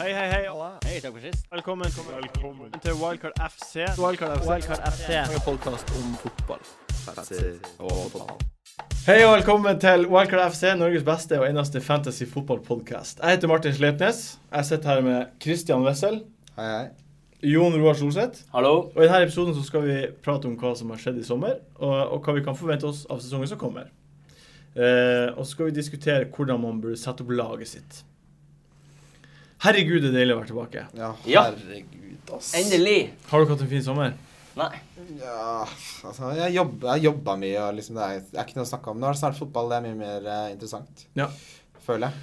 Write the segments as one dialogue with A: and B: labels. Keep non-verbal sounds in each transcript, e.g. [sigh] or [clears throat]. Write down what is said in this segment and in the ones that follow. A: Hei, hei, hei.
B: Hei, takk for sist.
A: Velkommen, til Wildcard FC.
C: Wildcard FC.
B: Wildcard FC.
C: En podkast om fotball.
A: Hei og velkommen til Wildcard FC, Norges beste og eneste fantasy fotballpodkast. Jeg heter Martin Sleipnes. Jeg sitter her med Christian Wessel,
D: Hei, hei.
A: Jon Roar Solseth.
B: Hallo.
A: Og I denne episoden så skal vi prate om hva som har skjedd i sommer, og, og hva vi kan forvente oss av sesongen som kommer. Eh, og så skal vi diskutere hvordan man burde sette opp laget sitt. Herregud, det er deilig å være tilbake.
D: Ja,
B: Ja.
D: herregud, ass.
B: Endelig.
A: Har dere hatt en fin sommer?
B: Nei.
D: Ja, altså, jeg jobber, jeg jobber mye, og liksom, det er, det er ikke noe å snakke om. Nå er det snart fotball, det er mye mer eh, interessant.
A: Ja.
D: Føler jeg.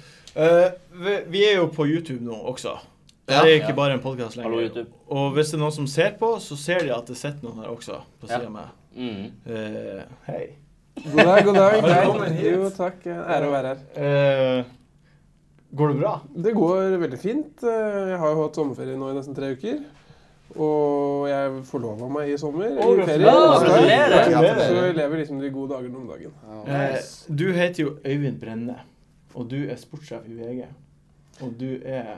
A: Eh, vi, vi er jo på YouTube nå også. Det
D: Ja.
A: er ikke
B: Ja.
A: bare en podkast lenger.
B: Hallo, YouTube.
A: Og hvis det er noen som ser på, så ser de at det sitter noen her også. på
B: Ja.
A: siden av meg.
B: Mm.
A: Eh, Hei.
E: God dag, god dag.
A: Velkommen
E: Nei,
A: hit.
E: Jo, takk. En Ære å være her.
A: Eh, går det bra?
E: Det går veldig fint. Jeg har jo hatt sommerferie nå i nesten tre uker. Og jeg forlova meg i sommer.
A: Å,
E: I ferie.
B: gratulerer.
E: Så det er-
B: Gratulerer.
D: Gratulerer.
E: Så jeg lever liksom de gode dagene om dagen.
D: Ja.
A: Eh, du heter jo Øyvind Brenne, og du er sportssjef i VG. Og du er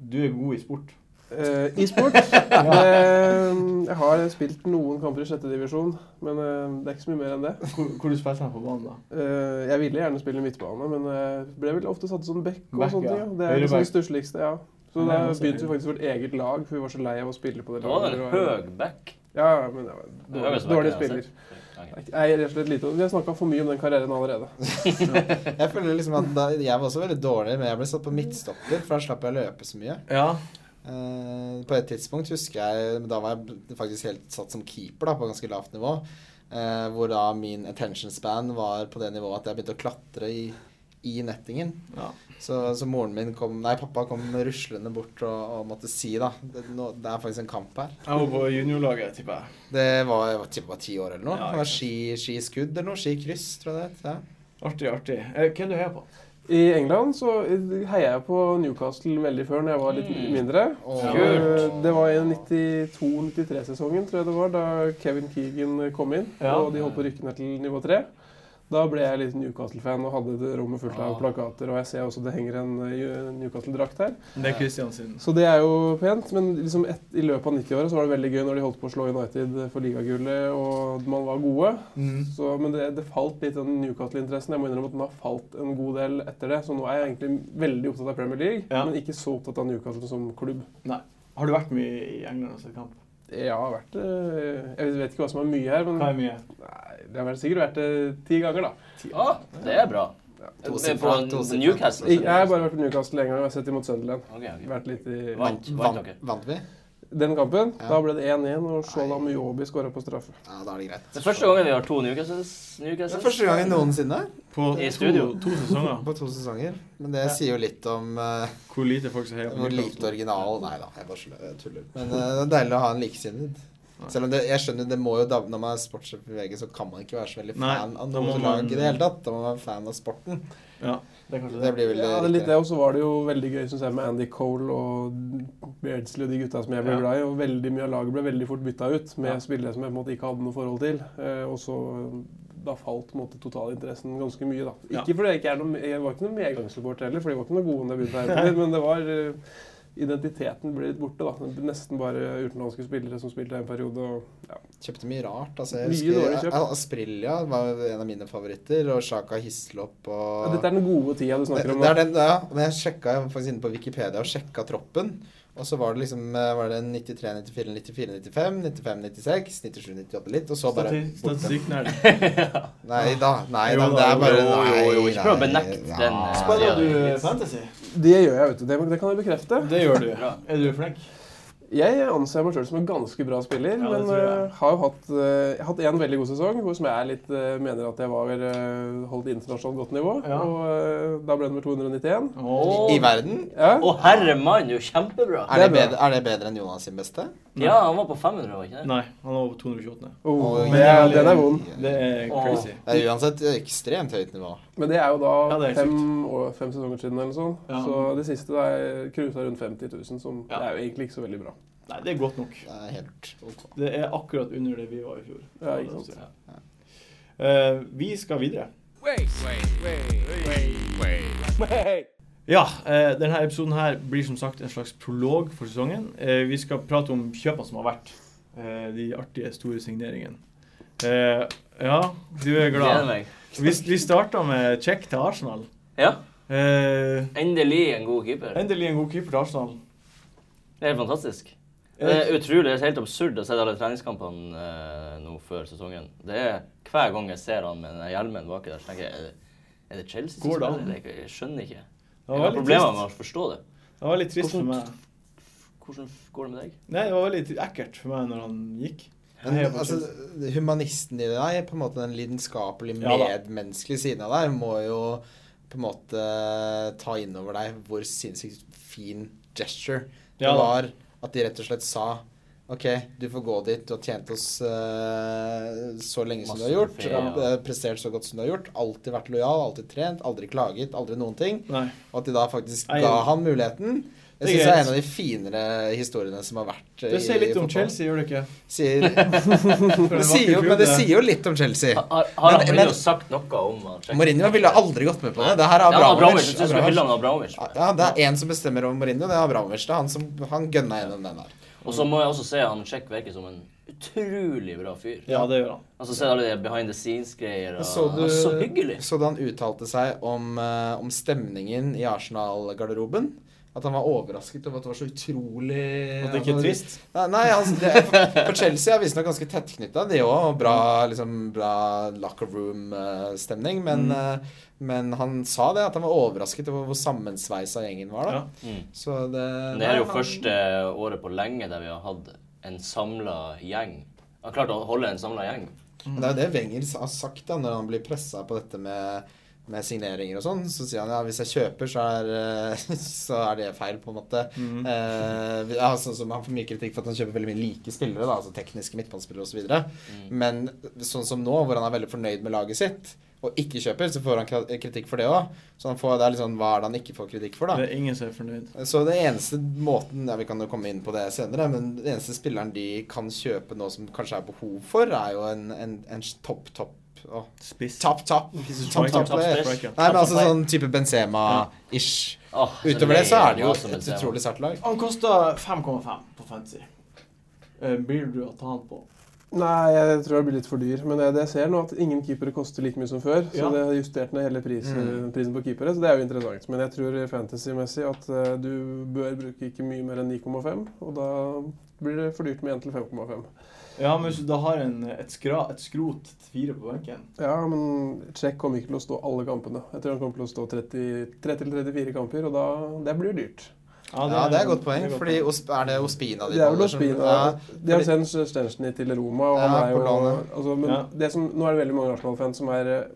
A: Du er god i sport.
E: Eh, E-sport.
A: [laughs]
E: Eh, Jeg har spilt noen kamper i sjette divisjon, men eh, det er ikke så mye mer enn det.
A: Hvor, hvor du spilte den på banen, da?
E: Eh, Jeg ville gjerne spille midtbane, men eh, ble vel ofte satt som back og
A: Back,
E: sånne
A: ja.
E: ting. ja. Det er liksom
A: Høyreback.
E: det stussligste, ja. Så
A: Nei,
E: da
A: altså,
E: begynte vi
A: høyre.
E: faktisk vårt eget lag, for vi var så lei av å spille på det
B: Det var
E: laget.
B: en
E: Det var-
B: høgback.
E: Ja, ja, men det var en
B: Det var
E: dårlig,
B: vel så
E: dårlig
B: verdt det,
E: spiller. Jeg er rett og slett lite Vi har snakka for mye om den karrieren allerede.
D: Jeg føler liksom at da, jeg var også veldig dårlig, men jeg ble satt på midtstopper, for da slapp jeg å løpe så mye.
A: Ja.
D: Eh, på et tidspunkt husker jeg Da var jeg faktisk helt satt som keeper, da, på ganske lavt nivå. eh, hvor da min attention span var på det nivået at jeg begynte å klatre i, i nettingen.
A: Ja.
D: Så, så moren min kom Nei, pappa kom ruslende bort og, og måtte si, da det, nå, det er faktisk en kamp her.
A: Jeg var på juniorlaget, tipper jeg.
D: Det var jeg var tipper jeg var ti år eller noe.
A: Ja,
D: det var
A: ikke
D: ski, skiskudd eller noe. Skikryss, tror jeg det het. Ja.
A: Artig, artig. Eh, Hvem du heier på?
E: I England så heier jeg på Newcastle veldig før, når jeg var litt
B: Mm.
E: mindre.
D: Og,
E: Eh, Det var i 92-93-sesongen, tror jeg det var, da Kevin Keegan kom inn.
A: Ja.
E: Og de holdt på å rykke ned til nivå 3. Da ble jeg litt Newcastle-fan og hadde det rommet fullt
B: Ah.
E: av plakater. Og jeg ser også det henger en eh, Newcastle-drakt her.
A: Det er Christian sin.
E: Så det er jo pent, men liksom et, i løpet av 90-åra så var det veldig gøy når de holdt på å slå United for ligagullet og man var gode.
A: Mm.
E: Så, men det, det falt litt den Newcastle-interessen. Jeg må innrømme at den har falt en god del etter det. Så nå er jeg egentlig veldig opptatt av Premier League,
A: Ja.
E: men ikke så opptatt av Newcastle som klubb.
A: Har du vært mye i England og sett kamp?
E: Jeg har vært eh, Jeg vet ikke hva som er mye her, men
A: Hva er mye?
E: nei, det har vel sikkert vært eh, ti ganger, da.
B: Å, det er bra.
D: To
B: Det er
D: sifra,
B: På
D: to sifra.
B: Newcastle.
E: Jeg jeg har bare vært på Newcastle én gang, og jeg har sett imot Sunderland.
B: Ok, ok.
E: Vært litt i
B: Vant, vant
D: vant,
B: dere.
D: vant vi?
E: den kampen.
D: Ja.
E: Da ble det 1-1, og Shola Muyobi skåra på straffe.
D: Ja, da er det greit.
B: Det er første gangen vi har to Newcastles.
D: Det er
B: Newcastles.
D: første gangen noensinne
A: På
B: I
A: to,
B: studio.
A: to sesonger.
D: på to sesonger. Men det sier jo litt om eh,
A: Hvor lite folk som heier på
D: hvor lite
A: Newcastle.
D: original Nei da, jeg bare slø- jeg tuller. Men eh, det er deilig å ha en likesinnet. Selv om det, jeg skjønner, det må jo da, når man er sportssjef i VG, så kan man ikke være så veldig
A: Nei,
D: fan av
A: da må
D: noe
A: man-
D: lag i det hele tatt. Da må man være fan av sporten.
A: Ja, det er kanskje
D: Det
A: det.
D: blir vel
E: Ja, det er
D: riktig.
E: litt det, og så var det jo veldig gøy synes jeg, med Andy Cole og Beardsley og de gutta som jeg ble
A: Ja.
E: glad i. og Veldig mye av laget ble veldig fort bytta ut med
A: Ja.
E: spillere som jeg på en måte ikke hadde noe forhold til. Eh, og så eh, da falt på en måte totalinteressen ganske mye, da.
A: Ja.
E: Ikke fordi jeg ikke er noe, jeg var ikke noe medgangssupporter heller, for de var ikke noe gode når jeg begynte her, men- men det var eh, Identiteten ble litt borte. da. Det ble Nesten bare utenlandske spillere som spilte en periode. og
D: Kjøpte mye rart. altså jeg
E: Mye dårlig
D: husker
E: kjøpt.
D: A- Asprilia var en av mine favoritter, og Sjaka Hislop og
E: Ja, dette er den gode tida du
D: det,
E: snakker om.
D: det
E: nå.
D: er den, ja, men jeg, sjekka, jeg var faktisk inne på Wikipedia og sjekka troppen. Og så var det liksom eh, var det 93, 94, 94, 95, 95, 96, 97, 98 litt, og så bare
A: Stati- Statistikknerd.
D: Nei da. Nei
A: Jo
D: da,
A: da,
D: det er
A: jo,
D: bare
B: jo,
D: Nei,
B: jo, jo, ikke prøv å
D: nei,
B: benekte
D: ja.
B: den, eh,
D: Spør-
A: Spiller
B: Ja,
A: du
B: litt.
A: fantasy?
E: Det gjør jeg, vet du. Det, det kan jeg bekrefte.
A: Det gjør du.
B: Bra.
A: Er du flink?
E: Jeg anser meg sjøl som en ganske bra spiller,
A: Ja, det
E: men
A: tror jeg.
E: eh, har jo hatt, eh, jeg har hatt en veldig god sesong hvor som jeg er litt, eh, mener at jeg var eh, holdt internasjonalt godt nivå.
A: Ja.
E: Og eh, da ble det nummer 291.
A: Åh.
D: I verden?
E: Ja.
B: Å, herre mann, det er jo
D: Er
B: kjempebra.
D: det,
E: Det er
D: bedre, er det bedre enn Jonas sin beste?
B: Ja, han var på 500, var ikke det?
A: Nei, han var på 228.
E: Oh,
D: Oi.
E: det, er- den er vond.
A: Det er
B: Åh.
A: crazy.
D: Det er uansett ekstremt høyt nivå.
E: Men det er jo da
A: Ja, det er
E: fem, år, fem sesonger siden eller sånn.
A: Ja.
E: Så det siste da jeg cruisa rundt 50 000, som
A: Ja.
E: det er jo egentlig ikke så veldig bra.
A: Nei, det er godt nok.
D: Det er helt ok.
A: Det er akkurat under det vi var i fjor.
E: Ja, ikke sant?
A: Eh, vi skal videre. Ja, eh, denne episoden her blir som sagt en slags prolog for sesongen. Eh, vi skal prate om kjøpene som har vært. Eh, de artige, store signeringene. Eh, ja, du er
B: Gleder
A: glad.
B: meg.
A: Vi, vi starta med check til Arsenal.
B: Ja.
A: Eh,
B: Endelig en god keeper.
A: endelig en god keeper til Arsenal.
B: Det er helt fantastisk. Det
A: Eh,
B: er utrolig, det er helt absurd å se alle treningskampene eh, nå før sesongen. Det er Hver gang jeg ser han med den hjelmen baki der, så tenker jeg er det, er det Chelsea som
A: Går det
B: spiller?
A: an?
B: Jeg, jeg skjønner ikke.
A: det
B: Jeg
A: var
B: har
A: veldig
B: problemer med
A: trist.
B: å forstå det.
A: Det var litt trist for meg.
B: Hvordan går det med deg?
A: Nei, det var veldig ekkelt for meg når han gikk. Jeg
D: Men
A: heier på
D: altså,
A: Chelsea.
D: humanisten i deg, på en måte den lidenskapelige,
A: Ja da.
D: medmenneskelige siden av deg, må jo på en måte ta inn over deg hvor sinnssykt fin gesture det
A: Ja da.
D: var at de rett og slett sa OK, du får gå dit. Du har tjent oss eh, så lenge som du har gjort.
B: Masse trofeer, ja.
D: eh, Prestert så godt som du har gjort. Alltid vært lojal, alltid trent, aldri klaget, aldri noen ting.
A: Nei.
D: Og at de da faktisk
A: Nei.
D: ga han muligheten.
A: Det er
D: Jeg synes det
A: greit.
D: er en av de finere historiene som har vært eh,
A: Det sier litt om
D: fotball.
A: Chelsea, gjør det
D: [laughs]
A: ikke?
D: Sier,
A: For en
D: det
A: vakker
D: sier jo, men det
A: klubb,
D: sier jo litt om Chelsea.
B: Har, har
D: Men-
B: han
D: men-
B: jo sagt noe om han? Check.
D: Mourinho ville aldri gått med på det. Det her
B: Ja,
D: er Abramovic.
B: Abramovic. Jeg synes vi hyller han Abramovic. for det.
D: Ja, det er én som bestemmer over Mourinho, det er Abramovic. Det er han som han gønna gjennom den der.
B: Og så må jeg også si han Check virker som en utrolig bra fyr.
A: Ja, det gjør han.
B: Altså, se alle de behind the scenes-greier. og-
D: Så du,
B: Han er Så hyggelig.
D: så du han uttalte seg om, eh, om stemningen i Arsenal-garderoben? At han var overrasket over at det var så utrolig
A: At det ikke er trist.
D: Nei, nei altså, det er, for, for Chelsea er visstnok ganske tettknytta, de òg. Og bra, liksom, bra locker room-stemning. Men,
B: Mm.
D: eh, men han sa det, at han var overrasket over hvor sammensveisa gjengen var. da.
A: Ja.
B: Mm.
D: Så det,
B: Men Det er jo
D: nei, han-
B: første året på lenge der vi har hatt en samla gjeng. Han klarte å holde en samla gjeng.
D: Men Det er jo det Wenger sa- har sagt da, når han blir pressa på dette med, med signeringer og sånn. Så sier han ja, hvis jeg kjøper, så er, eh, [laughs] så er det feil, på en måte. Eh, ja, sånn som Han får mye kritikk for at han kjøper veldig mye like spillere, da, altså tekniske midtbanespillere osv. videre Men sånn som nå, hvor han er veldig fornøyd med laget sitt, og ikke kjøper, så får han kra- kritikk for det òg. Så han får, det er liksom, hva er det han ikke får kritikk for, da?
A: Det er ingen som er fornøyd.
D: Så det eneste måten ja, Vi kan jo komme inn på det senere, men den eneste spilleren de kan kjøpe nå som kanskje er behov for, er jo en, en, en topp, topp åh,
A: Spiss.
D: Topp, topp. Topp,
A: Striker,
D: topp.
A: top
D: player.
A: striker.
D: Nei, men altså sånn type Benzema-ish.
B: Åh,
D: Utover det så er det jo
B: var som
D: et
B: tema.
D: utrolig sterkt lag.
A: Han kosta 5,5 på fantasy. Eh, Blir du å ta han på?
E: Nei, jeg tror jeg blir litt for dyr. Men jeg, jeg ser nå at ingen keepere koster like mye som før. Så
A: Ja.
E: det har justert ned hele prisen, prisen på keepere, så det er jo interessant. Men jeg tror fantasy-messig at eh, du bør bruke ikke mye mer enn 9,5. Og da blir det for dyrt med 1 til 5,5.
A: Ja, men hvis du da har en, et, skra, et skrot til fire på benken
E: Ja, men Czech kommer ikke til å stå alle kampene. Jeg tror han kommer til å stå 30-34 kamper, og da, det blir dyrt.
D: Ja, det er et godt poeng, fordi Os- er det Ospina de
E: Det er vel
D: holder som-
E: Ospina.
D: Ja,
E: de har
D: fordi-
E: sendt Stenschny til Roma, og
D: Ja,
E: han er
D: på
E: jo
D: lånet.
E: altså, men
A: Ja.
E: det som, Nå er det veldig mange Arsenal-fans som er eh,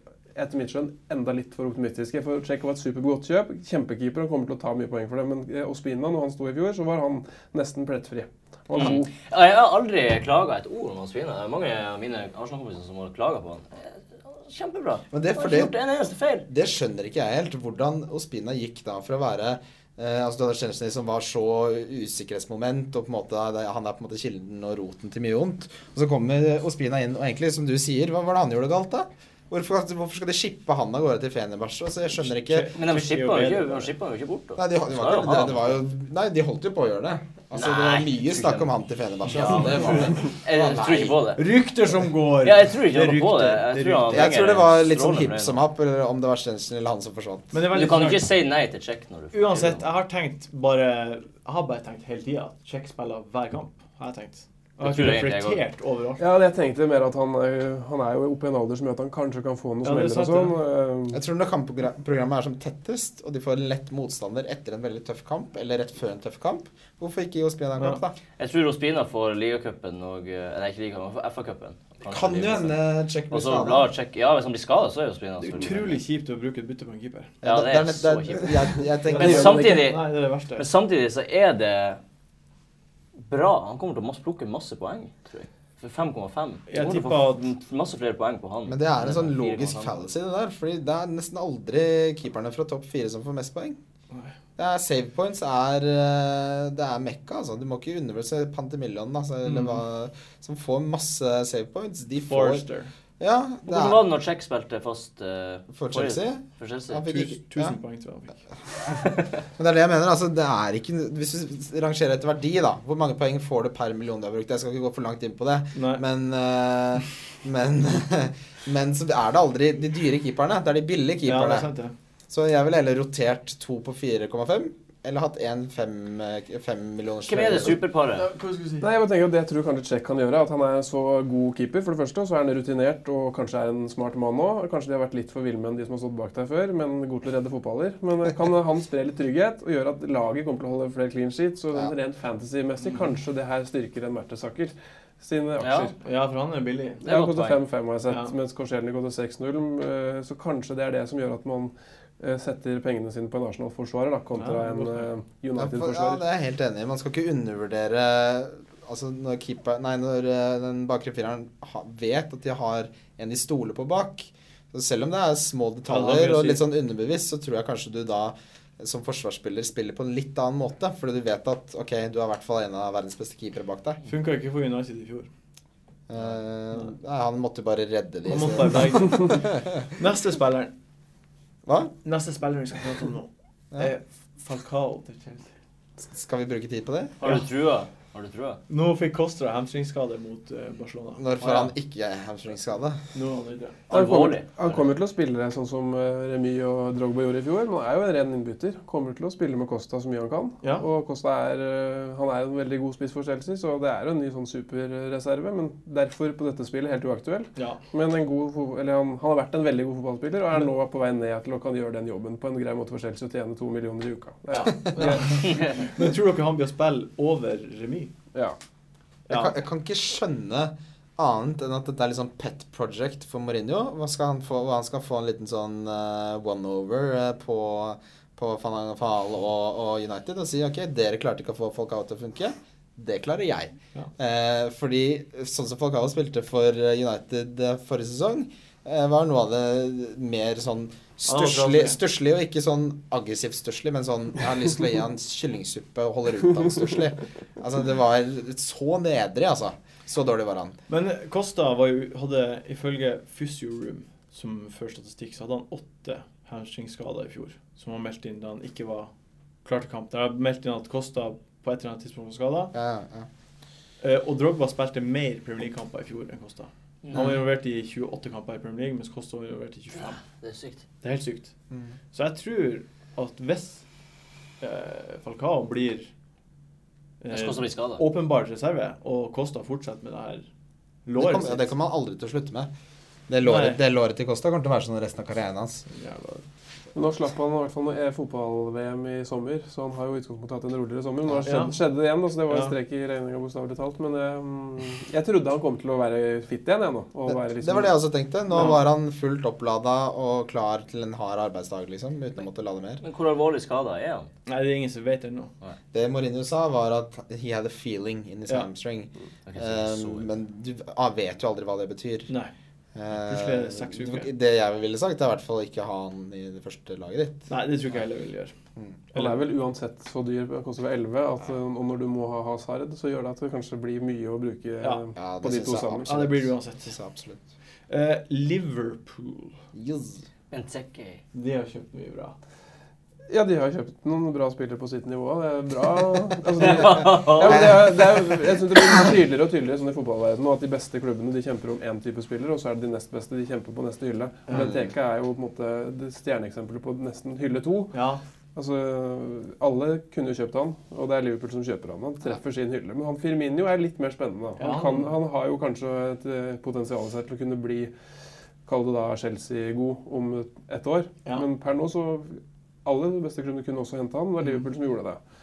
E: etter mitt skjønn enda litt for optimistiske. For Check var et supergodt kjøp. Kjempekeeper, han kommer til å ta mye poeng for det. Men eh, Ospina, når han sto i fjor, så var han nesten plettfri. Og
A: Mm.
E: han god.
B: Mm. Ja, Jeg har aldri klaga et ord om han Svine. Det er mange av mine Arsenal-kompiser som har klaga på han. Eh, Kjempebra.
D: Men det er
B: Han har
D: fordi-
B: ikke gjort en eneste feil.
D: Det skjønner ikke jeg helt. Hvordan Ospina gikk da fra å være eh, altså Du hadde Chelsea som var så usikkerhetsmoment, og på en måte, det, han er på en måte kilden og roten til mye ondt. Og så kommer Ospina inn, og egentlig, som du sier, hva var det han gjorde galt, da? Hvorfor, hvorfor skal de shippe han av gårde til Fenerbahçe? Altså, jeg skjønner ikke
B: Men de
A: Check er jo
B: shippa han jo
A: bedre.
B: ikke, de shippa han jo ikke bort. da.
D: Nei, de, de,
B: Så
D: var,
B: er
D: ikke- det,
B: han.
D: det var jo, nei, de holdt jo på å gjøre det. Altså, det var
B: Nei,
D: mye
B: tror ikke
D: snakk om
B: det.
D: han til Fenerbahçe.
B: Ja,
D: altså, det var det.
B: Jeg jeg tror ikke på det.
A: Rykter som går!
B: Ja, jeg tror ikke han var på det.
A: rykter,
B: Jeg
A: det
B: tror han-
A: rykter.
D: Jeg tror det var litt sånn
B: Strålende
D: hipp som happ, eller om det var Stensen eller han som forsvant.
A: Men det er
B: Men
A: veldig
B: du kan ikke
A: snart.
B: si nei til Check når du
A: Uansett, jeg har tenkt bare Jeg har bare tenkt hele tida at Check spiller hver kamp. Har jeg tenkt. Jeg har
B: Det tror jeg egentlig jeg
A: reflektert overalt.
E: Ja, jeg tenkte mer at han, er jo- han er jo oppe i en alder som gjør at han kanskje kan få noen
A: Ja, det er
E: smeller og
A: sant,
E: sånn.
B: Mm.
E: eh,
D: Jeg tror når kampprogrammet er som tettest, og de får en lett motstander etter en veldig tøff kamp, eller rett før en tøff kamp, hvorfor ikke gi oss en kamp, da?
B: Jeg tror Ospina får ligacupen og eh, Nei, ikke ligacupen, han får FA-cupen. Kanskje
D: Kan jo
B: ligacupen.
D: hende Czech
B: Og
D: blir
B: så
D: skada.
B: blar Check Ja, hvis han blir skada, så er jo Ospina
A: Det er
B: selvfølgelig-
A: utrolig kjipt å bruke et bytte på en keeper.
B: Ja, det er så kjipt.
D: Jeg, jeg tenker
B: Men
E: gjør man
B: samtidig,
A: Nei, det er det verste.
B: men samtidig så er det bra. Han kommer til å masse, plukke masse poeng, tror jeg. For 5,5. Du
A: Jeg
B: kommer til å
A: tipper
B: få
A: at-
B: f- masse flere poeng på han.
D: Men det er en sånn
B: Enn
D: logisk
B: 4,5.
D: fallacy, det der. Fordi det er nesten aldri keeperne fra topp fire som får mest poeng. Det er save points er eh, Det er mekka, altså. Du må ikke
B: Mm.
D: undervurdere Pantemillion, altså, eller hva, som får masse save points. De får
A: Forster.
D: Ja, det
B: Hvordan var det når Czech spilte fast eh,
D: er for Chelsea.
B: For Chelsea?
D: Han fikk ikke
A: Tusen, tusen
D: ja.
A: poeng tror jeg han fikk.
D: Men det er det jeg mener. altså, det er ikke, Hvis du rangerer etter verdi, da, hvor mange poeng får du per million du har brukt? Jeg skal ikke gå for langt inn på det,
A: Nei.
D: men eh, Men, [laughs] men så er det aldri de dyre keeperne. Det er de billige
A: Ja, det
D: keeperne.
A: er sant, det.
D: så jeg ville heller rotert to på 4,5, eller hatt én fem, eh, fem millioners
B: Hvem er det superparet?
A: hva skulle du si?
E: Nei, jeg bare tenker at Det jeg tror kanskje Czech kan gjøre, er at han er en så god keeper. For det første, og så er han rutinert og kanskje er en smart mann òg. Kanskje de har vært litt for ville med de som har stått bak der før, men god til å redde fotballer. Men kan han spre litt trygghet og gjøre at laget kommer til å holde flere clean sheets? Så
D: Ja.
E: rent fantasy-messig kanskje det her styrker en Mertesaker sine
B: Ja.
E: aksjer.
A: Ja, for han er billig.
E: Det har
B: godt
E: gått til
B: poeng.
E: 5-5, har jeg sett,
A: Ja.
E: mens Korselny går til 6-0. eh, Så kanskje det er det som gjør at man eh, setter pengene sine på en Arsenal-forsvarer da, kontra
A: Ja,
E: en
A: godt
E: eh,
D: Ja, for- ja,
E: United-forsvarer.
D: det er jeg helt enig i. Man skal ikke undervurdere Altså når keeper Nei, når eh, den bakre fireren ha- vet at de har en de stoler på bak. Så selv om det er
A: Ja,
D: små
A: det har
D: detaljer
A: mye å
D: og
A: si.
D: litt sånn underbevisst, så tror jeg kanskje du da eh, som forsvarsspiller spiller på en litt annen måte. Fordi du vet at ok, du er i hvert fall en av verdens beste keepere bak deg.
A: Funka ikke for United i fjor.
D: Eh, nei, han måtte jo bare redde de.
A: Han
D: så-
A: måtte bare [laughs] berge. Neste spilleren.
D: Hva?
A: Neste spilleren vi skal prate om nå,
D: Ja.
A: er Falcao til Chelsea.
D: Skal vi bruke tid på det?
B: Har du trua? Har du trua?
A: Nå fikk Kostra hamstringsskade mot eh, Barcelona.
D: Når får
B: Ja.
D: han ikke hamstringsskade?
A: Nå er han ute.
E: Han kommer,
B: Alvorlig.
E: han kommer til å spille sånn som eh, Remy og Drogba gjorde i fjor. Men han er jo en ren innbytter. Kommer til å spille med Costa så mye han kan.
A: Ja.
E: Og Costa er, eh, han er en veldig god spiss for Chelsea, så det er jo en ny sånn superreserve. Men derfor på dette spillet helt uaktuell.
A: Ja.
E: Men en god, fo- eller han, han har vært en veldig god fotballspiller og
A: Mm.
E: er nå på vei ned til å kan gjøre den jobben på en grei måte for Chelsea og tjene to millioner i uka. Det
A: ja.
E: er,
A: ja. Men tror dere han blir å spille over remis?
E: ja.
D: Jeg,
A: Ja.
D: kan, jeg kan ikke skjønne annet enn at dette er litt sånn pet project for Mourinho. Hva skal han få, hva han skal få en liten sånn eh, one-over eh, på, på Van Fahl og, og United og si ok, dere klarte ikke å få Falcao til å funke. Det klarer jeg.
A: Ja.
D: Eh, fordi sånn som Falcao spilte for eh, United eh, forrige sesong, eh, var noe av det mer sånn stusslig, stusslig og ikke sånn aggressivt stusslig, men sånn jeg har lyst til å gi han kyllingsuppe og holde rundt han stusslig. Altså, det var så nedrig, altså. Så dårlig var han.
A: Men Kosta var jo, hadde ifølge Fysioroom, som før statistikk, så hadde han åtte hamstringskader i fjor. Som han meldte inn da han ikke var klar til kamp. Der har meldt inn at Kosta på et eller annet tidspunkt var skada.
D: Ja, ja.
A: Eh, og Drogba spilte mer Premier League-kamper i fjor enn Kosta. Han var involvert i 28 kamper i Premier League, mens Kosta var involvert i 25.
B: Det er sykt.
A: Det er helt sykt.
D: Mm.
A: Så jeg tror at hvis eh, Falcao blir eh,
B: Jeg skal også bli skadet.
A: åpenbar reserve, og Kosta fortsetter med det her
D: Det
A: låret
D: kommer ja, det kommer han aldri til å slutte med. Det låret,
A: Nei.
D: det låret til Costa kommer til å være sånn resten av karrieren hans.
A: Jævla
E: Men nå slapp han i hvert fall noe eh, fotball-VM i sommer, så han har jo i utgangspunktet hatt en roligere sommer. Men nå har skjedd,
A: Ja.
E: skjedde det igjen, da, så det var en
A: Ja.
E: strek i regninga, bokstavelig talt. Men eh, jeg trodde han kom til å være fit igjen, jeg nå. Og
D: Det,
E: være liksom,
D: det var det jeg også tenkte. Nå
E: Ja.
D: var han fullt opplada og klar til en hard arbeidsdag, liksom. Uten å måtte lade mer.
B: Men hvor alvorlig skada er han?
A: Nei, det er ingen som vet ennå.
D: Det Mourinho sa, var at he had a feeling in his
A: Ja.
D: hamstring.
B: Ok, så det er så
D: Um, men du ah, vet jo aldri hva det betyr.
A: Nei. Plutselig er det seks
D: Eh,
A: uker.
D: Det jeg ville sagt, er i hvert fall ikke ha han i det første laget ditt.
A: Nei, det tror ikke jeg heller vil gjøre.
D: Mm.
E: Han er vel uansett så dyr, han koster vel 11, at, eh, og når du må ha Hazard, så gjør det at det kanskje blir mye å bruke eh,
A: Ja.
D: Ja,
E: på de
D: synes
E: to
D: jeg
E: sammen.
A: Ja, det blir det uansett.
D: Synes jeg absolutt.
A: Eh, Liverpool.
D: Yes.
B: Benteke.
A: De har kjøpt mye bra.
E: Ja, de har kjøpt noen bra spillere på sitt nivå. Det er
A: [laughs]
E: bra altså, de, [laughs] ja, men det er, det er, Jeg syns det blir tydeligere og tydeligere sånn i fotballverdenen nå at de beste klubbene de kjemper om én type spiller, og så er det de nest beste de kjemper på neste hylle.
A: Mm.
E: Og Benteke er jo på en måte det stjerneeksempelet på nesten hylle to.
A: Ja.
E: Altså, Alle kunne jo kjøpt han, og det er Liverpool som kjøper han. Han treffer sin hylle. Men han Firmino er litt mer spennende. Han,
A: Ja, han-
E: kan, han har jo kanskje et eh, potensial i seg til å kunne bli Kall det da Chelsea-god om ett år.
A: Ja.
E: Men per nå så Alle de beste klubbene kunne også hente han.
A: Mm.
E: Det var Liverpool som gjorde det.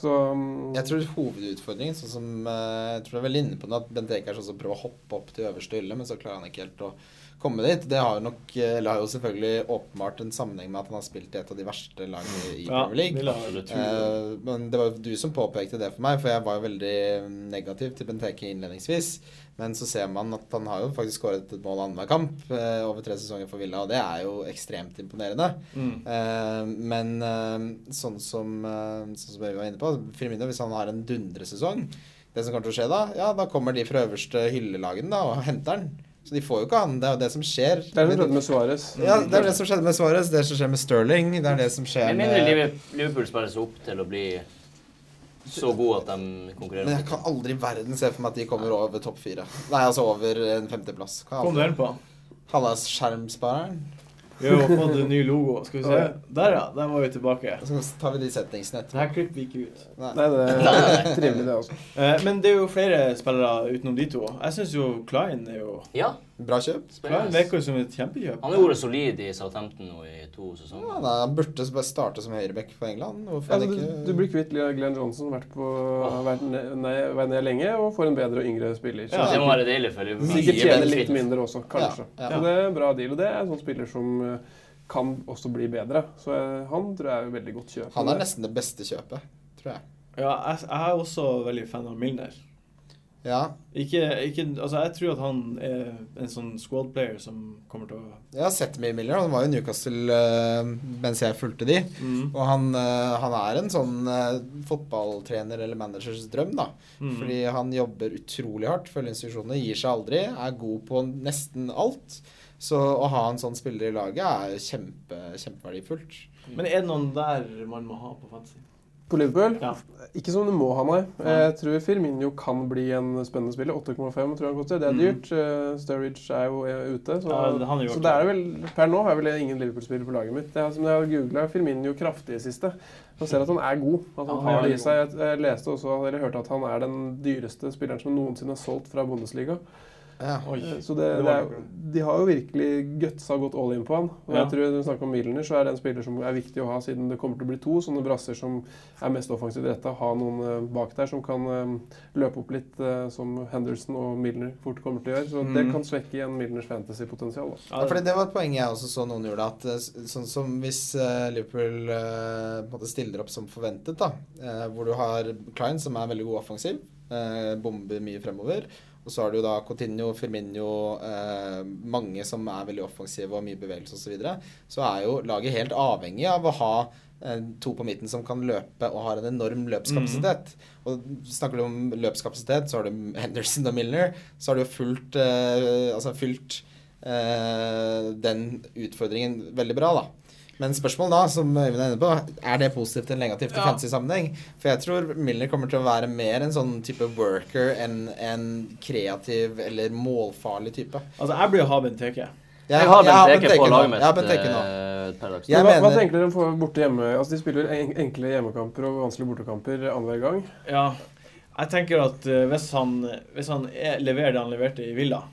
E: Så mm,
D: Jeg tror hovedutfordringen, sånn som eh, jeg tror jeg er veldig inne på det, at Bent Eik er sånn som prøver å hoppe opp til øverste hylle, men så klarer han ikke helt å komme dit. Det har jo nok eh, Eller har jo selvfølgelig åpenbart en sammenheng med at han har spilt i et av de verste lagene i
A: ja
D: Premier League.
A: Villa har det.
D: Eh, men det var jo du som påpekte det for meg, for jeg var jo veldig mm, negativ til Benteke innledningsvis. Men så ser man at han har jo faktisk skåret et mål annenhver kamp eh, over tre sesonger for Villa, og det er jo ekstremt imponerende.
A: Mm.
D: Eh, men eh, sånn som eh, Sånn som vi var inne på, Firmino, hvis han har en dundresesong Det som kommer til å skje da, ja, da kommer de fra øverste hyllelagen da og henter han. Så de får jo ikke han. Det er jo det som skjer.
E: Det er det som skjedde med Suárez.
D: Ja, det er det som skjedde med Suárez, det er det som skjer med Sterling, det er det som skjer
B: Med mindre
D: med
B: Liverpool- Liverpool spiller seg opp til å bli så god at de konkurrerer.
D: Men
B: om
D: jeg kan aldri i verden se for meg at de kommer over topp fire. Nei, altså over en femteplass. Kan jeg
A: Kom du
D: aldri-
A: den på?
D: Hallas skjermspareren.
A: Vi har jo fått en ny logo. Skal vi se.
E: Ja.
A: Der, ja. Der var vi tilbake.
D: Så tar vi de settingsene etterpå.
A: Det her klipper vi ikke ut.
E: Nei,
D: [laughs]
E: det er trivelig, det, altså.
A: Eh, men det er jo flere spillere utenom de to. Jeg syns jo Klein er jo
B: det. Ja,
D: Bra kjøp.
A: Klein
B: spennende.
A: virker jo som et kjempekjøp.
B: Han har vært solid i Southampton nå i to
D: Ja,
B: sesonger.
D: nei, han burde bare starte som høyreback for England. Hvorfor
E: Ja,
D: han
E: Altså, du,
D: ikke
E: du blir kvitt Glenn Johnson, vært på vært ned, nei, vært ned lenge, og får en bedre og yngre spiller. Så
A: Ja.
B: Det må være deilig for Liverpool.
E: Sikkert
B: Mye
E: tjener
B: benefit.
E: litt mindre også, kanskje.
D: Ja,
A: ja.
E: Så det er en bra deal. Og det er en sånn spiller som eh, kan også bli bedre. Så eh, han tror jeg er veldig godt kjøp.
D: Han er nesten det beste kjøpet, tror jeg.
A: Ja, jeg, jeg er også veldig fan av Milner.
D: Ja,
A: Ikke, ikke, altså jeg tror at han er en sånn squad player som kommer til å
D: jeg har sett mye Miller. Han var jo i Newcastle eh, mens jeg fulgte de.
A: mm,
D: Og han, eh, han er en sånn eh, fotballtrener eller managers drøm, da.
A: mm.
D: Fordi han jobber utrolig hardt, følger institusjonene, gir seg aldri, er god på nesten alt. Så å ha en sånn spiller i laget er kjempe, kjempeverdifullt.
A: Men er det noen der man må ha på fantasy?
E: På Liverpool?
A: Ja.
E: Ikke som du må ha, nei.
A: Nei.
E: Jeg tror Firmino kan bli en spennende spiller. 8,5 tror jeg han koster. Det er
A: Mhm.
E: dyrt. Eh, Sturridge er jo eh, ute. Så,
A: Ja, det- han er jo
E: så
A: aktuell.
E: det er vel, per nå har jeg vel ingen Liverpool-spiller på laget mitt. Jeg, har- som jeg har googla Firmino kraftig i siste. Man ser at han er god. At han,
A: Han er
E: har det
A: god.
E: i seg. Jeg, jeg leste også, eller hørte at han er den dyreste spilleren som noensinne er solgt fra Bundesliga.
D: Ja.
A: Oi.
E: Eh, Så
A: Det
E: det, det
A: var
E: er,
A: det.
E: de har jo virkelig gutsa gått all in på han. Og
A: Ja.
E: jeg tror Når vi snakker om Milner, så er det en spiller som er viktig å ha, siden det kommer til å bli to sånne brasser som er mest offensivt retta. Ha noen eh, bak der som kan eh, løpe opp litt, eh, som Henderson og Milner fort kommer til å gjøre. Så det
A: Mhm.
D: Mm.
E: kan svekke igjen Milners fantasypotensial. da.
D: Ja, fordi Det var et poeng jeg også så noen gjorde. at eh, s- Sånn som hvis eh, Liverpool eh, på en måte stiller opp som forventet, da, eh, hvor du har Klein, som er veldig god offensiv, eh, bomber mye fremover. Og så har du da Coutinho, Firmino, eh, mange som er veldig offensive og mye bevegelse osv. Så, videre. så er jo laget helt avhengig av å ha eh, to på midten som kan løpe og har en enorm løpskapasitet.
B: Mm.
D: Og snakker du om løpskapasitet, så har du Henderson og Milner. Så har du jo fulgt, eh, altså fylt eh, den utfordringen veldig bra, da. Men spørsmålet da, som Øyvind er inne på, er det positivt eller negativt i
A: Ja.
D: fantasy sammenheng? For jeg tror Milner kommer til å være mer en sånn type worker enn en kreativ eller målfarlig type.
A: Altså, jeg blir å ha Benteke.
B: Jeg har Benteke på
D: nå.
B: laget mitt.
D: Jeg har Benteke nå.
B: eh, per dags dato.
D: Jeg
E: hva, hva
D: mener-
E: tenker dere om for- borte hjemme? Altså, De spiller en- enkle hjemmekamper og vanskelige bortekamper annenhver gang.
A: Ja. Jeg tenker at eh, hvis han, hvis han er, leverer det han leverte i Villa,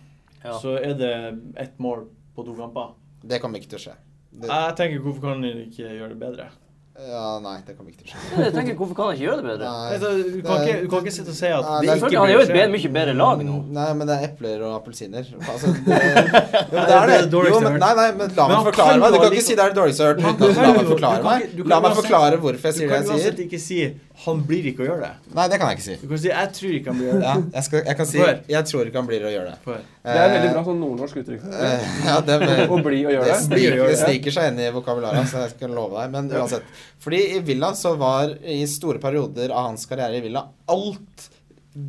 B: Ja.
A: så er det ett mål på to kamper.
D: Det kommer ikke til å skje. Det,
A: Jeg tenker hvorfor kan han ikke gjøre det bedre?
D: ja, nei, det kommer ikke til å skje.
B: Ja, Jeg tenker, Hvorfor kan han ikke gjøre det bedre?
D: Nei.
A: Altså, du, kan ikke, du kan ikke sitte og si at det
D: Nei, det er-
A: ikke
B: Selvfølgelig, han er jo et
A: bør skje.
B: bedre, mye bedre lag nå.
D: Mm, Nei, men det er epler og appelsiner.
B: [laughs]
D: Altså, det, jo, det er det.
A: det dårligste jeg har
D: Jo,
A: hørt.
D: men, nei, nei, men la
A: Men
D: meg
A: han
D: forklare
A: kan
D: meg. Du
A: jo
D: kan
A: like-
D: ikke si det er det dårligste jeg har hørt
A: Han
D: uten at
A: kan
D: la
A: jo- du
D: meg
A: kan
D: forklare meg.
A: ikke- du kan
D: La meg
A: uansett-
D: forklare hvorfor jeg
A: Du
D: sier det
A: kan
D: jeg
A: uansett
D: sier.
A: ikke si 'han blir ikke å gjøre det'.
D: Nei, det kan jeg ikke
A: [laughs]
D: si.
A: Du kan si 'jeg tror ikke han blir å gjøre det'.
D: Ja, jeg, skal, jeg kan si
A: Hør.
D: Jeg tror ikke han blir å gjøre det.
A: Få høre.
E: Det er et veldig bra sånn nordnorsk uttrykk.
D: Eh, ja, det er-
E: Å bli [laughs] og gjøre
D: Det
E: det.
A: Bli og
D: sniker,
A: gjøre
D: det
A: det.
D: sniker seg inn i vokabularet, så jeg skal love deg. Men uansett. Fordi i Villa så var i store perioder av hans karriere i Villa alt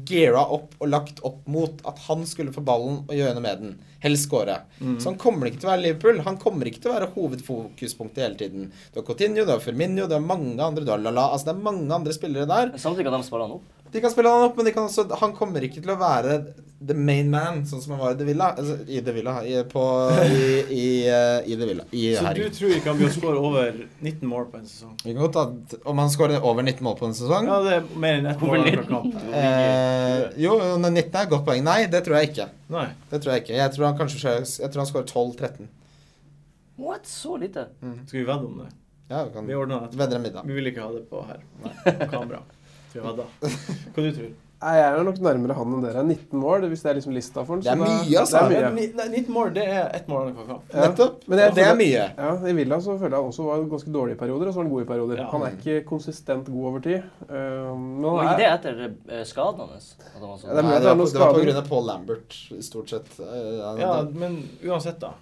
D: geara opp og lagt opp mot at han skulle få ballen og gjøre noe med den. Helst skåre.
E: Mm.
D: Så han kommer ikke til å være Liverpool. Han kommer ikke til å være hovedfokuspunktet hele tiden. Du har Coutinho, du har Firmino, du har mange andre, du har Lala Altså det er mange andre spillere der.
B: Men Samtidig kan de spille han opp.
D: De kan spille han opp, men de kan også, han kommer ikke til å være the main man, sånn som han var i The Villa. Altså, I The Villa i, på, i, i, eh, i The Villa. I,
A: Så du
D: herregud.
A: tror ikke han blir å score over 19 mål på en sesong?
D: Vi kan godt ta om han skårer over 19 mål på en sesong.
A: Ja, det er mer enn ett
B: Over
A: mål per
B: 19?
A: kamp.
D: eh, jo, men 19 er et godt poeng. Nei, det tror jeg ikke.
A: Nei.
D: Det tror Jeg ikke. Jeg tror han kanskje skjø- Jeg tror han skårer 12-13.
B: What? Så lite?
A: Skal vi vedde om det?
D: Ja, vi kan
A: Vi ordner det.
D: vedder en middag.
A: Vi vil ikke ha det på her. Nei, på kamera. Skal vi
D: [laughs]
A: vedde? Hva du tror
E: Nei, Jeg er nok nærmere han enn dere. 19 mål, hvis det er liksom lista for han.
D: Det er
E: så
D: mye, altså.
E: Det er mye.
A: Ni- nei, 19 mål, det er ett mål annenhver kamp.
E: Ja.
D: Nettopp.
E: Men jeg
D: det
E: tror
D: er mye.
E: Ja, I Villa så føler jeg han også var ganske dårlig i perioder, og så var han god i perioder.
A: Ja.
E: Han er ikke konsistent god over tid. eh, men
B: Og
E: han
B: ikke
E: er,
B: det etter eh, skaden hans. At han var
E: Ja,
D: Nei,
B: sånn.
E: det er mulig at
D: det var på-
E: noen
D: det var
E: skader.
D: pga. Paul Lambert, stort sett. Eh, han-
A: Ja, men uansett, da.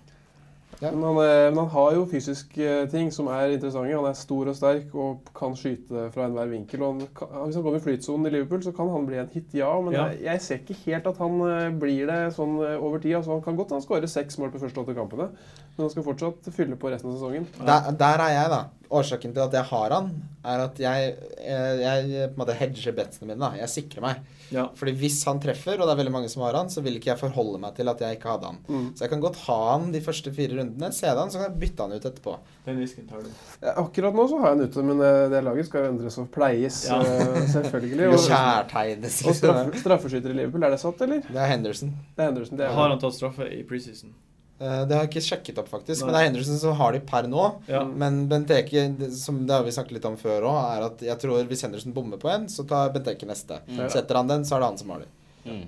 D: Ja.
E: Men, han, eh, men han har jo fysiske ting som er interessante. Han er stor og sterk og kan skyte fra enhver vinkel. Og han kan, hvis han kommer i flytsonen i Liverpool, så kan han bli en hit, ja. Men
A: Ja.
E: Jeg, jeg ser ikke helt at han eh, blir det sånn eh, over tid. Altså, han kan godt han skåre seks mål på første åtte kampene, men han skal fortsatt fylle på resten av sesongen.
D: Der, der er jeg, da. Årsaken til at jeg har han, er at jeg, eh, jeg, jeg på en måte hedger betsene mine. da. Jeg sikrer meg.
A: Ja.
D: Fordi hvis han treffer, og det er veldig mange som har han, så vil ikke jeg forholde meg til at jeg ikke hadde han.
E: Mm.
D: Så jeg kan godt ha han de første fire rundene, se han, så kan jeg bytte han ut etterpå.
A: Den risken tar du.
E: Eh, Akkurat nå så har jeg han ute, men eh, det laget skal jo endres og pleies,
A: Ja.
E: eh, selvfølgelig.
D: Og
E: Og,
D: kjærtegnes,
E: og
D: liksom.
E: straff, straffeskytter i Liverpool, er det satt, eller?
D: Det er Henderson.
E: Det er Henderson. Det er
A: Har han tatt straffe i preseason?
D: Eh, Det har jeg ikke sjekket opp, faktisk. Men
A: Nei.
D: det er Henderson som har de per nå.
A: Ja.
D: Men Benteke, det- som det har vi snakket litt om før òg, er at jeg tror hvis Henderson bommer på en, så tar Benteke neste.
B: Mm.
D: Setter han den, så er det han som har den.
B: Mm.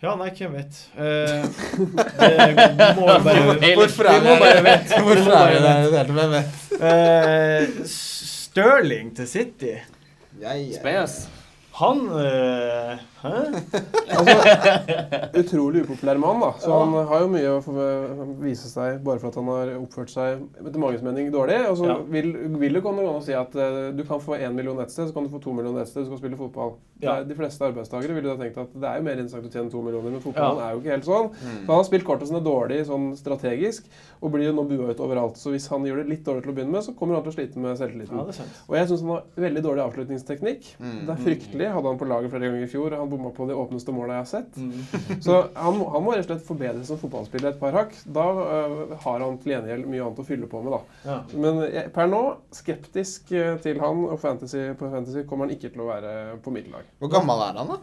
A: Ja, nei, hvem vet. [laughs] Eh, det må vi bare
B: Helt-
D: Hvorfor er
A: vi må bare vite.
D: Hvorfor
A: Vi må
D: er
A: bare
D: vi der i det hele tatt? Hvem vet?
A: Eh, Sterling til City.
D: Jeg- jeg-
B: Spes.
A: Han eh, Hæ?
E: Utrolig upopulær mann, da. Så han har jo mye å få- eh, vise seg bare for at han har oppført seg etter manges mening dårlig. Og så
A: Ja.
E: vil, vil det komme an å si at eh, du kan få én million et sted, så kan du få to millioner et sted, du skal spille fotball. Det
A: Ja.
E: er- De fleste arbeidstakere ville da tenkt at det er jo mer interessant å tjene to millioner, men fotballen
A: Ja.
E: er jo ikke helt sånn. Så
D: Mm.
E: han har spilt kortene sine dårlig sånn strategisk, og blir jo nå bua ut overalt. Så hvis han gjør det litt dårlig til å begynne med, så kommer han til å slite med
A: Ja,
E: selvtilliten.
A: det er sant.
E: Og jeg syns han har veldig dårlig avslutningsteknikk.
D: Mm.
E: Det er fryktelig. Hadde han på laget flere ganger i fjor. Han bomma på det åpneste målet jeg har sett.
A: Mm.
E: Så han, må- han må rett og slett forbedre som fotballspiller et par hakk. Da øh, har han til gjengjeld mye annet å fylle på med, da.
A: Ja.
E: Men jeg, per nå, skeptisk øh, til han, og fantasy, på Fantasy kommer han ikke til å være på mitt lag.
D: Hvor gammel er han, da?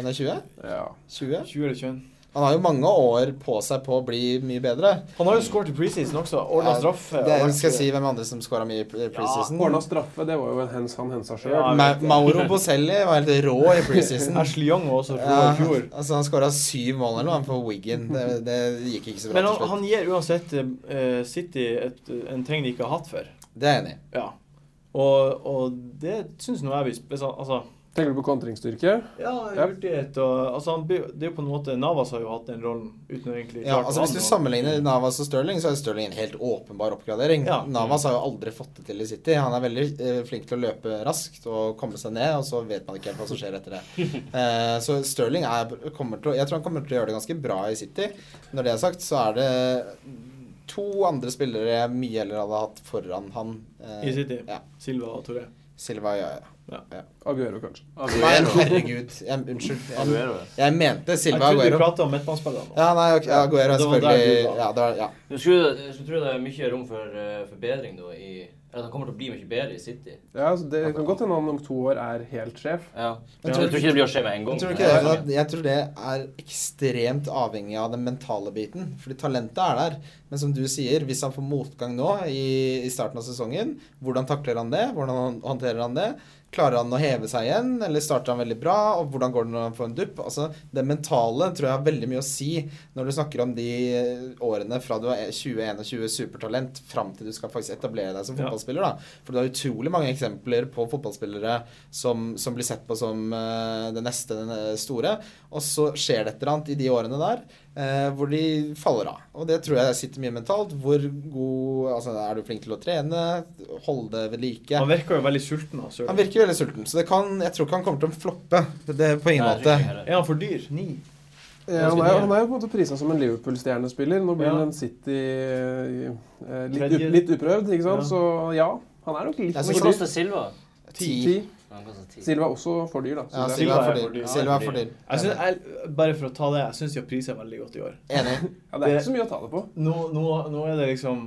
D: 21?
E: Ja.
D: 20?
A: 20 eller 21.
D: Han har jo mange år på seg på å bli mye bedre.
A: Han har jo skåret i preseason også. Ordna
D: Ja,
A: straffe.
D: Det
A: og-
D: skal jeg si hvem andre som scora mye i pre- preseason.
E: Ordna straffe, det var jo en hens han hensa sjøl.
A: Ja.
D: Ma Mauro Boselli var
A: [laughs]
D: helt rå i preseason.
A: Ashley Young var også rå
D: Ja,
A: i fjor.
D: altså han skåra syv mål eller noe han for Wigan. Det, det gikk ikke så bra
A: Men han,
D: til slutt.
A: han gir uansett eh, City et, en ting de ikke har hatt før.
D: Det er jeg enig i.
A: Ja. Og, og det syns nå jeg vi spes- Altså,
E: Tenker du på
A: ja,
E: kontringsstyrke? Ja.
A: hurtighet og altså, han, blir- Det er jo på en måte Navas har jo hatt den rollen uten å egentlig
D: Ja,
A: klart
D: altså
A: å
D: Hvis du
A: ha den.
D: sammenligner Navas og Sterling, så er Sterling en helt åpenbar oppgradering.
A: Ja.
D: Navas har jo aldri fått det til i City. Han er veldig eh, flink til å løpe raskt og komme seg ned, og så vet man ikke helt hva som skjer etter
A: [laughs]
D: det. Eh, så Sterling er, kommer til å Jeg tror han kommer til å gjøre det ganske bra i City. Når det er sagt, så er det to andre spillere jeg mye heller hadde hatt foran han. eh,
A: I City.
D: Ja.
A: Silva og Toré.
D: Silva ja, ja.
E: Aguero, kanskje.
D: Nei,
B: Aguero.
D: herregud. Jeg, unnskyld. Jeg,
B: Aguero.
D: jeg mente
A: Jeg
D: Silva
A: trodde vi
D: Aguero.
A: prata om midtbanespillere nå.
D: Ja, nei, ok, Aguero er
A: Det var der
D: selvfølgelig
A: du var.
D: Ja, det var, ja.
B: Du skulle, jeg skulle tro det er mye rom for eh, forbedring da i Eller at han kommer til å bli mye bedre i City.
E: Ja, så det kan godt hende han om to år er helt sjef.
B: Ja.
D: Men tror
B: Jeg tror
D: du-
B: ikke det blir å skje med en gang.
D: Jeg tror, ikke
B: men-
D: det, sånn at- jeg tror det er ekstremt avhengig av den mentale biten. Fordi talentet er der. Men som du sier, hvis han får motgang nå i, i starten av sesongen, hvordan takler han det? Hvordan hånd- håndterer han det? Klarer han å heve seg igjen, eller starter han veldig bra? Og hvordan går det når han får en dupp? Altså, Det mentale tror jeg har veldig mye å si når du snakker om de eh, årene fra du er 2021 supertalent fram til du skal faktisk etablere deg som
A: Ja.
D: fotballspiller. da. For det er utrolig mange eksempler på fotballspillere som, som blir sett på som eh, det neste den eh, store. Og så skjer det et eller annet i de årene der eh, hvor de faller av. Og det tror jeg sitter mye mentalt. Hvor god altså, Er du flink til å trene? Holde det ved like?
A: Han virker jo veldig sulten. Altså.
D: Han virker veldig sulten, så det kan, jeg tror ikke han kommer til å floppe. Det, det på ingen
B: Nei,
D: måte.
B: ikke heller.
A: Er han for dyr? Ni?
E: Ja, han, er, han er jo på en måte prisa som en Liverpool-stjernespiller. Nå blir
A: Ja.
E: han en City eh, litt,
A: Tredje.
E: up, litt uprøvd, ikke sant?
A: Ja.
E: Så ja, han er nok
D: Jeg
E: litt for
D: synes
B: Hvor
E: dyr.
B: koster Silva?
D: Ti.
B: Ja, Han koster ti.
E: Silva er også for dyr, da.
D: Ja,
E: Så det
D: Silva er for
A: dyr.
D: dyr. Silva er for dyr.
A: Jeg synes, jeg, bare for å ta det, jeg syns de har priser veldig godt i år.
D: Enig. [laughs]
E: er, ja, det er ikke så mye å ta det på.
A: Nå, nå, nå er det liksom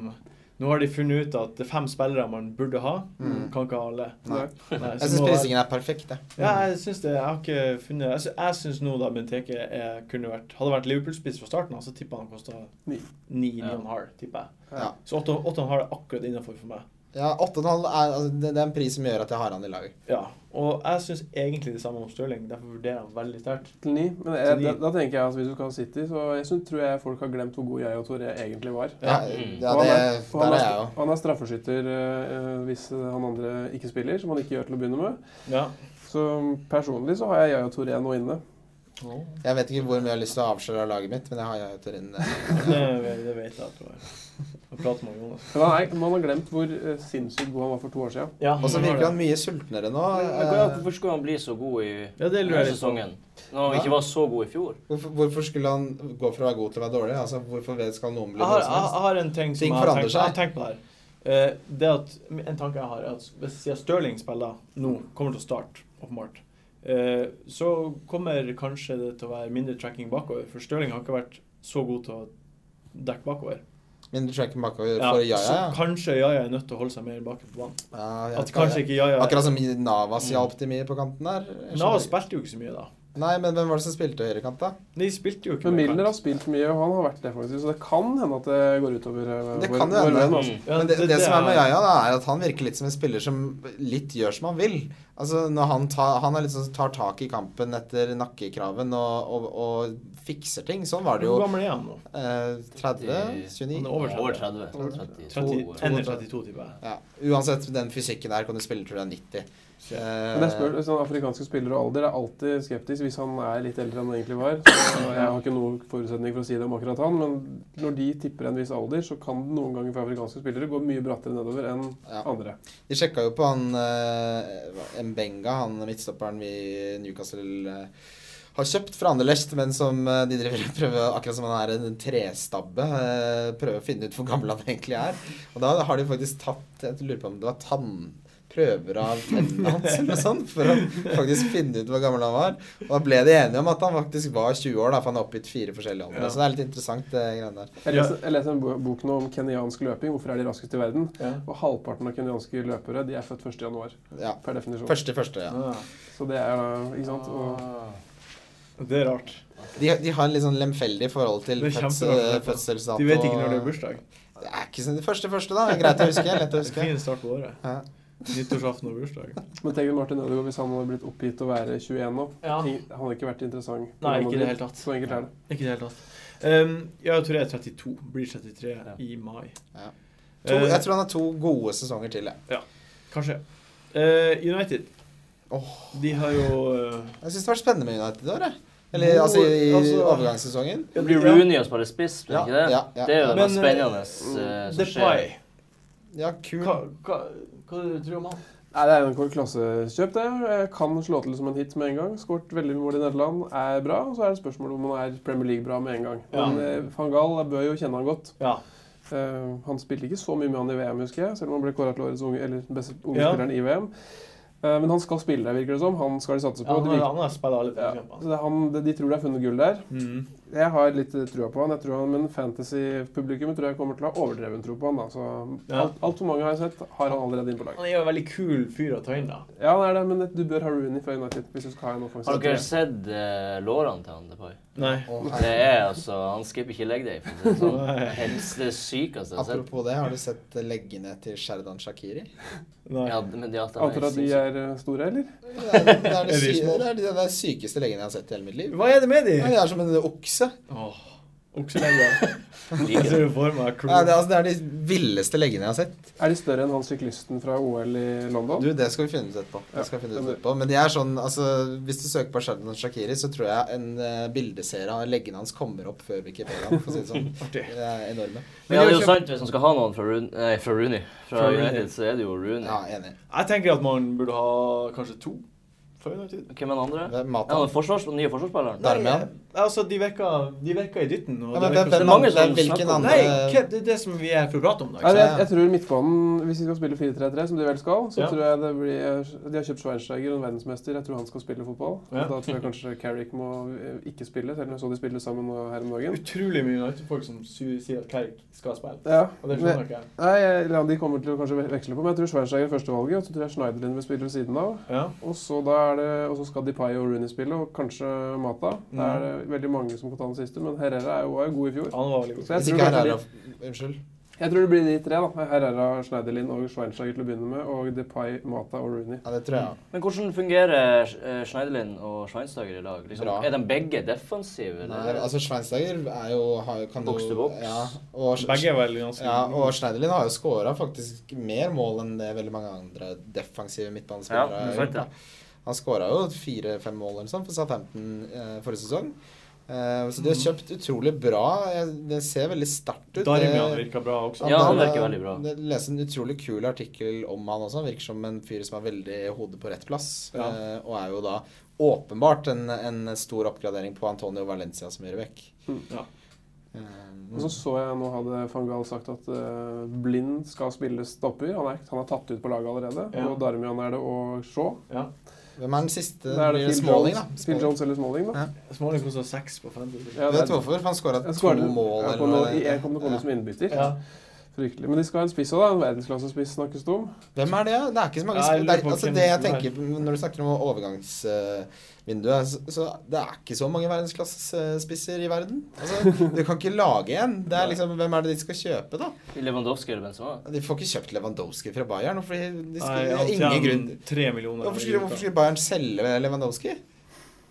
A: Nå har de funnet ut at det er fem spillere man burde ha,
D: Mm.
A: kan ikke ha alle.
D: Nei.
A: Nei, så
D: Jeg syns
A: nå-
D: prisingen er perfekt, jeg.
A: Ja, jeg syns det. Jeg har ikke funnet Jeg sy- Jeg syns nå da Benteke er, kunne vært Hadde vært Liverpool-spiss fra starten av, så tipper jeg han kosta
E: Ni.
A: 9,5, tipper jeg.
D: Ja.
A: Så 8,5 er akkurat innafor for meg.
D: Ja, 8,5 er, altså, det, det er en pris som gjør at jeg har han i laget.
A: Ja. Og jeg syns egentlig det samme om Stirling, derfor vurderer jeg han veldig sterkt.
E: Til ni. Men
A: Til
E: jeg,
A: ni.
E: da, da tenker jeg at hvis du skal ha City, så jeg synes, tror jeg folk har glemt hvor god jeg og Toré egentlig var.
D: Ja,
A: Ja.
B: Mm.
D: ja
E: Og
D: det,
E: han er- og han
D: der er
E: er
D: jeg
E: stra-
D: jo.
E: Han er straffeskytter eh, eh, hvis han andre ikke spiller, som han ikke gjør til å begynne med.
A: Ja.
E: Så personlig så har jeg Yaya Toré nå inne.
D: Jeg vet ikke hvor mye jeg har lyst til å avsløre av laget mitt, men jeg har jeg eh, etter en
A: Det, det vet jeg, tror jeg. Jeg prater med Jonas.
E: Men han er, man har glemt hvor eh, sinnssykt god han var for to år siden.
A: Ja,
D: Og så virker han mye sultnere nå. Eh,
B: Men hva- Hvorfor skulle han bli så god i
A: Ja, det lurer
B: denne
A: jeg litt på.
B: sesongen? Når han
D: Ja.
B: ikke var så god i fjor?
D: Hvorfor, hvorfor skulle han gå fra å være god til å være dårlig? Altså, Hvorfor vet- skal noen bli
A: Jeg
D: noe
A: har,
D: som
A: jeg
D: helst?
A: har en ting som
D: Ting
A: jeg har
D: forandrer
A: tenkt, jeg har
D: seg.
A: tenkt på her. Eh, det at, en tanke jeg har, er at hvis siden Stirling spiller nå, kommer til å starte, åpenbart, eh, så kommer kanskje det til å være mindre tracking bakover, for Stirling har ikke vært så god til å dekke bakover.
D: Mindre tracking bakover
A: Ja,
D: for Jaja?
A: Så
D: ja.
A: kanskje Jaja er nødt til å holde seg mer bak på banen.
D: Ja, jeg
A: At
D: vet
A: kanskje
D: ikke.
A: ikke Jaja
D: Akkurat som Navas
A: Mm.
D: hjalp til mye på kanten der. Jeg
A: Nav
D: skjønner ikke.
A: spilte jo ikke så mye da.
D: Nei, men hvem var det som spilte høyrekant, da?
A: De spilte jo ikke
E: Men
A: med
E: Milner har
A: kant.
E: spilt mye, og han har vært det, faktisk. Så det kan hende at det går utover eh,
D: Det
E: vår-
D: kan jo
E: vår
D: hende.
E: venn, altså.
B: Mm.
A: Ja,
D: Men det, det, som er med
A: er-
D: Jaja, da, er at han virker litt som en spiller som litt gjør som han vil. Altså, når han, tar- han er litt sånn som tar tak i kampen etter nakkekraven og, og, og fikser ting. Sånn var det jo
A: Hvor gammel er han nå?
D: eh, 30?
A: Han er
D: 29?
A: over
B: Over
A: 30.
B: 30. 32.
A: 30
D: en-
A: Ender 32, tipper jeg.
D: Ja. Uansett, den fysikken der kan du spille til du er 90.
A: Så-
D: Eh,
E: Men jeg spør, sånn Afrikanske spillere og alder er alltid skeptisk hvis han er litt eldre enn han egentlig var. Så jeg har ikke noen forutsetning for å si det om akkurat han, men når de tipper en viss alder, så kan det noen ganger for afrikanske spillere gå mye brattere nedover enn
D: Ja.
E: andre.
D: De sjekka jo på han eh, Mbenga, han midtstopperen vi Newcastle eh, har kjøpt fra Anderlecht, men som eh, de driver og prøver, akkurat som han er en trestabbe, eh, prøver å finne ut hvor gammel han egentlig er. Og da har de faktisk tatt Jeg lurer på om det var tannprøver av tennene hans eller noe sånt, for å faktisk finne ut hvor gammel han var. Og da ble de enige om at han faktisk var 20 år, da, for han har oppgitt fire forskjellige aldre.
A: Ja.
D: Så det er litt interessant, det greiene der.
E: Jeg leser, jeg leser en bo- bok nå om kenyansk løping, hvorfor er de raskest i verden?
A: Ja.
E: Og halvparten av kenyanske løpere de er født 1. januar,
D: Ja.
E: per definisjon.
D: Første, første, ja.
A: Ah,
E: Så det er da, ikke sant? Og
B: Ah.
A: Det er rart.
D: De, de har en litt sånn lemfeldig forhold til
A: Det er
D: fødsel,
A: kjemperart.
D: fødselsdato.
A: De vet ikke når det er bursdag.
D: Det er ikke sånn det første første, da. Det er Greit å huske. Lett å
A: Det er [laughs]
D: huske.
A: fin start på året.
D: Ja.
A: Nyttårsaften og bursdag.
E: men tenk deg Martin Ødegaard hvis han hadde blitt oppgitt å være 21 nå.
A: Ja.
E: Ingen- Han hadde ikke vært interessant.
A: Nei, ikke i det hele tatt.
E: Så enkelt er det.
A: [laughs] Ikke i det hele tatt. Um, jeg tror jeg er 32. Blir 33
B: Ja.
A: i mai.
D: Ja. To,
A: Eh,
D: jeg tror han har to gode sesonger til. Jeg,
A: kanskje. Eh, United.
D: Åh.
A: De har jo eh,
D: jeg syns det har vært spennende med United i år. Jeg. Eller
A: Jo,
D: altså i
A: altså-
D: overgangssesongen.
B: Det blir Rooney og spiller spiss, blir det ikke det?
D: ja, ja.
B: Det er jo det
A: Men,
B: mest
A: eh,
B: spennende eh, som skjer.
A: Depay.
D: ja kul.
A: Hva, hva, hva tror du om han?
E: Nei, Det er en klassekjøp. det. Jeg Kan slå til som en hit med en gang. Skåret veldig mye mål i Nederland, er bra. Og så er det spørsmålet om han er Premier League-bra med en gang.
A: Ja.
E: Men eh, van Gaal jeg bør jo kjenne han godt.
A: Ja.
E: Eh, han spilte ikke så mye med han i VM, husker jeg, selv om han ble kåret til årets unge, eller den beste unge
A: Ja.
E: spilleren i VM. Eh, men han skal spille der, virker det som. Han skal de satse på.
A: han,
E: det
A: har-
E: virker,
A: han har spilt alle
E: ja.
A: fire kampene.
E: Så det er han, de, de tror de har funnet gull der.
A: Mhm.
E: Jeg har litt eh, trua på han, jeg tror han, men fantasy-publikummet tror jeg kommer til å ha overdreven tro på han. da. Så
A: Ja.
E: alt, alt for mange har jeg sett, har han allerede inn på lag.
A: Han er jo en veldig kul fyr å ta inn, da.
E: Ja, det er det, men du bør ha Rooney fra United hvis du skal ha en offensiv.
B: Har dere
E: treer.
B: sett eh, lårene til han Depay?
A: Nei.
D: Og
B: Det er altså Han skipper ikke leg day. for å si det sånn.
A: Nei.
B: Helst det sykeste jeg har sett.
D: apropos det, har du sett leggene til Sherdan
B: [laughs]
D: Shakiri?
A: Nei.
B: Ja, men de at
E: Antar at de er eh, store, eller?
D: Det er, det, er det,
A: Er de
D: sy
A: små?
D: det, er de, det er sykeste leggene jeg har sett i hele mitt
A: [laughs]
D: liv.
A: Hva er det med de?
D: Ja, de er som en okse.
A: Åh, Okselegger. Jeg [laughs]
B: sinnssyke.
A: ser det for meg.
D: Ja,
A: Klo.
D: det, er, altså, det er de villeste leggene jeg har sett.
E: Er de større enn han syklisten fra OL i London?
D: Du, det skal vi finne ut etterpå. Det
E: Ja,
D: skal vi finne ut
E: det blir-
D: etterpå. Men det er sånn, altså, hvis du søker på Shadon Shakiri, så tror jeg en eh, bildeserie av leggene hans kommer opp før Wikipedia. For å si det sånn.
E: [laughs]
A: Artig.
D: Det er enorme.
B: Men ja, det er jo sant, hvis man skal ha noen fra, Roon- nei, fra Rooney, fra
A: Fra Rooney.
B: United, så er det jo Rooney.
D: Ja, enig.
A: Jeg tenker at man burde ha kanskje to fra United.
B: Hvem er den andre?
D: Det er
B: Ja, den
D: Matan.
B: forsvars, den nye forsvarsspilleren.
D: Darmian.
A: Nei, Altså, de virker, de virker i dytten. Og de
D: Ja, men
A: virker
D: hvem, hvem
B: mange
D: andre,
B: som
D: hvem, hvilken
A: som-
B: snakker hvem- om
D: andre
A: Nei, hva- det er det som vi er for å prate om i
E: Ja,
A: dag.
E: jeg, jeg tror midtbanen, hvis de skal spille 4-3-3, som de vel skal, så
A: Ja.
E: tror jeg det blir eh, De har kjøpt Schweinsteiger, en verdensmester. Jeg tror han skal spille fotball.
A: Ja.
E: Da tror jeg kanskje Carrick må eh, ikke spille, selv om jeg så de spille sammen nå her om dagen.
A: Utrolig mye United-folk som sy- sier at Carrick skal spille.
E: Ja.
A: Og det
E: men-
A: skjønner ikke jeg.
E: Nei, jeg- eller de kommer til å kanskje ve- veksle på, men jeg tror Schweinsteiger er førstevalget. Og så tror jeg Schneiderlin vil spille ved siden av.
A: Ja.
E: Og så, da er det, og så skal Depay og Rooney spille, og kanskje Mata. Da er det
D: Mm.
E: veldig mange som kan ta den siste, men Herrera er jo, var jo god i fjor.
A: Han var veldig god.
E: Så jeg
D: Hvis
E: tror,
D: ikke
E: kanskje
D: Herrera
E: de,
D: Unnskyld.
E: jeg tror det blir de tre. da. Herrera, Schneiderlin og Schweinsteiger til å begynne med, og Depay, Mata og Rooney.
D: Ja, det tror jeg.
B: Men hvordan fungerer eh, Schneiderlin og Schweinsteiger i lag? Liksom,
D: Bra.
B: er de begge defensive?
D: Nei, altså Schweinsteiger er jo har, jo- kan jo
B: Box to box.
D: Ja, og,
A: Begge er vel ganske
D: ja, og Schneiderlin har jo skåra faktisk mer mål enn det veldig mange andre defensive
B: ja,
D: midtbanespillere
B: men
D: har
B: sant,
D: gjort.
B: ja.
D: Han skåra jo fire-fem mål eller sånn for Southampton eh, forrige sesong. Eh, så de
B: Mm.
D: har kjøpt utrolig bra. Jeg- Det ser veldig sterkt ut.
A: Darmian
D: Det-
A: virka bra også.
B: Ja, han
D: det-
B: virker veldig bra.
D: Jeg leste en utrolig kul artikkel om han også. Han virker som en fyr som har veldig hodet på rett plass.
A: Ja.
D: eh, og er jo da åpenbart en, en stor oppgradering på Antonio Valencia som Eh, høyrebekk.
A: Ja.
E: Og
D: Mm.
E: så så jeg nå hadde van Gaal sagt at eh, Blind skal spille stopper. Han er, han er tatt ut på laget allerede.
A: Ja.
E: Og Darmian er det og Shaw.
A: Ja.
D: Hvem er den siste?
E: Da er
D: Blir
E: det
D: det
E: Phil
D: Smalling, da.
E: Jones, Phil Jones eller Smalling, da.
D: Ja.
A: Smalling kosta seks på Fantasy.
E: Ja, det
D: Vet du
E: er-
D: hvorfor? For han skåra
E: Jeg
D: to
E: skåret-
D: mål
E: jeg
D: eller
E: kom
D: noe.
E: nå- i- Jeg kom, kom ut som innbytter.
A: Ja.
E: Fryktelig. Men de skal ha en spiss òg, da. En verdensklassespiss snakkes det om.
D: Hvem er det? da? Det er ikke så mange
A: Ja, jeg
D: sp-
A: lurer
D: det er,
A: på
D: altså,
A: hvem
D: det jeg
A: som er.
D: tenker på Når du snakker om overgangsvinduet, så, så det er ikke så mange verdensklassespisser i verden. Altså, du kan ikke lage en. Det er liksom, hvem er det de skal kjøpe, da?
B: Lewandowski eller Benzema?
D: De får ikke kjøpt Lewandowski fra Bayern. Fordi de
A: Nei,
D: skulle,
A: han
D: det er ingen grunn
A: tjener Tre millioner.
D: hvorfor skulle, hvorfor skulle Bayern selge Lewandowski?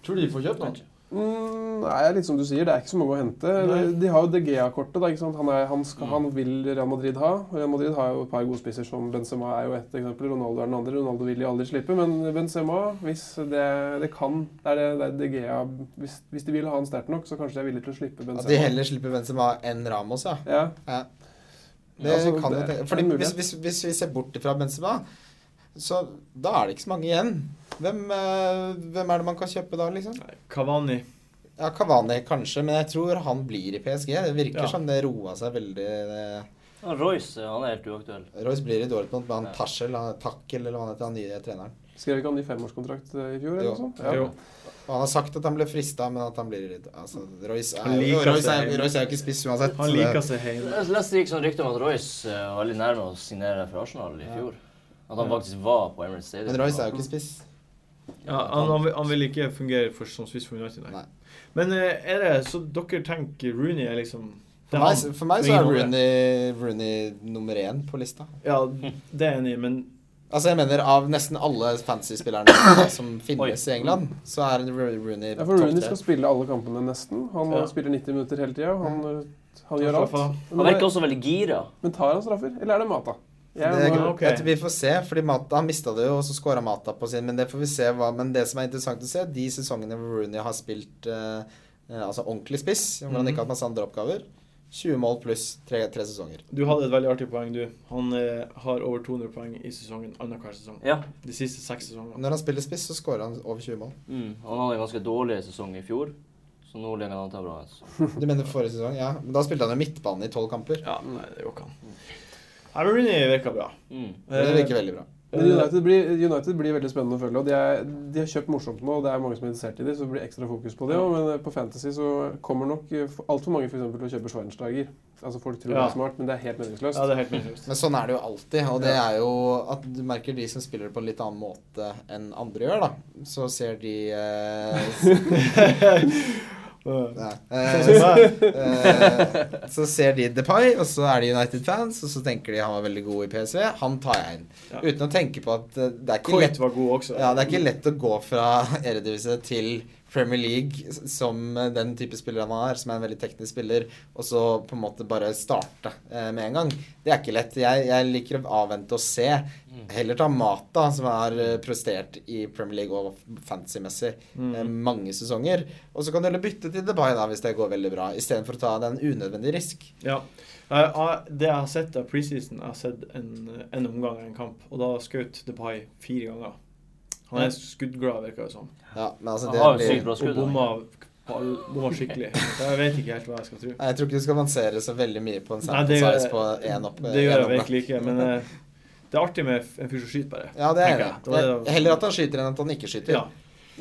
A: Tror du de får kjøpt noen?
E: Mm, nei, litt som du sier, det er ikke så mange å hente.
A: Nei. Mm.
E: De har jo De Gea-kortet. da, ikke sant? Han, er, han, skal, han vil Real Madrid ha. Og Real Madrid har jo et par godspisser, som Benzema er jo ett eksempel. Ronaldo er den andre. Ronaldo vil de aldri slippe. Men Benzema, hvis det, det kan det er det, det er De Gea, hvis, hvis de vil ha han sterkt nok, så kanskje de er villige til å slippe
D: At de
E: Benzema.
D: heller slipper Benzema enn Ramos, ja.
E: Ja,
D: Ja. Det
E: Ja, altså,
D: kan jo
E: det er
D: tenke
E: en
D: Fordi hvis,
E: mulighet.
D: hvis, hvis vi ser bort fra Benzema, så da er det ikke så mange igjen. Hvem, eh, hvem er det man kan kjøpe da, liksom?
A: Nei, Cavani.
D: Ja, Kavani kanskje, men jeg tror han blir i PSG. Det virker
A: Ja.
D: som det roa seg veldig. eh,
B: Ja, Royce han er helt uaktuell.
D: Royce blir i Dortmund, men
B: Ja.
D: han Taschel, han Takkel eller hva han heter, han nye treneren.
E: Skrev ikke han ny femårskontrakt eh, i fjor?
D: Jo.
E: eller noe sånt? Ja.
A: Jo.
D: Og han har sagt at han ble frista, men at han blir i- altså, Royce, er,
A: Han liker
D: Royce, er,
A: seg.
D: Royce er jo ikke spiss uansett.
A: Han
D: så det-
A: liker seg hjemme.
B: Jeg leste ikke sånn rykte om at Royce eh, var veldig nærme å signere for Arsenal i fjor. At han faktisk var på Emirates Stadium.
D: Men Royce er jo ikke spiss.
A: Ja, han, han, vil- han vil ikke fungere for, som spiss for United, nei.
D: Nei.
A: Men eh, er det så dere tenker Rooney er liksom det
D: For
A: er
D: meg,
A: han.
D: for meg
A: Det
D: så er
A: ingen andre.
D: Rooney, Rooney nummer én på lista.
A: Ja, det er jeg enig i, men
D: Altså jeg mener Av nesten alle fantasy-spillerne som finnes i England, så er Ro- Rooney
E: Ja, for Rooney
D: topp
E: skal
D: tre.
E: spille alle kampene, nesten. Han
A: Ja.
E: spiller 90 minutter hele tida. Han, eh, han gjør alt.
A: Straffa.
B: Han virker også veldig gira.
E: Men tar han straffer, eller er det Mata? Jeg,
D: Det,
E: må-
A: ok.
D: jeg tror vi får se, fordi Mata, Han mista det jo, og så skåra Mata på sin. Men det får vi se hva Men det som er interessant å se, de sesongene hvor Rooney har spilt eh, eh, altså ordentlig spiss, hvor han
A: Mhm.
D: ikke har hatt masse andre oppgaver 20 mål pluss tre, tre sesonger.
A: Du hadde et veldig artig poeng, du. Han eh, har over 200 poeng i sesongen annenhver sesong.
B: Ja.
A: De siste seks sesongene.
D: Når han spiller spiss, så skårer han over 20 mål.
B: Mm. Han hadde en ganske dårlig sesong i fjor, så nå ligger han an til å ha bra. en sesong.
D: Du mener forrige sesong? Ja. Men da spilte han jo midtbane i tolv kamper.
A: Ja, nei, det går ikke an. Nei, men Rooney virker bra.
B: Mm.
D: Det
A: Eh,
D: virker veldig bra.
E: Men United blir, United blir veldig spennende å følge. og De, er, de har kjøpt morsomt nå, og det er mange som er interessert i det, så det blir ekstra fokus på det. også, Men eh, på Fantasy så kommer nok altfor mange for eksempel, til å kjøpe Schweinsteiger. Altså Folk tror det
A: Ja.
E: er smart, men det er helt meningsløst.
A: Ja, det er helt
D: [laughs]
A: meningsløst. [laughs]
D: Men sånn er det jo alltid, og det er jo at du merker de som spiller det på en litt annen måte enn andre gjør, da. Så ser de eh, s-
A: Ja.
D: nei,
A: Sånn
D: eh,
A: som meg.
D: eh, Så ser de Depay, og så er de United-fans, og så tenker de han var veldig god i PSV, han tar jeg inn.
A: Ja.
D: Uten å tenke på at eh, det er ikke lett
A: Coit var god også.
D: ja, det er ikke lett å gå fra [laughs] Eredivisie til Premier League s- som eh, den type spiller han er, som er en veldig teknisk spiller, og så på en måte bare starte eh, med en gang. Det er ikke lett. Jeg, jeg liker å avvente og se.
A: Mm.
D: Heller ta Mata, som har eh, prestert i Premier League og fantasy-messig
A: Mm.
D: eh, mange sesonger. Og så kan du heller bytte til Dubai da, hvis det går veldig bra, istedenfor å ta den unødvendige risk.
A: Ja. Eh, ah, Det jeg har sett av preseason, jeg har sett en, en omgang av en kamp, og da skjøt Depay fire ganger. Han er skuddglad, virker det som.
D: Ja, men altså,
B: Han
D: det
B: har jo sykt
D: blir...
B: bra
A: Og
B: skudd.
A: bomma,
B: han.
A: på all- bomma skikkelig. Så Jeg vet ikke helt hva jeg skal tro.
D: Nei, Jeg tror ikke du skal avansere så veldig mye på en
A: Nei,
D: sample
A: det gjør
D: size
A: jeg-
D: på én opp.
A: Det gjør
D: en
A: jeg
D: opplag.
A: virkelig ikke, men eh, det er artig med en fyr som skyter, bare.
D: Ja, det er
A: Tenker
D: jeg.
A: jeg. Det var det-
D: Heller at han skyter enn at han ikke skyter.
A: Ja.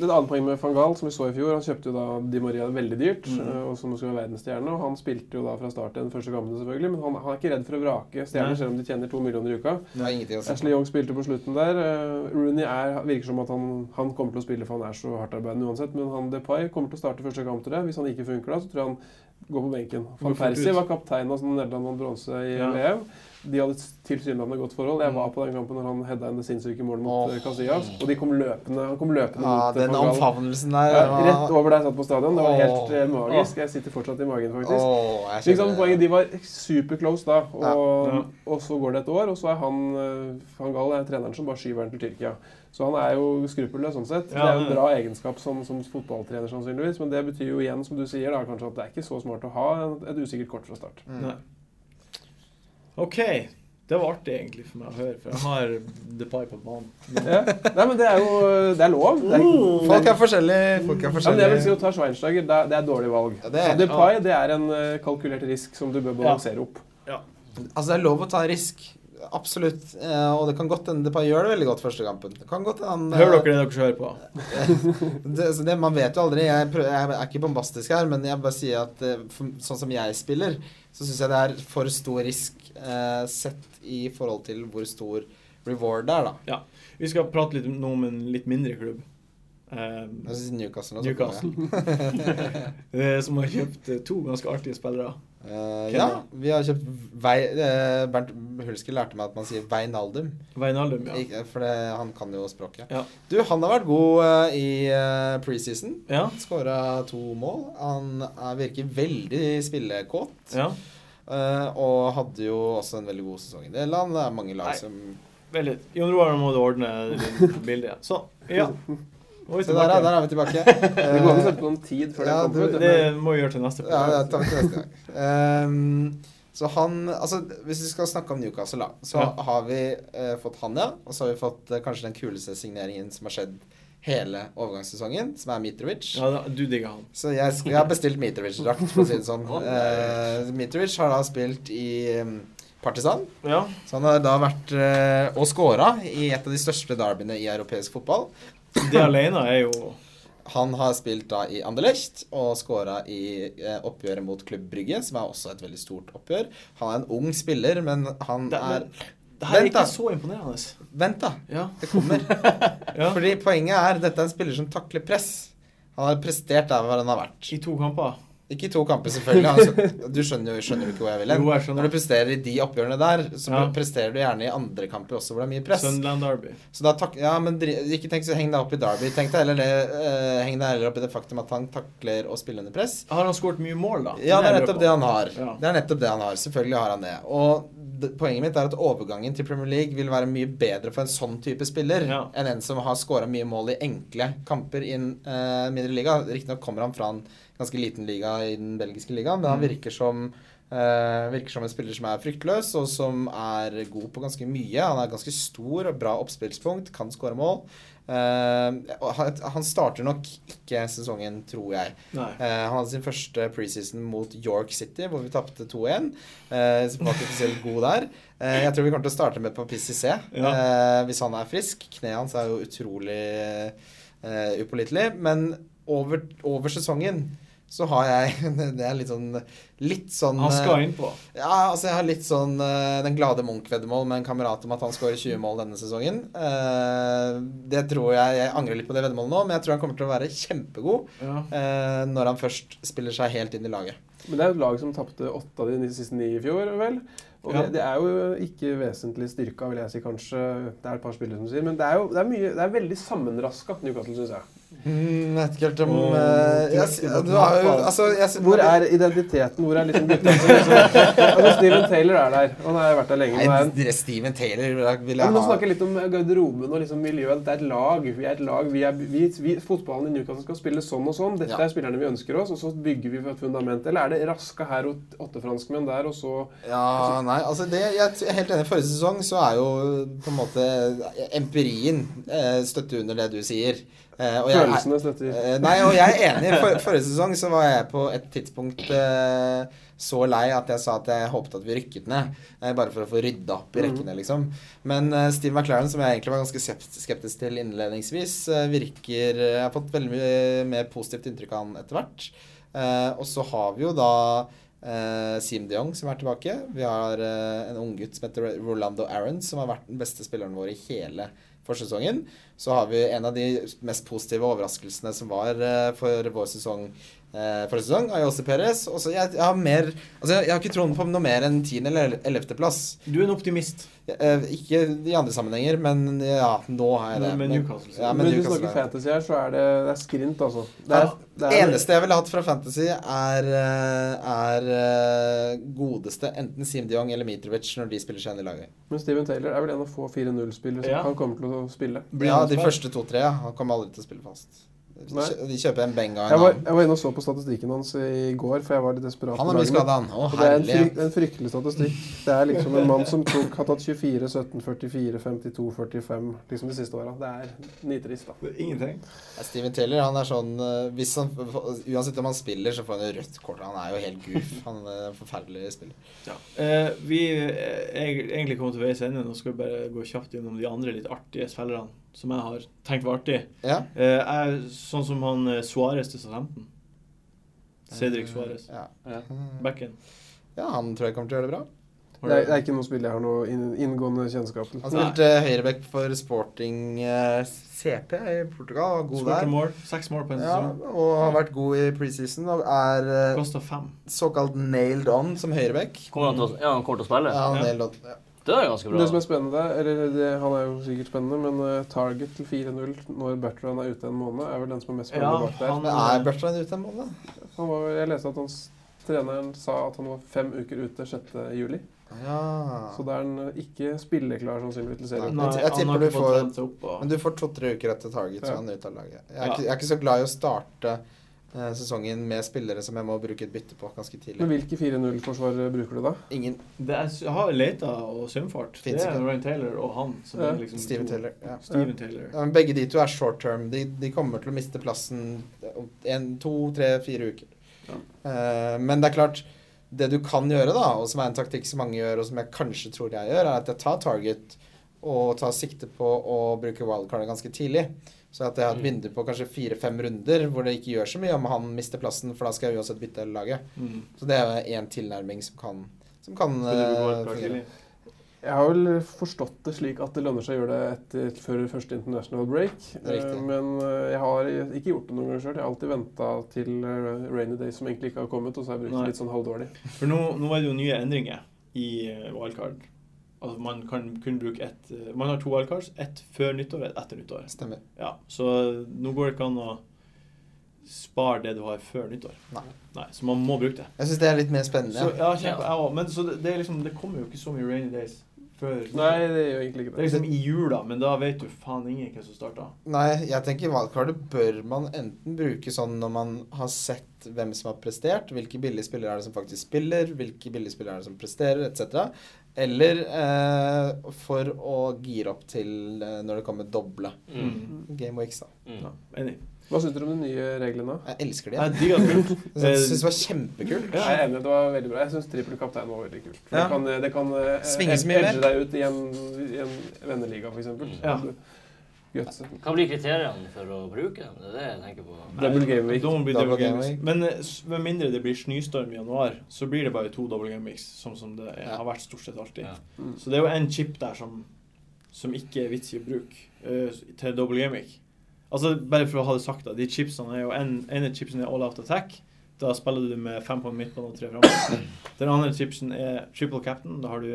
E: Et annet poeng med van Gaal, som vi så i fjor, han kjøpte jo da Di Maria veldig dyrt,
A: Mm.
E: eh, og som skulle være verdensstjerne. og Han spilte jo da fra start den første kampen, selvfølgelig, men han, han er ikke redd for å vrake
A: Nei.
E: stjerner, selv om de tjener to millioner i uka.
D: Det er ingenting å si.
E: Ashley Young spilte på slutten der. Eh, Rooney er, virker som at han, han kommer til å spille, for han er så hardtarbeidende uansett. Men han Depay kommer til å starte første kamp til det. Hvis han ikke funker da, så tror jeg han går på benken.
A: Går
E: Van
A: fort
E: Persie
A: ut.
E: var kaptein av sånn Nederland vant bronse i
A: Ja.
E: VM. De hadde et tilsynelatende godt
D: Mm.
E: forhold. Jeg var på den kampen når han hedda inn det sinnssyke målet mot oh. Casillas. Og de kom løpende, han kom løpende
D: Ja,
E: mot eh,
D: den
E: van Gaal.
D: omfavnelsen der
E: Ja,
D: var-
E: rett over der jeg satt på stadion. Det var
D: Åh.
E: helt eh, magisk. Jeg sitter fortsatt i magen, faktisk.
D: Åh, jeg
E: Ikke sant?
D: kjenner
E: Poenget,
D: det.
E: De var super close da, og,
A: Ja.
E: og så går det et år, og så er han eh, Van Gaal er treneren som bare skyver den til Tyrkia. Så han er jo skruppelløs sånn sett.
A: Ja,
E: det er jo
A: det-
E: en bra egenskap som, som fotballtrener, sannsynligvis, men det betyr jo igjen, som du sier, da, kanskje at det er ikke så smart å ha en- et usikkert kort fra start.
D: Mm.
A: Nei. OK. Det var artig egentlig for meg å høre, for jeg har Depay på banen.
E: Ja. Nei, men det er jo det er lov. Det er,
D: Folk er forskjellige. Mm. Folk er
E: ja, men
D: forskjellige.
E: jeg vil si å ta Schweinsteiger, det er, det er dårlig valg.
D: Ja, det er-
E: Depay det er en eh, kalkulert risk som du bør balansere opp.
D: Altså, det er lov å ta en risk. Absolutt. Eh, og det kan godt hende Depay gjør det veldig godt første kampen. Det kan godt hende eh,
A: Hører dere det dere hører på?
D: det, så det, man vet jo aldri. Jeg, prø- jeg er ikke bombastisk her, men jeg bare sier at eh, for, sånn som jeg spiller, så syns jeg det er for stor risk eh, sett i forhold til hvor stor reward det er, da.
A: Vi skal prate litt om- nå om en litt mindre klubb. Eh,
D: Jeg synes Newcastle også
A: Newcastle. eh, som har kjøpt eh, to ganske artige spillere.
D: Eh, ja, vi har kjøpt vei, eh, Bernt Hulsker lærte meg at man sier Veinaldum.
A: Veinaldum, ja.
D: Ikke- For det, han kan jo språket.
A: Ja.
D: Du, han har vært god eh, i eh, preseason.
A: Ja.
D: Skåra to mål. Han er, virker veldig spillekåt.
A: ja.
D: eh, og hadde jo også en veldig god sesong i det landet. Det er mange lag
A: Nei.
D: som
A: Veldig. Jon Roar, nå må du ordne bildet. igjen. Sånn. Ja. Og vi
D: Så der, er-
A: tilbake.
D: der er vi tilbake.
A: [laughs]
E: Det går an å
D: Eh,
E: sette på noen tid før
D: ja,
E: det
D: du-
E: kommer ut.
A: Det
E: men-
A: må vi gjøre til neste
D: ja, det
A: program.
D: tar vi til neste gang. Ehm, så han Altså, hvis vi skal snakke om Newcastle, da, så
A: Ja.
D: har vi eh, fått han, ja. Og så har vi fått eh, kanskje den kuleste signeringen som har skjedd hele overgangssesongen, som er Mitrovic.
A: Ja, da- du digger han.
D: Så jeg, sk- jeg har bestilt Mitrovic-drakt, for å si det sånn.
B: Å, nei.
D: Eh, Mitrovic har da spilt i mm, Partisan.
A: Ja.
D: Så han har da vært eh, og scora i et av de største derbyene i europeisk fotball.
A: Det alene er jo
D: Han har spilt da i Anderlecht og scora i eh, oppgjøret mot Klubb Brygge, som er også et veldig stort oppgjør. Han er en ung spiller, men han
A: Det,
D: er
A: men, det her er
D: Vent, da.
A: ikke så imponerende.
D: Vent, da.
A: Ja.
D: Det kommer.
A: [laughs] Ja.
D: Fordi poenget er dette er en spiller som takler press. Han har prestert der hvor han har vært.
A: I to kamper.
D: Ikke i to kamper, selvfølgelig.
A: [laughs]
D: Altså, du skjønner jo skjønner du ikke hvor jeg vil hen.
A: Jo, jeg skjønner.
D: Når du presterer i de oppgjørene der, så
A: Ja.
D: presterer du gjerne i andre kamper også hvor det er mye press.
A: Sunderland Derby.
D: Så da tak ja, men dri ikke tenk så heng deg opp i Derby. Tenk deg heller, det, eh, heng deg heller opp i det faktum at han takler å spille under press.
A: Har han skåret mye mål, da?
D: Ja, det er
A: jeg lurer
D: nettopp
A: på.
D: det han har.
A: Ja.
D: Det er nettopp det han har. Selvfølgelig har han det. Og d- poenget mitt er at overgangen til Premier League vil være mye bedre for en sånn type spiller
A: Ja.
D: enn en som har scora mye mål i enkle kamper i en eh, mindre liga. Riktignok kommer han fra en ganske liten liga i den belgiske ligaen, men
A: Mm.
D: han virker som eh, virker som en spiller som er fryktløs, og som er god på ganske mye. Han er ganske stor og bra oppspillspunkt, kan skåre mål. Eh, og han han starter nok ikke sesongen, tror jeg.
A: Nei.
D: Eh, han hadde sin første preseason mot York City, hvor vi tapte 2-1. Eh, så var ikke spesielt god der. Eh, jeg tror vi kommer til å starte med Papis Cissé, eh, hvis han er frisk. Kneet hans er jo utrolig eh, upålitelig. Men over, over sesongen så har jeg [laughs] Det er litt sånn Litt sånn
A: Han
D: eh,
A: skal innpå.
D: ja, altså jeg har litt sånn eh, Den glade Munch-veddemål med en kamerat om at han skårer 20 mål denne sesongen. Eh, det tror jeg Jeg angrer litt på det veddemålet nå, men jeg tror han kommer til å være kjempegod
A: Ja.
D: eh, når han først spiller seg helt inn i laget.
E: Men det er jo et lag som tapte åtte av de siste ni i fjor, vel? Og
A: Ja.
E: det, det er jo ikke vesentlig styrka, vil jeg si kanskje. Det er et par spillere som sier, men det er jo det er mye, det er veldig sammenraska, Newcastle, syns jeg.
D: Mm, jeg vet ikke helt om
A: Åh,
D: eh,
A: du-
D: jeg, s- Du har jo Altså, jeg s-
E: Hvor er identiteten? Hvor er liksom gutta? som Liksom, [laughs] altså, Steven Taylor er der. Han har vært der lenge. men er en-
D: Nei, Steven Taylor vil jeg- vil
E: Ja,
D: jeg
E: men nå
D: ha
E: snakker jeg litt om garderoben og liksom miljøet. Det er et lag. Vi er et lag. Vi er, vi, vi, fotballen i Newcastle skal spille sånn og sånn. Dette
D: Ja.
E: er spillerne vi ønsker oss, og så bygger vi et fundament. Eller er det raska her og åtte franskmenn der, og så
D: Ja, nei, altså det, jeg er helt enig. Forrige sesong så er jo på en måte empirien eh, støtter under det du sier. Eh, og jeg er-
E: Følelsene støtter.
D: Eh, Nei, og jeg er enig. For, forrige sesong så var jeg på et tidspunkt eh, så lei at jeg sa at jeg håpet at vi rykket ned. Eh, bare for å få rydda opp i rekkene, liksom. Men eh, Steve McLaren, som jeg egentlig var ganske sept- skeptisk til innledningsvis, eh, virker eh, Jeg har fått veldig mye mer positivt inntrykk av han etter hvert. Eh, og så har vi jo da eh, Sim de Jong som er tilbake. Vi har eh, en unggutt som heter Rolando Aarons, som har vært den beste spilleren vår i hele forsesongen. så har vi en av de mest positive overraskelsene som var eh, for vår sesong eh, forrige sesong, Ayose Perez. Og så jeg, jeg har mer Altså, jeg, jeg har ikke troen på noe mer enn 10. eller 11. plass.
A: Du er en optimist.
D: Jeg- eh, Ikke i andre sammenhenger, men ja, nå har jeg det.
A: Men med
D: Men-
A: Newcastle, så-
D: Ja, men
E: men du
D: Newcastle
E: snakker
D: er det.
E: fantasy her, så er det, det er skrint, altså. Det
D: Det
E: er, det er,
D: eneste jeg ville hatt fra Fantasy, er, eh, er eh, godeste enten Sim de Jong eller Mitrovic når de spiller seg inn i laget.
E: Men Steven Taylor er vel en av få 4-0-spillere som
A: Ja.
E: kan komme til å spille.
A: Blir
D: Ja,
A: han
D: de
A: spart?
D: første to-tre. ja. Han kommer aldri til å spille fast. De,
E: Nei.
D: kjø- de kjøper en Benga og
E: Jeg
D: en
E: var,
D: annen.
E: jeg var inne og så på statistikken hans i går, for jeg var litt desperat.
D: Han
E: på
D: har mye
E: laget mitt.
D: skade, han. Å,
E: Og det er en, frykt,
D: herlig.
E: en fryktelig statistikk. Det er liksom en mann som tok, har tatt 24, 17, 44, 52, 45 liksom de siste åra. Det er nitrist, da.
A: Det er Ingenting.
D: Ja, Steven Taylor, han er sånn eh, hvis han, Uansett om han spiller, så får han jo rødt kort. Han er jo helt goof. Han eh, er en forferdelig spiller.
A: Eh, vi er egentlig kommet til veis ende. Nå skal vi bare gå kjapt gjennom de andre litt artige spillerne som jeg har tenkt var artig.
D: Ja.
A: Eh, jeg, sånn som han eh, Suarez til Southampton. Cedric Suarez.
D: Ja.
B: Ja.
A: Backen.
D: ja, han tror jeg kommer til å gjøre Eh. det bra.
E: Det er, det er ikke noe spill jeg har noe inn- inngående kjennskap til.
D: Han
A: Nei.
D: spilte eh, høyreback for Sporting eh, CP i Portugal. var God
A: Skåret
D: der.
A: mål. Seks mål på en
D: Ja,
A: sesong.
D: og har vært god i preseason og er eh,
A: Kosta fem.
D: såkalt nailed on som høyreback.
B: Kommer han til å, ja, han kommer til å spille?
D: Ja,
A: Ja.
D: nailed on. Ja.
B: Det er ganske bra.
E: Det som er spennende, eller det, han er jo sikkert spennende, men eh, target til 4-0 når Bertrand er ute en måned, er vel den som er mest spennende
A: Ja,
E: bak der.
A: han- eh,
D: Men er Bertrand ute en måned?
E: Han var, jeg leste at hans treneren sa at han var fem uker ute 6. juli.
D: Ja.
E: Så da er han eh, ikke spilleklar sannsynligvis til serien.
D: Nei, jeg tipper
A: han har
D: du
A: ikke fått
D: får-
A: trent seg opp. Og...
D: Men du får to-tre uker etter target, så
E: Ja.
D: er han ute av laget. Jeg er,
A: Ja.
D: ikke, jeg er ikke så glad i å starte eh, sesongen med spillere som jeg må bruke et bytte på ganske
E: Men
D: tidlig.
E: hvilke 4-0-forsvar bruker du da?
D: Ingen
A: Det er, jeg har leita og sømfart. Det
D: Finnes
A: er
D: ikke.
A: Ryan Taylor og han. Som
E: Ja.
A: er liksom
D: Steven
A: to-
D: Taylor. Ja.
A: Steven Taylor.
D: Ja, men begge de to er short term. De, de kommer til å miste plassen om en, to, tre, fire uker.
A: Ja.
D: Eh, men det er klart, det du kan gjøre, da, og som er en taktikk som mange gjør, og som jeg kanskje tror jeg gjør, er at jeg tar target og tar sikte på å bruke wildcardet ganske tidlig. Så at jeg har et
A: Mm.
D: vindu på kanskje fire-fem runder hvor det ikke gjør så mye om han mister plassen, for da skal jeg uansett bytte hele laget.
A: Mm.
D: Så det er én tilnærming som kan, som kan
A: Skal du gå
D: eh,
A: klart
D: fungere.
A: tidlig?
E: Jeg har vel forstått det slik at det lønner seg å gjøre det etter, før første international break.
D: Det er riktig.
E: Eh, Men eh, jeg har ikke gjort det noen gang sjøl. Jeg har alltid venta til eh, rainy day som egentlig ikke har kommet, og så har jeg brukt
A: Nei.
E: det litt sånn halvdårlig.
A: For nå, nå er det jo nye endringer i eh, wildcard. Altså Man kan kun bruke ett eh, Man har to wildcards. Ett før nyttår og ett etter nyttår.
D: Stemmer.
A: Ja, Så nå går det ikke an å spare det du har før nyttår.
D: Nei.
A: Nei så man må bruke det.
D: Jeg syns det er litt mer spennende.
A: Så, ja, kjempe, jeg også. Men så det, det er liksom Det kommer jo ikke så mye rainy days før
E: Nei, det gjør egentlig
A: Det er
E: ikke det.
A: liksom i jula, men da vet du faen ingen hvem som starta.
D: Nei, jeg tenker valgkartet bør man enten bruke sånn når man har sett hvem som har prestert, hvilke billige spillere er det som faktisk spiller, hvilke billige spillere er det som presterer, etc. Eller eh, for å gire opp til eh, når det kommer doble
B: Mm.
D: game weeks. Da.
B: Mm.
A: Ja, enig.
E: Hva syns dere om de nye reglene?
D: Jeg elsker de.
A: Jeg digger det.
D: [laughs] Jeg
A: eh,
D: syns det var kjempekult.
E: Jeg er enig, det var veldig bra. Jeg syns trippel kaptein var veldig kult. For
D: Ja.
E: Det kan, det kan eh,
D: Svinge så mye
E: edge deg ut i en, i en venneliga, f.eks.
A: Ja.
E: Gjøtse.
B: Hva blir kriteriene for å bruke dem? Det er det jeg tenker på.
E: Double game week.
A: Double blir
D: Double
A: double
D: game
A: game
D: week.
A: week. Men eh, s- med mindre det blir snøstorm i januar, så blir det bare to double game weeks, sånn som det er,
D: Ja.
A: har vært stort sett alltid.
B: Ja.
E: Mm.
A: Så det er jo en chip der som, som ikke er vits i å bruke eh, til double game week. Altså, bare for å ha det sagt, da. De chipsene er jo en, ene chipsen er all out attack. Da spiller du med fem på midtbanen og tre framme. Den andre chipsen er triple captain. Da har du,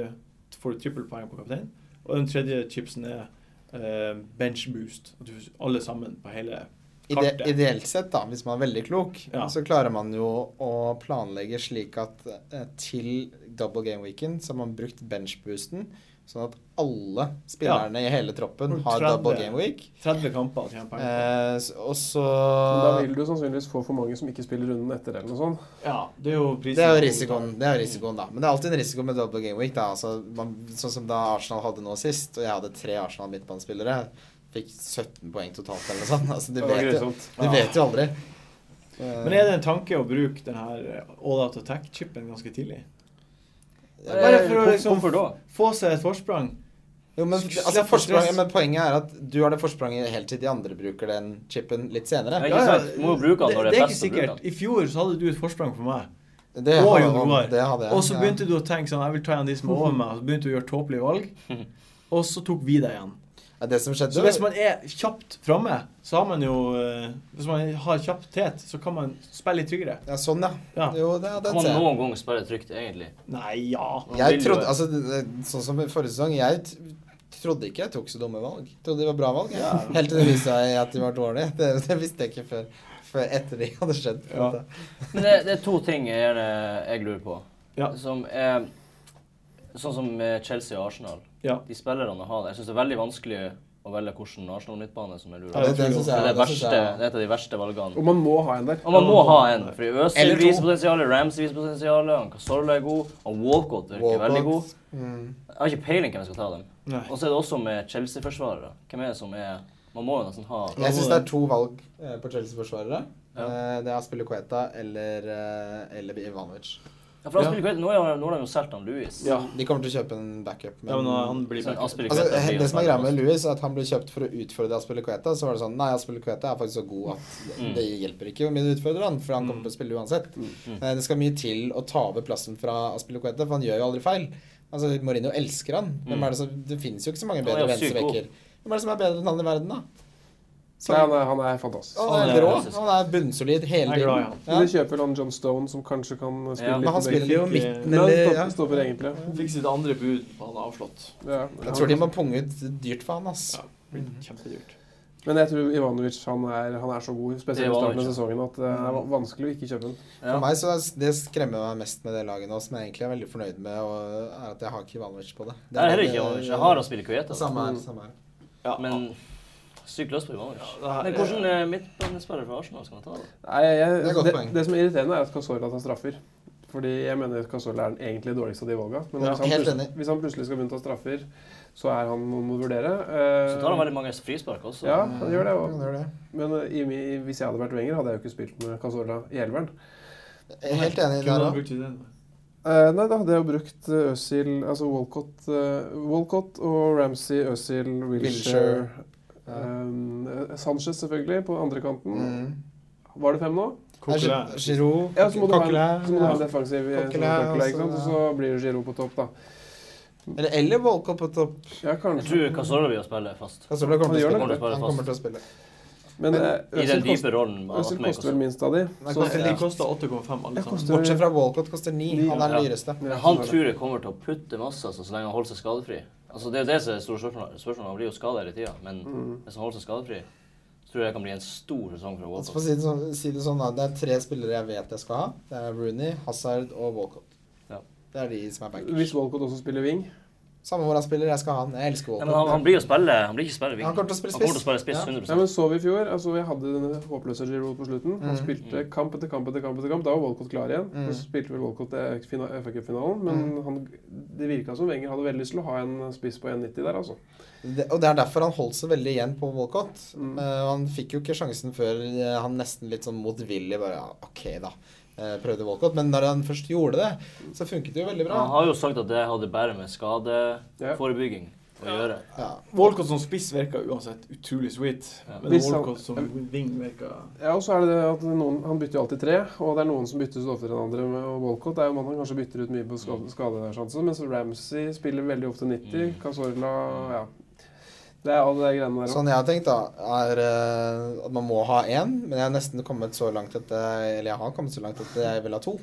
A: får du trippelpoeng på kaptein. Og den tredje chipsen er eh, bench boost. At du, alle sammen på hele
D: Ide
A: Kartet.
D: ideelt sett, da, hvis man er veldig klok,
A: Ja.
D: så klarer man jo å planlegge slik at eh, til double game weekend så har man brukt benchboosten, sånn at alle spillerne i hele troppen
A: Når
D: har
A: 30
D: double game week.
A: 30 kamper å tjene penger på.
D: Eh, s- og så
E: Men Da vil du sannsynligvis få for mange som ikke spiller runden etter, eller noe sånt.
A: Ja, det er jo prisen.
D: det er jo risikoen, det
E: Mm.
D: er jo risikoen, da. Men det er alltid en risiko med double game week. da. Altså, man, sånn som da Arsenal hadde nå sist, og jeg hadde tre Arsenal midtbanespillere. Fikk 17 poeng totalt eller noe sånt. Altså, du,
E: Det var
D: vet jo,
E: grusomt.
D: du vet jo aldri.
A: Men er det en tanke å bruke den her eh, all out attack-chipen ganske tidlig?
B: Bare for å
A: Hvorfor-
B: liksom Hvorfor da?
A: Få seg et forsprang.
D: Jo, men,
A: Slipp
D: altså,
A: å
D: forsprang,
A: stresse.
D: men poenget er at du har det forspranget helt til de andre bruker den chipen litt senere.
B: Ja, ikke sant? Du må jo bruke den når
A: det,
B: det er
A: det er ikke
B: best å bruke
A: sikkert. I fjor så hadde du et forsprang for meg,
D: Det,
A: Å,
D: hadde-
A: jo, det var.
D: det hadde jeg.
A: og så begynte
B: [laughs]
A: du å tenke sånn Jeg vil ta igjen de som er over meg, og så begynte du å gjøre tåpelige valg, og så tok vi deg igjen.
D: ja. Ja, det som skjedde
A: Så hvis man er kjapt framme, så har man jo eh, Hvis man har kjapphet, så kan man spille litt tryggere.
D: Ja, sånn, ja.
A: Ja.
D: Jo, det, ja, den
B: Kan man
D: ser jeg.
B: noen gang spille trygt, egentlig?
A: Nei, ja.
B: Man
D: Jeg
B: vil jo-
D: trodde, altså, det- sånn som i forrige sesong, jeg t- trodde ikke jeg tok så dumme valg. Jeg trodde de var bra valg. jeg. Helt til det viste seg at de var dårlige. Det, det visste jeg ikke før, før etter det hadde skjedd. på en
A: Ja.
D: måte.
B: Men det, det er to ting jeg, gjerne- jeg lurer på.
A: Ja.
B: Som er Sånn som med Chelsea og Arsenal.
A: Ja.
B: De spillerne har det. Jeg syns det er veldig vanskelig å velge hvilken Arsenal-midtbane som er lur.
A: Ja, det
D: det,
A: tror jeg
D: synes
B: det,
D: jeg,
B: er det,
D: synes
B: verste,
D: jeg-
B: det er et av de verste valgene.
E: Og man må ha en der.
B: Og man må ha en, fordi Øzil
D: Eller to.
B: viser potensial, Ramsey viser potensial, Casorla er god, og Walcott virker
D: Walcott.
B: veldig god.
D: Mm.
B: Jeg har ikke peiling hvem jeg skal ta dem.
A: Nei.
B: Og så er det også med Chelsea-forsvarere. Hvem er det som er Man må jo nesten ha
D: Jeg syns det er to valg eh, på Chelsea-forsvarere.
B: Ja.
D: Eh, Det er Aspilicueta eller, eh, eller Ivanovic.
B: ja, for han spiller ikke- Nå er han- nå har de jo solgt han Louis.
E: Ja.
D: De kommer til å kjøpe en backup.
A: Ja, men han blir
B: Så Aspelid
D: Altså,
B: Kveta blir
D: det som er
B: jo
D: greia med Louis, er at han ble kjøpt for å utfordre Aspilicueta. Så var det sånn Nei, Aspilicueta er faktisk så god at
B: Mm.
D: det hjelper ikke hvor mye du utfordrer han, for han kommer til å spille uansett.
B: Mm.
D: Eh, Det skal mye til å ta over plassen fra Aspilicueta, for han gjør jo aldri feil. Altså, Mourinho elsker han. Hvem er det, som, det finnes jo ikke så mange
B: Mm. Han er
D: bedre
B: jo sykt
D: venstrebacker. Hvem er det som er bedre enn han i verden, da? Så,
E: Nei, han er, han er fantastisk.
D: han er
A: han er
D: helt rå.
B: fantastisk.
D: Han er bunnsolid
A: Jeg
D: hele
A: er glad i han.
D: tiden.
E: Men
D: Ja.
E: de kjøper han John Stone, som kanskje kan spille
B: Ja,
E: litt
D: Men han
E: på
D: spiller jo
A: Fikk, eh,
D: midten,
E: Men
D: eller ja.
E: stopp- stopper egentlig.
A: Fikk sitt andre bud på han avslått.
E: Ja.
D: Jeg tror de må punge ut dyrt for han, ass.
A: Ja. Blir Kjempedyrt.
E: Men jeg tror Ivanovic han er, han er så god, spesielt i starten av
B: Ivanovic, ja.
E: sesongen, at det er
D: Mm.
E: va- vanskelig å ikke kjøpe ham.
B: Ja.
D: For meg så er s- Det skremmer meg mest med det laget nå, som jeg egentlig er veldig fornøyd med, og er at jeg har ikke Ivanovic på det.
B: Det er heller ikke Ivanovic. Jeg har altså. å spille Kveta.
D: Samme her. samme her.
A: Ja,
B: Men sykt løs på Ivanovic.
A: Ja, det
B: Men
A: er-
B: hvordan eh, midtbanespiller for Arsenal skal man ta? da?
E: Nei, jeg,
D: Det er
E: det,
D: godt
E: det,
D: poeng.
E: som er irriterende, er at Casorla tar straffer. Fordi jeg mener at Casorla er den egentlig dårligste av de valga. Men
A: Ja,
E: hvis, han
D: helt
E: plutselig,
D: enig.
E: hvis han plutselig skal begynne å ta straffer, så er han noen må vurdere.
B: Så tar han veldig mange frispark også.
E: Ja, han gjør det.
D: Ja,
E: Og,
D: det Mm. gjør det.
E: men eh, i, mi- hvis jeg hadde vært Wenger, hadde jeg jo ikke spilt med Casorla i elveren.
D: Jeg er helt
A: Kunne
D: enig der
A: han
D: òg.
A: brukt i den?
E: Eh, nei, da hadde jeg jo brukt eh, Özil Altså Walcott, eh, Walcott og Ramsey, Özil,
D: Wilshere.
E: Wilshere eh, Sanchez, selvfølgelig, på andre kanten.
D: Mm.
E: Var det fem nå?
A: Kokkelære.
D: Giroud,
E: Ja, så må du ha en,
D: Coquelin,
E: så må du ha en
D: ja.
E: defensiv eh,
D: Coquelin,
E: sånn Coquelin, ikke
D: altså,
E: sant? Og så blir det Giroud på topp, da.
D: Eller, eller Walcott på topp.
E: Ja,
B: Jeg
E: kanskje.
B: tror Casorla blir å spille fast.
D: Casola kommer, til å
E: Han
D: spille.
B: gjør det.
D: Han kommer til å spille.
E: Men eh,
B: I den
E: Özil
B: dype
E: kost-
B: rollen. av
E: Özil
B: Ahmed
E: koster
B: Casorla.
E: vel minst av de.
D: Nei,
E: Så,
D: koster-
A: De koster 8,5 alle
E: koster-
A: sammen.
D: Bortsett fra Walcott koster ni. Han er den dyreste.
E: Ja,
B: Men han
E: sånn er det.
B: tror jeg kommer til å putte masse altså, så lenge han holder seg skadefri. Altså, det er jo det som er det store spørsmålet. Spørsmålet Han blir jo skadet hele tida, men
D: Mm.
B: hvis han holder seg skadefri, så tror jeg det kan bli en stor sesong for
D: Altså, for å
B: Walcott.
D: si det, sånn, si det sånn, da. Det er tre spillere jeg vet jeg skal ha. Det er Rooney, Hazard og Walcott.
B: Ja.
D: Det er de som er
E: Hvis
D: backers.
E: Walcott også spiller wing
D: Samme hvor han spiller, jeg skal ha han. Jeg elsker
B: Nei, men han,
D: Walcott.
B: han blir jo spille Han blir ikke spille wing.
D: Han kommer til å spille
B: Han kommer til å
D: spiss.
B: spille spiss
D: Ja.
B: 100
E: Nei, men så vi i fjor. altså Jeg hadde denne håpløse Giroud på slutten. Han
D: Mhm.
E: spilte kamp etter kamp etter kamp. etter kamp, Da var Walcott klar igjen.
D: Mhm.
E: Og så spilte vel Walcott eh, fina- FA Cup-finalen.
D: Mm.
E: Men han, det virka som Wenger hadde veldig lyst til å ha en spiss på 1,90 der, altså.
D: Det, og det er derfor han holdt seg veldig igjen på Walcott.
E: Mm.
D: Eh, han fikk jo ikke sjansen før eh, han nesten litt sånn motvillig bare ja, OK, da. eh, prøvde Walcott. Men når han først gjorde det, så funket det jo veldig bra.
B: Han har jo sagt at det hadde bare med skadeforebygging å gjøre.
D: Ja.
A: Walcott som spiss virker uansett utrolig sweet.
B: Ja.
A: Men
E: Hvis han-
A: Walcott som wing virker
E: Ja, og så er det det at noen, Han bytter jo alltid tre, og det er noen som byttes oftere enn andre. med- Og Walcott er jo en mann han kanskje bytter ut mye
D: Mm.
E: på skade, skadesjanser, mens Ramsey spiller veldig ofte
B: Mm.
E: 90. Cazorla ja. Det er alle de greiene der. altså.
D: Sånn jeg har tenkt, da, er eh, at man må ha én. Men jeg har nesten kommet så langt at jeg, Eller jeg har kommet så langt at jeg vil ha to.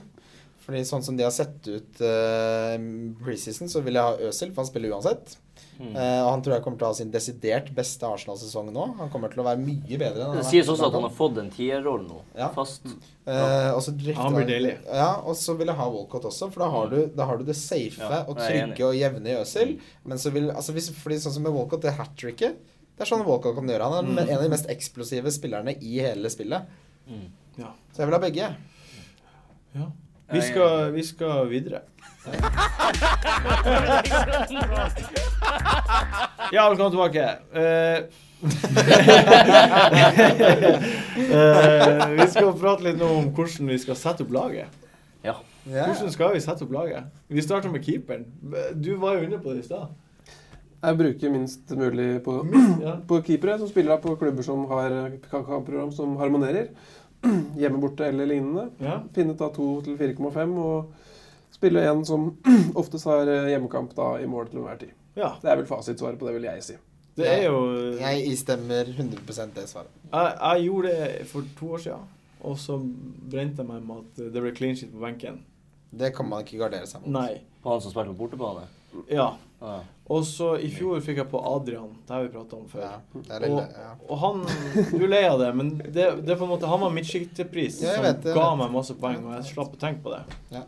D: Fordi sånn som de har sett ut eh, preseason, så vil jeg ha Øzil, for han spiller uansett.
B: Mm.
D: Eh, og han tror jeg kommer til å ha sin desidert beste Arsenal-sesong nå. Han kommer til å være mye bedre enn han
B: Det
D: har
B: sies
D: vært
B: også at
D: blant
B: han har fått en tierrolle nå,
D: Ja.
B: fast.
D: Eh, og så drifter
A: Han blir deilig.
D: Ja, og så vil jeg ha Walcott også, for da har du, da har du det safe
B: Ja,
D: og
B: jeg er enig. Mm.
D: trygge og jevne i Øzil. Men så vil altså hvis, fordi sånn som med Walcott, det hat tricket Det er sånn Walcott kan gjøre.
A: Mm.
D: Han er en av de mest eksplosive spillerne i hele spillet.
B: Mm.
A: Ja.
D: Så jeg vil ha begge.
A: ja. Vi skal, vi skal [laughs] videre. Ja, velkommen [laughs] tilbake. Eh, eh, vi skal prate litt nå om hvordan vi skal sette opp laget.
B: Ja.
D: Ja.
A: Hvordan skal vi sette opp laget? Vi starter med keeperen. Du var jo inne på det i stad.
E: Jeg bruker minst mulig på,
A: Ja.
E: på keepere som spiller på klubber som har kampprogram som harmonerer. [clears throat] Hjemme borte eller lignende.
A: Ja.
E: Finne da 2 til 4,5 og spille en [clears throat] som oftest har eh, hjemmekamp da i mål til enhver tid.
A: ja.
E: Det er vel fasitsvaret på det, vil jeg si.
A: Det
D: Ja.
A: er jo jeg,
D: Jeg istemmer 100 det svaret.
A: jeg gjorde det for to år siden, og så brente jeg meg med at det ble clean shit på benken.
D: Det kan man ikke gardere seg mot.
A: Nei.
B: På han som spilte på bortebane?
A: Ja.
B: Ja.
A: Og så i fjor fikk jeg på Adrian, det har vi prata om før.
D: Ja, det er lille, ja.
A: Og han Du er lei av det, men det, det er på en måte han var midtsjiktpris
D: Ja, jeg
A: som
D: vet det, jeg
A: ga
D: vet.
A: meg masse poeng, og jeg slapp å tenke på det.
D: Ja.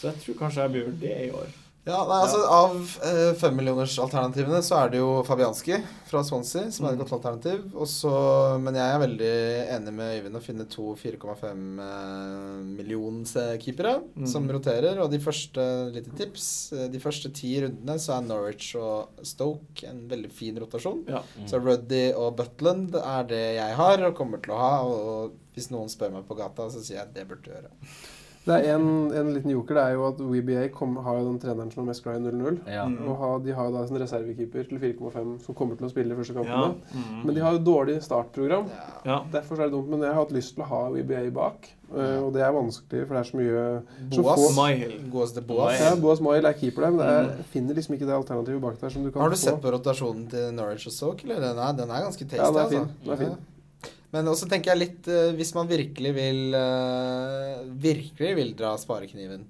A: Så jeg tror kanskje jeg blir gjort det i år.
D: Ja, nei, altså Av eh, femmillionersalternativene så er det jo Fabianski fra Swansea som er et godt alternativ. Og så- men jeg er veldig enig med Øyvind å finne to 4,5 eh, millions eh, keepere
A: Mm.
D: som roterer. Og de første lite tips eh, De første ti rundene så er Norwich og Stoke en veldig fin rotasjon.
A: Ja.
B: Mm.
D: Så Ruddy og Butland er det jeg har og kommer til å ha. Og, og hvis noen spør meg på gata, så sier jeg det burde du gjøre.
E: Det er en, en liten joker. Det er jo at WBA kom, har jo den treneren som har mest glad i 0-0.
B: Ja.
A: Mm.
E: Og har, de har jo da sin reservekeeper til 4,5 som kommer til å spille de første
A: Ja.
E: kampene.
A: Mm.
E: Men de har jo dårlig startprogram.
D: Ja.
A: ja.
E: Derfor så er det dumt, men jeg har hatt lyst til å ha WBA bak. eh, Og det er vanskelig, for det er så mye så
D: Boas.
E: få-
A: Maihil.
D: Gås de Boas.
E: Ja, Boas Mail er keeper der, men det
A: Mm.
E: er, jeg finner liksom ikke det alternativet bak der som du kan
D: Har du
E: få.
D: sett på rotasjonen til Norwich og Stoke, eller? Den er, den er ganske tasty, altså.
E: Ja, den er fin. Den er
D: Ja.
E: fin.
D: Men også tenker jeg litt eh, Hvis man virkelig vil eh, Virkelig vil dra sparekniven,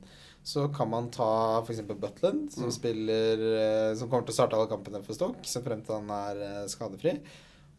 D: så kan man ta f.eks. Butland, som
E: Mm.
D: spiller eh, Som kommer til å starte alle kampene for Stoke, så frem til han er eh, skadefri.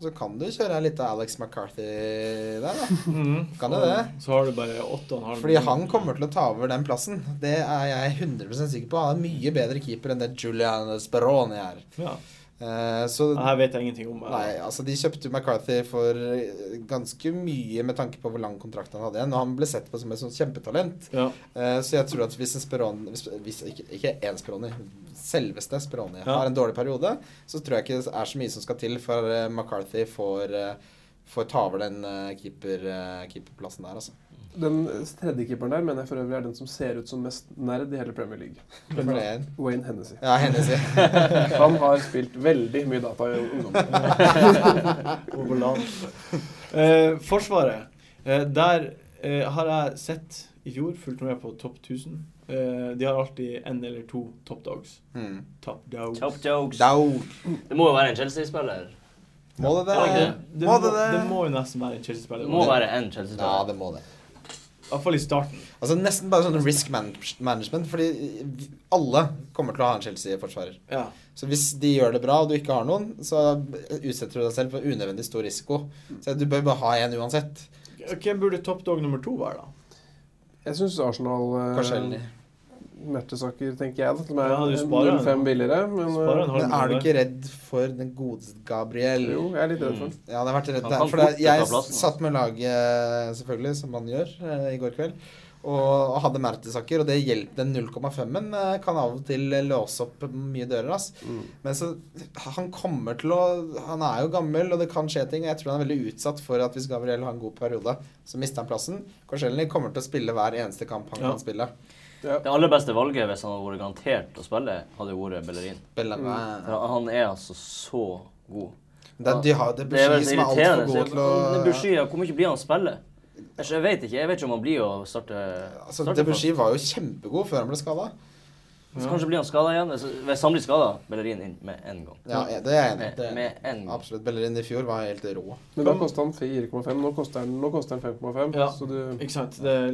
D: Og så kan du kjøre en liten Alex McCarthy der, da.
A: Mm.
D: Kan jo det.
A: Så har du bare åtte og en halv
D: Fordi han kommer til å ta over den plassen. Det er jeg 100 sikker på. Han er mye bedre keeper enn det Julian Speroni er.
A: ja.
D: Eh, så
A: Det her vet jeg ingenting om.
D: Nei, altså de kjøpte jo McCarthy for eh, ganske mye med tanke på hvor lang kontrakt han hadde igjen. Og han ble sett på som et sånt kjempetalent.
A: Ja.
D: Eh, så jeg tror at hvis en Speroni hvis, hvis, Ikke, ikke en Speroni, selveste Speroni
A: Ja.
D: har en dårlig periode, så tror jeg ikke det er så mye som skal til for eh, McCarthy får, eh, får ta over den eh, keeper, eh, keeperplassen der, altså.
E: Den tredje keeperen der mener jeg for øvrig er den som ser ut som mest nerd i hele Premier League.
D: Hvem er det igjen?
E: Wayne Hennessy.
D: Ja, Hennessy.
E: [laughs] Han har spilt veldig mye data i ungdommen.
D: [laughs]
A: Over land. Eh, forsvaret. Eh, der eh, har jeg sett i fjor, fulgte med på topp 1000. Eh, de har alltid en eller to top dogs.
D: Mm.
A: Top dogs.
B: Top jokes.
D: Dau.
B: Det må jo være en Chelsea-spiller.
D: Må det
A: Ja,
D: det?
A: det, det,
D: Må
A: må,
D: det det?
A: det må jo nesten være en
B: Det
A: Chelsea-spiller.
B: må
A: I
B: være en
D: Ja,
B: Chelsea-spiller.
D: det må det.
A: hvert fall i starten.
D: Altså Nesten bare sånn risk man management, fordi alle kommer til å ha en Chelsea-forsvarer.
A: Ja.
D: Så hvis de gjør det bra, og du ikke har noen, så utsetter du deg selv for unødvendig stor risiko. Så du bør bare ha én uansett.
A: Hvem burde top dog nummer to være, da?
E: Jeg syns Arsenal eh,
D: Kanskje
E: Mertesaker, tenker jeg, da, som er sånn,
A: Ja, du sparer en.
E: 0,5 billigere. Men
A: Sparer en halv
E: eh,
D: Men er du
A: måned.
D: ikke redd for den gode Gabriel?
E: jo, jeg er litt redd for den.
D: Ja, det har vært redd
B: Han
D: der.
B: kan
D: For det,
B: fort ta
D: jeg
B: plassen, altså.
D: satt med laget, eh, selvfølgelig, som man gjør, eh, i går kveld. Og, og hadde Mertesaker, og det hjelp den 0,5-en eh, kan av og til eh, låse opp mye dører. ass.
E: Mm.
D: Men så, han kommer til å Han er jo gammel, og det kan skje ting. Og jeg tror han er veldig utsatt for at hvis Gabriel har en god periode, så mister han plassen. Korselny kommer til å spille hver eneste kamp han
A: Ja.
D: kan spille.
E: Ja.
B: Det aller beste valget hvis han hadde vært garantert å spille, hadde jo vært Bellerin.
D: Bellamy
B: For Han er altså så god.
D: Det er, de har, det er
B: Det er
D: Bushi
B: veldig
D: som er altfor
B: irriterende.
D: god til å
B: Men Debussy, ja, Hvor mye blir han å spille? Jeg skj- jeg vet ikke. Jeg vet ikke om han blir å starte.
D: altså,
B: starte
D: Debussy var jo kjempegod før han ble skada.
B: fast. Så kanskje blir han skada igjen. Hvis- Hvis han blir skada, Bellerin inn med en gang.
D: Ja, det er jeg enig i.
B: Med,
D: Det er jeg enig i.
B: med en gang.
D: Absolutt. Bellerin i fjor var helt rå.
E: Men da kosta han 4,5. Nå koster han, nå koster han 5,5.
A: Ja.
E: Så du
A: Ikke sant? Det er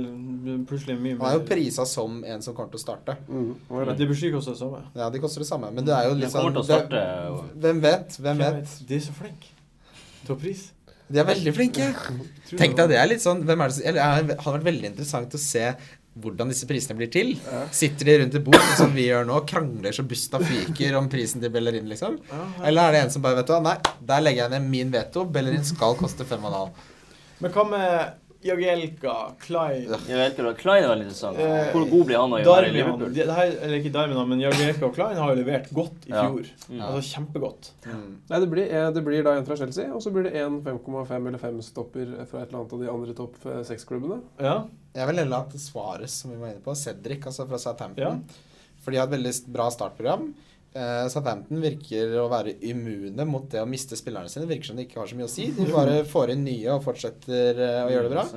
A: plutselig mye
D: Han er
A: mer
D: jo prisa som en som kommer til å starte.
E: mm, nå er det.
A: Debussy koster det samme.
D: Ja, de koster det samme, men det er jo
B: Han
D: litt sånn
B: kommer til å
D: det-
B: starte.
D: Hvem vet? Hvem
A: Hvem
D: vet?
A: vet? De er så flinke. Til pris.
D: De er veldig flinke.
A: Tror
D: Tenk
A: du-
D: deg det er litt sånn hvem er det, som- eller, Det hadde vært veldig interessant å se hvordan disse prisene blir til.
E: Ja.
D: Sitter de rundt et bord, sånn som vi gjør nå, krangler så busta fyker om prisen til Bellerin, liksom?
A: Ja, ja.
D: Eller er det en som bare vet du hva, nei, der legger jeg ned min veto. Bellerin skal koste fem og en halv.
A: Men hva med Jagielka, Klein
B: Jeg vet ikke, Klein er veldig interessant.
A: Eh,
B: Hvor god blir han å gjøre i
A: Darmian
B: Liverpool?
A: det, det her, Eller ikke Darmian, da, men Jagielka og Klein har jo levert godt i
B: Ja.
A: fjor.
B: Mm.
A: Altså kjempegodt.
D: Mm.
E: Nei, det blir, eh, det blir da en fra Chelsea, og så blir det en 5,5 eller 5-stopper fra et eller annet av de andre topp eh, 6-klubbene.
A: Ja.
D: Jeg vil heller at Suarez, som vi var inne på, Cedric, altså fra Southampton
A: Ja.
D: For de har et veldig bra startprogram. Eh, Southampton virker å være immune mot det å miste spillerne sine. Virker som de ikke har så mye å si. De bare får inn nye og fortsetter eh, å gjøre det
B: Mm.
D: bra.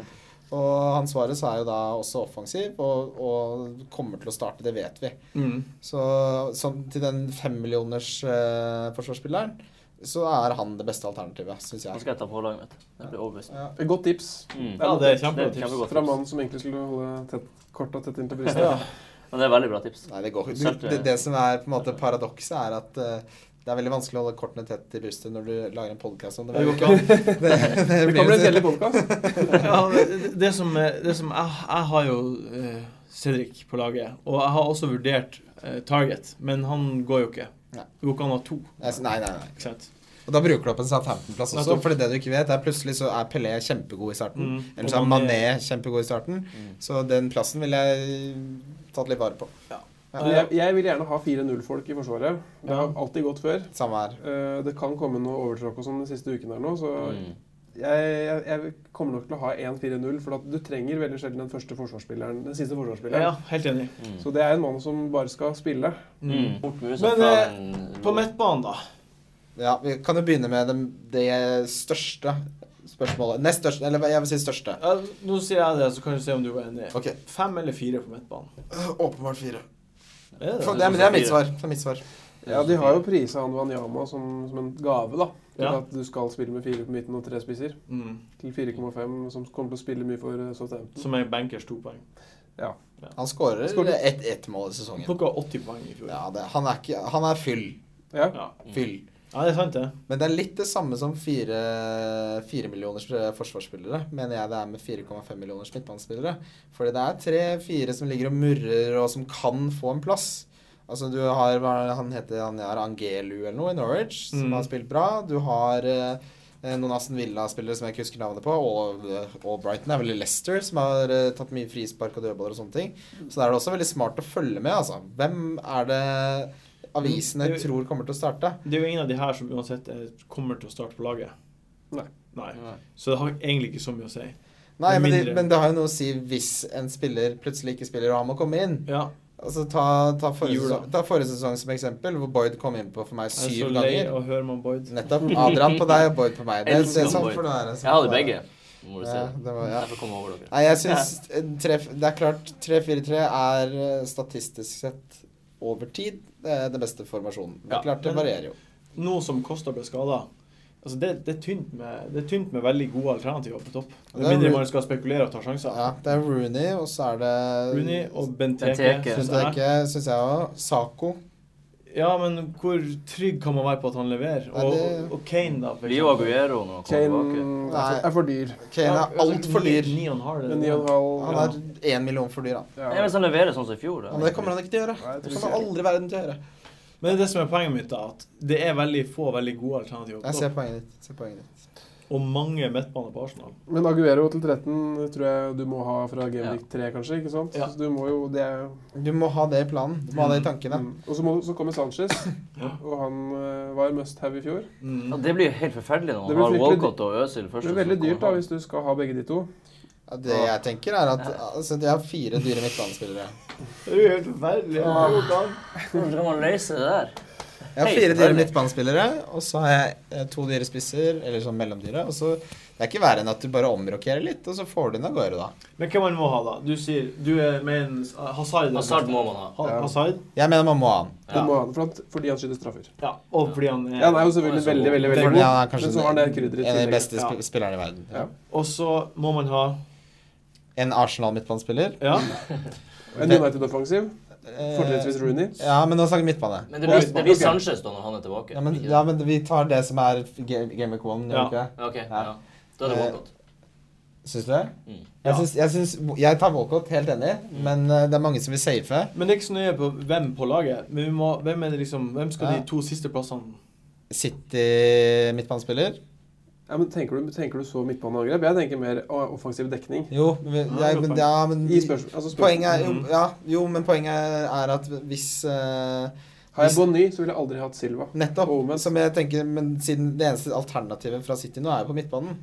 D: Og Hans Suarez er jo da også offensiv og, og kommer til å starte, det vet vi.
A: Mm.
D: Så, så til den femmillioners eh, forsvarsspilleren så er han det beste alternativet, syns
B: Nå
D: jeg.
B: skal jeg ta på laget mitt. Det blir overbevist.
D: Ja.
E: Et godt tips
B: Mm.
A: Ja, det er kjempegodt
B: Det er
A: tips.
B: kjempegodt
E: fra
B: tips.
E: mannen som egentlig skulle holde tett, korta tett inn til brystet.
D: Ja.
B: Men det er veldig bra tips.
D: Nei, det går ikke.
B: Selv-
D: Du, det, det som er på en måte paradokset, er at eh, det er veldig vanskelig å holde kortene tett til brystet når du lager en podkast om det.
A: Det går
D: Det,
A: ikke an.
D: [laughs] det, det
E: Det
D: blir
E: kan bli en
D: jo
E: kjedelig podkast.
A: ja, det, det som, det som jeg, jeg har jo eh, Cedric på laget, og jeg har også vurdert eh, Target, men han går jo ikke.
D: Nei.
A: Det går ikke an å ha to.
D: Altså, Nei, nei, nei.
A: Ikke sant?
D: Og da bruker du opp en Southampton-plass også.
A: Nettopp.
D: For det du ikke vet, er plutselig så er Pelé kjempegod i starten.
A: Mm.
D: Eller så er
A: Og Mané-
D: Mané kjempegod i starten.
B: Mm.
D: Så den plassen ville jeg tatt litt vare på.
E: Men Jeg, jeg vil gjerne ha 4-0-folk i Forsvaret. Det har
A: Ja.
E: alltid gått før.
D: Samme her.
E: Eh, Det kan komme noe overtråkk og sånn de siste ukene her nå, så
B: Mm.
E: jeg, jeg, jeg kommer nok til å ha 1-4-0, for at du trenger veldig sjelden den første forsvarsspilleren, den
A: Ja,
E: siste forsvarsspilleren.
A: helt enig.
B: Mm.
E: Så det er en mann som bare skal spille.
A: Mm.
B: Mm. Fort mulig
A: Men,
B: som fra
A: eh,
B: en
A: På midtbanen, da.
D: Ja, vi kan jo begynne med det, det største spørsmålet. Nest største, eller jeg vil si største.
A: Ja, nå sier jeg det, så kan du se om du er enig.
D: Ok.
A: Fem eller fire på midtbanen?
D: Åpenbart fire.
A: Er
D: Det,
A: det
B: Faen,
A: det?
D: er- men det er mitt svar. Det er mitt svar.
E: Ja, De har jo prisa han Wanyama som, som en gave, da. Til
A: Ja.
E: at du skal spille med fire på midten og tre spisser.
A: Mm.
E: Til 4,5, som kommer til å spille mye for eh, Southampton.
A: Som er bankers to poeng.
D: Han skårer
E: Skårer.
D: ett ett mål
A: Han
D: i sesongen.
A: plukka 80 poeng i fjor. Ja.
D: Ja, det, han, er ikke, han er fyll.
E: Ja.
A: ja,
D: Fyll.
A: det er sant, det.
D: Men det er litt det samme som fire, fire millioners eh, forsvarsspillere, mener jeg det er med 4,5 millioners midtbanespillere. Fordi det er tre-fire som ligger og murrer, og som kan få en plass. Altså, du har hva er det han heter han er Angelu eller noe i Norwich, som
A: Mm.
D: har spilt bra. Du har eh, eh, noen Aston Villa-spillere som jeg ikke husker navnet på, og, eh, og Brighton er vel i Leicester, som har eh, tatt mye frispark og dødballer og sånne ting. Så da er det også veldig smart å følge med, altså. Hvem er det avisene
A: Mm, det-
D: tror kommer til å starte?
A: Det er jo ingen av de her som uansett eh, kommer til å starte på laget.
E: Nei.
A: Nei.
B: Nei.
A: Så det har egentlig ikke så mye å si.
D: Nei, men det,
A: mindre.
D: men det har jo noe å si hvis en spiller plutselig ikke spiller og han må komme inn.
A: Ja,
D: Altså, ta, ta, forrige,
A: Jula.
D: sesong, ta forrige sesong som eksempel, hvor Boyd kom inn på for meg
A: jeg er så
D: syv
A: lei
D: ganger.
A: av å høre man Boyd.
D: Nettopp. Adrian på deg og Boyd på meg. Det, det
B: Elsker
D: er sånn
B: Boyd.
D: for det der, sånn
B: Jeg hadde
D: for det
B: begge,
D: der.
B: må du si.
D: Ja, det var, ja.
B: Jeg får komme over dere.
D: Nei, jeg syns tre, Det er klart 3-4-3 er eh, statistisk sett over tid eh, den beste formasjonen. Det
A: Ja,
D: er klart det
A: men-
D: varierer jo.
A: Nå som Costa ble skada altså det, det, er tynt med, det er tynt med veldig gode alternativer på topp.
D: Det
A: Med
D: er
A: mindre
D: Ru-
A: man skal spekulere og ta sjanser.
D: Ja, det er Rooney, og så er det
A: Rooney og Benteke.
B: Benteke.
A: synes
D: Syns jeg
A: jeg.
D: ikke, syns jeg òg. Saco.
A: Ja, men hvor trygg kan man være på at han leverer? Og,
D: Nei, det-
A: og Kane, da. for
B: Leo
A: eksempel.
B: Aguero når han kommer
E: Kane
B: tilbake.
E: er
D: Nei.
E: for- er for dyr.
D: Kane er altfor dyr.
A: altså, Ni og en halv.
E: Men 9,5
D: Han
E: ja.
D: er én million for dyr, han.
E: Ja.
B: Nei, Hvis han leverer sånn som i fjor, da.
D: Men det kommer han ikke til å gjøre.
E: Nei, jeg tror
D: Det
E: ikke
D: kommer
E: det.
D: aldri verden til å gjøre.
A: Men det er det som er poenget mitt, da. At det er veldig få veldig gode alternativer.
D: Jeg
A: på
D: ser
A: topp,
D: poenget ditt. Ser poenget ditt.
A: Og mange midtbaner på Arsenal.
E: Men Aguero til 13 tror jeg du må ha fra Gameweek 3, kanskje? ikke sant?
A: Ja.
E: Så du må jo, det er,
D: Du må ha det i planen. Du må ha det i tankene.
E: mm. Og så, må, så kommer Sanchez,
A: Ja.
E: og han eh, var must have i fjor.
A: Mm.
B: Ja, det blir jo helt forferdelig når
E: Det
B: man
E: blir
B: har
E: fryktelig
B: Walcott og Øzil
E: Det
B: først.
E: blir
B: og så
E: veldig
B: kommer
E: dyrt da,
B: han.
E: hvis du skal ha begge de to.
D: Ja, Det jeg tenker, er at altså, de har fire dyre midtbanespillere.
A: Det er jo helt forferdelig.
D: Ah.
B: Hvordan skal man løse det der?
D: Jeg har fire dyre midtbanespillere, og så har jeg eh, to dyre spisser, eller sånn mellomdyre. Og så Det er ikke verre enn at du bare omrokerer litt, og så får du inn av gårde, da.
A: Men hvem man må ha, da? Du sier du er med en ah, Hazard.
B: Hazard må man ha.
A: Ha,
E: Ja.
A: Hazard?
D: Jeg mener man må ha han.
E: Du må ha det for han- fordi han skyter straffer.
A: Ja. Og fordi han er
E: Ja, altså- han er jo selvfølgelig
B: Han er så
E: veldig,
B: god.
E: veldig, veldig
D: Fordi
E: god,
D: han er
E: men
D: kanskje
E: så har han det krydderet
D: en
E: i
D: av de
E: tillegg.
D: beste sp
A: Ja.
D: spillerne i verden.
E: Ja.
A: Og så må man ha
D: En Arsenal-midtbanespiller.
A: Ja.
E: En United-offensiv, fortrinnsvis
D: Eh,
E: Rooney.
D: ja, men nå snakker vi midtbane.
B: Men det blir,
A: Oi.
B: det blir Sanchez da når han er tilbake.
D: Ja men,
B: ikke det?
D: ja, men vi tar det som er Game of One, gjør vi
A: Ja.
D: ikke det?
B: Ok,
D: Ja.
B: ja. Da er det
D: Eh,
B: Walcott.
D: Syns du det?
B: Mm.
A: Ja.
D: Jeg, syns, jeg, syns, jeg tar Walcott, helt enig, men eh, det er mange som vil safe.
A: Men det er ikke så nøye på hvem på laget. Men vi må, hvem er det liksom Hvem skal
D: Ja.
A: de to siste plassene
D: City midtbanespiller.
E: Ja, men tenker du, tenker du så midtbaneangrep? Jeg tenker mer å, offensiv dekning.
D: Jo, men,
A: Ja,
D: jeg,
A: godt
D: men,
A: poeng.
D: ja, men
E: I spørsmål, altså spørsmål.
D: Poenget er jo,
A: Mm.
D: ja, jo, men poenget er, er at hvis eh,
E: Har jeg Bonny, så ville jeg aldri hatt Silva.
D: Nettopp.
A: Oh,
E: Og omvendt.
D: Som jeg tenker, men siden det eneste alternativet fra City nå er jo på midtbanen.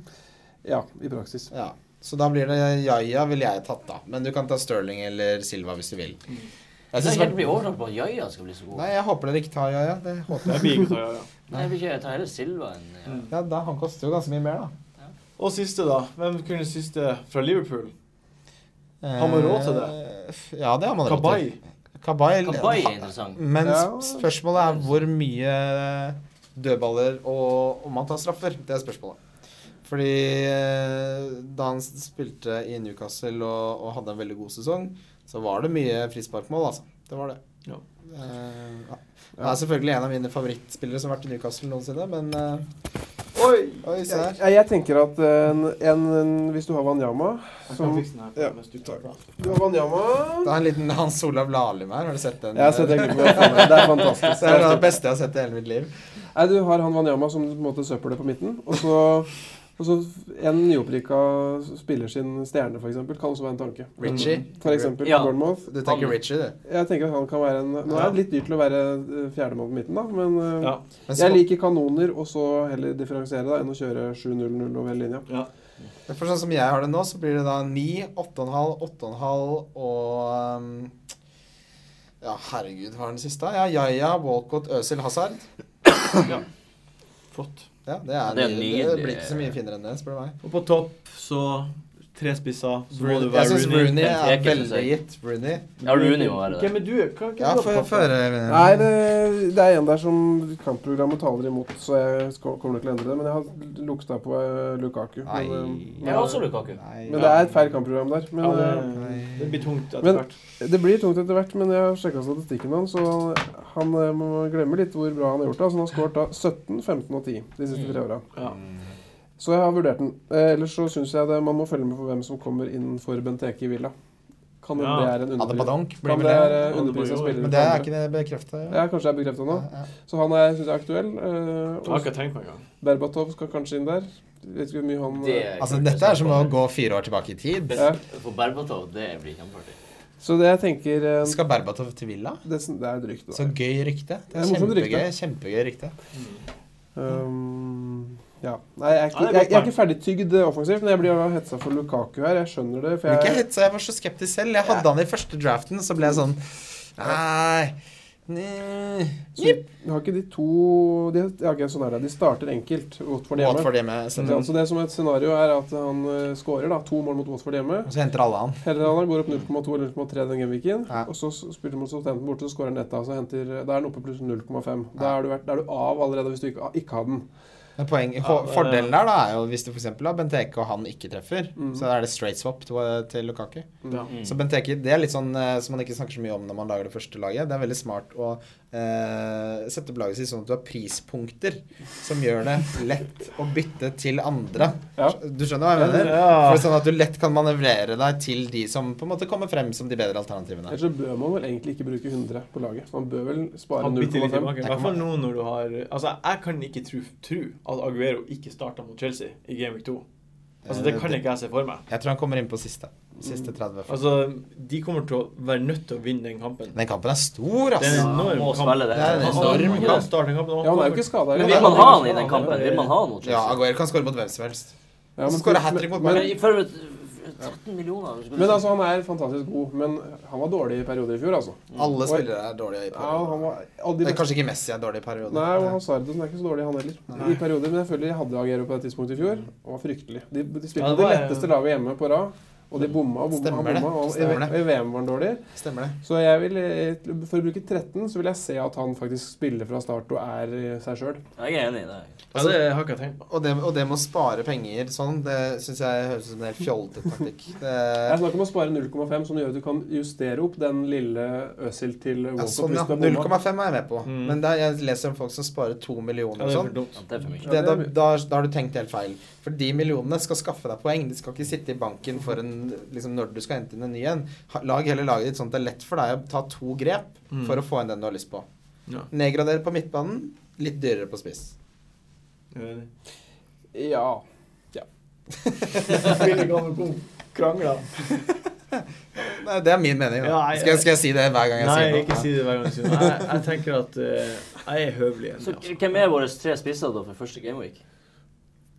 E: Ja, i praksis.
D: Ja. Så da blir det Jaja, ville jeg tatt, da. Men du kan ta Sterling eller Silva hvis du vil.
B: Jeg
D: Jeg synes,
B: helt blir overrasket på at Jaja skal bli så god.
D: nei, jeg håper dere ikke tar Jaja. Det håper
A: Det
D: jeg.
A: blir ikke til å gjøre.
B: Nei, jeg vil ikke ta heller Silva enn ja.
A: Mm.
D: Ja, da, han koster jo ganske mye mer, da.
A: Og siste, da. Hvem kunne siste fra Liverpool? Har man råd til det?
D: Eh, Ja, det har man råd til.
A: Kabay.
D: Kabay,
B: Kabay er interessant.
D: Men
E: Ja.
D: sp- spørsmålet er hvor mye dødballer og om han tar straffer. Det er spørsmålet. Fordi eh, da han s- spilte i Newcastle og, og hadde en veldig god sesong, så var det mye frisparkmål, altså. Det var det.
A: Ja.
D: Eh, ja. Han er selvfølgelig en av mine favorittspillere som har vært i Newcastle noensinne, men eh, Oi! Oi, se her.
E: Jeg, jeg tenker at eh, en, en, en, hvis du har Wanyama som Ja, Du har
D: Det
E: Wanyama
D: er en liten Hans Olav Lahlum her. Har du sett den? eh?
E: Jeg har sett det
A: [laughs]
E: klippet.
D: [laughs]
E: Det er fantastisk.
D: Det er det beste jeg har sett i hele mitt liv.
E: Nei, du har han Wanyama som på en måte søppelet på midten. Og så, og så en nyopprikka spiller sin stjerne, f.eks. Kan også være en tanke.
D: Richie?
E: For eksempel
B: Ja.
E: Bournemouth.
D: Mm. Du tenker
B: Han-
D: Richie, du.
E: Jeg tenker at han kan være en Nå er det litt dyrt til å være eh, fjerdemann på midten, da, men eh,
A: Ja.
D: Men
E: Jeg
D: så-
E: liker kanoner, og så heller differensiere da, enn å kjøre 7-0-0 over hele linja.
A: Ja.
D: For sånn som jeg har det nå, så blir det da 9, 8,5, 8,5 og um, Ja, herregud, hva er den siste? Ja, Yaya, Walcott, Øzil, Hazard.
A: Flott.
D: Ja, det er,
B: det er nydelig.
D: det blir ikke så mye finere enn det, spør du meg.
A: Og på topp så tre spisser. Så må det
D: jeg
A: være
D: syns
A: Rooney.
D: Rooney er
B: Jeg tenker ikke
D: veldig gitt. Rooney.
B: Ja, Rooney må være det.
A: Hvem er du? Hva, hva
D: Ja,
A: er du
D: få
A: på
D: få
A: topp?
D: høre.
E: Nei, det, det er en der som kampprogrammet taler imot, så jeg skal- kommer nok til å endre det. Men jeg har lukta på eh, Lukaku.
D: Nei.
E: Men, eh,
B: Jeg har også Lukaku.
D: Nei,
E: men det er et feil kampprogram der. Men
A: Ja,
E: eh,
A: det, det blir tungt etter
E: Men-
A: hvert.
E: Det blir tungt etter hvert, men jeg har sjekka statistikken hans, og han eh, må glemme litt hvor bra han har gjort det. Altså, han har skåret da 17, 15 og 10 de siste tre åra.
A: Ja.
E: Så jeg har vurdert den. Eh, ellers så syns jeg det, man må følge med på hvem som kommer inn for Benteke i Villa. Kan hende
A: Ja.
E: det er en underpris.
D: Adepadonk blir
E: Kan
D: vel
E: det
D: det.
E: være
A: Adebayor.
E: underpris av spillere?
D: Men det er ikke det bekrefta.
E: Ja, kanskje jeg bekrefter nå.
D: Ja, ja.
E: Så han er, syns jeg er aktuell. eh,
A: Jeg har
E: og
A: ikke tenkt på engang.
E: Berbatov skal kanskje inn der. Vet ikke hvor mye han eh,
B: Det er
D: Altså,
B: kult
D: dette er
B: se
D: som
B: på.
D: å gå fire år tilbake i tid.
E: Ja.
B: For Berbatov, det blir kjempeartig.
E: Så det jeg tenker eh,
D: Skal Berbatov til Villa?
E: det, det er drygt, da.
D: Så gøy rykte. Det
E: Det er
D: er
E: morsomt rykte.
D: kjempegøy, kjempegøy rykte.
E: Um, ja. Nei, jeg er ikke,
A: Ja, det er
E: jeg,
A: godt
E: jeg er ikke ferdigtygd eh, offensivt, men jeg blir jo hetsa for Lukaku her. Jeg skjønner det. For
D: Men ikke
E: jeg,
D: helt, så jeg var så skeptisk selv. Jeg hadde han i første draften, så ble jeg sånn Nei nei, jipp.
E: jeg har ikke de to de, ja, ok, sånn er det. de starter enkelt. Watford hjemme.
D: Watford hjemme.
E: Ikke
D: stemmer.
E: sant? Så det som er et scenario, er at han eh, skårer da, to mål mot Watford hjemme.
D: Og så henter alle han.
E: Hellerland går opp 0,2 eller 0,3 den gameweeken.
D: Ja.
E: Og så s- spiller man Southampton borte, så skårer han ett. da, så henter- Da er han oppe pluss 0,5. Da er du, vært- da er du av allerede hvis du ikke, ikke har den.
D: Men poeng,
A: Ja, eh, det-
D: fordelen der da er jo hvis du f.eks. har Benteke og han ikke treffer,
E: Mm.
D: så er det straight swap til, til Lukaku.
A: Ja.
B: Mm.
D: Så Benteke, det er litt sånn eh, som man ikke snakker så mye om når man lager det første laget. Det er veldig smart å eh, sette opp laget sitt sånn at du har prispunkter som gjør det lett å bytte til andre.
E: Ja.
D: Du skjønner hva jeg mener?
A: Ja.
D: For sånn at du lett kan manøvrere deg til de som på en måte kommer frem som de bedre alternativene.
E: Ellers så bør man vel egentlig ikke bruke 100 på laget. Man bør vel spare
A: Han bitte litt
E: 0,5.
A: tilbake. I hvert fall nå når du har Altså, jeg kan ikke tro, tro at Aguero ikke starta mot Chelsea i Game Week 2. Altså,
D: Eh,
A: det kan ikke jeg se for meg.
D: Jeg tror han kommer inn på siste. Siste 30.
A: Altså, de kommer til å være nødt til å vinne den kampen.
D: Den kampen er stor,
A: Det er
D: ass.
A: en enorm
B: må
A: kamp.
B: spille det.
D: Det er en
A: Han-
D: enorm
A: han-
D: kamp.
A: han starter den kampen, og han
E: Ja, han er jo
A: kommer-
E: ikke skada.
A: Men
B: Men
A: vi
B: vil man ha han i den kampen? Vil man ha han mot
D: Ja,
B: Chelsea?
D: Aguero kan score mot hvem som helst.
E: Ja,
D: Så skårer hat-trick mot
E: men,
D: Bayern.
B: Men i- for 13 millioner skulle
E: men
B: du-
E: altså, han er fantastisk god, men han var dårlig i perioder i fjor, altså.
D: Alle spillere er dårlige i
E: Ja, han
D: perioder.
E: var og de
D: Det er
E: beste.
D: kanskje ikke Messi er dårlig i perioder.
E: Nei, og Hazard og sånn er ikke så dårlig, han heller. I perioder, Men jeg føler jeg hadde Agero på det tidspunktet i fjor, og var fryktelig. De, de spilte
A: Ja, det
E: det,
A: var-
E: letteste laget hjemme på rad, og de bomma og bomma.
D: Stemmer det.
E: og bomma og, i-
D: Stemmer det.
E: og i VM var han dårlig.
D: Stemmer det.
E: Så jeg vil, eh, for å bruke 13, så vil jeg se at han faktisk spiller fra start og er eh, seg sjøl.
B: Jeg er enig i det.
A: Ja, det har ikke jeg tenkt på.
D: Altså, Og det, og det med å spare penger sånn, det syns jeg høres ut som en helt fjollete taktikk. Det,
E: Jeg snakker om å spare 0,5, som gjør sånn at du kan justere opp den lille Øsil til
D: ja,
E: Walcott.
D: sånn, ja.
E: hvis du
D: 0,5
E: har bomma.
D: er jeg med på.
A: Mm.
D: Men det er- jeg leser om folk som sparer to
A: Ja,
D: millioner
A: det
D: og
A: er for
D: sånn. [laughs]
A: dumt.
B: Ja, Det er for mye.
D: Det, da, da, da har du tenkt helt feil. For de millionene skal skaffe deg poeng. De skal ikke sitte i banken for en, liksom, når du skal hente inn en ny en. Ha- Lag heller laget ditt sånn at det er lett for deg å ta to grep
A: Mm.
D: for å få inn den du har lyst på.
A: Ja.
D: Nedgradere på midtbanen, litt dyrere på spiss.
E: Ja.
A: Krangler.
D: Nei, det er min mening. Da.
A: Ja, jeg-
D: skal, jeg, skal jeg si det hver gang jeg
A: Nei,
D: sier noe?
A: ikke si det hver gang du sier det. Jeg, jeg tenker at eh, jeg er høvelig.
B: Så
A: ennå. altså.
B: hvem er våre tre spisser da for første gameweek?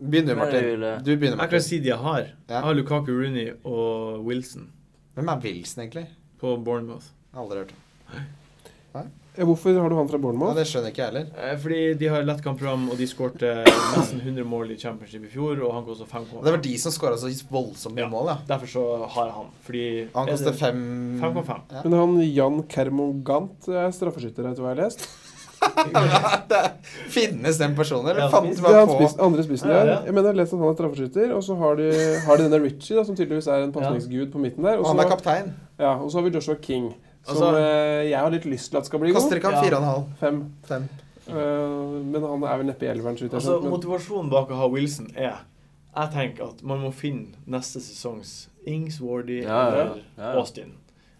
D: Begynn du,
B: Nei, jeg
D: Martin.
B: vil-
D: Du begynner,
A: Jeg kan
D: Martin.
A: si de jeg har.
D: Ja.
A: Jeg har Lukaku Rooney og Wilson
D: Hvem er Wilson, egentlig?
A: på Bournemouth.
D: Aldri hørt om.
E: Ja, Hvorfor har du han fra
D: Ja,
E: Bournemouth?
D: det skjønner ikke jeg heller.
A: Eh, Fordi de har lett kampprogram, og de skårte nesten 100 mål i Championship i fjor, og han kosta
D: Og
A: 5,5.
D: det var de som skåra så voldsomt
A: Ja.
D: mye mål, ja.
A: Derfor så har jeg han. Fordi
D: Han
A: er
D: koster
A: det-
D: fem
A: 5,5.
D: Ja. [laughs]
E: Men han Jan Kermogant er straffeskytter, etter hva jeg har lest.
D: Finnes den personen,
A: Ja,
D: eller fant du
A: spist.
E: Det er
D: bare
E: han
D: på?
E: spist, andre spissen
A: Ja,
E: der.
A: ja.
E: Jeg mener jeg har lest at han er straffeskytter. Og så har de, har de denne Ritchie, da, som tydeligvis er en pasningsgud på midten der.
D: Og
E: Og
D: han er
E: så,
D: kaptein.
E: ja, og så har vi Joshua King, som
A: Altså-
E: eh, jeg har litt lyst til at skal bli
D: Koster
E: god.
D: ikke han
A: Ja.
D: fire og en halv?
E: Fem.
D: Fem.
E: Eh, men han er vel neppe i elveren, så vidt jeg
A: Altså,
E: har skjønt.
A: motivasjonen bak å ha Wilson er Jeg tenker at man må finne neste sesongs Ings, Wardy
B: Ja,
E: ja,
A: eller
B: ja, ja.
A: Austin.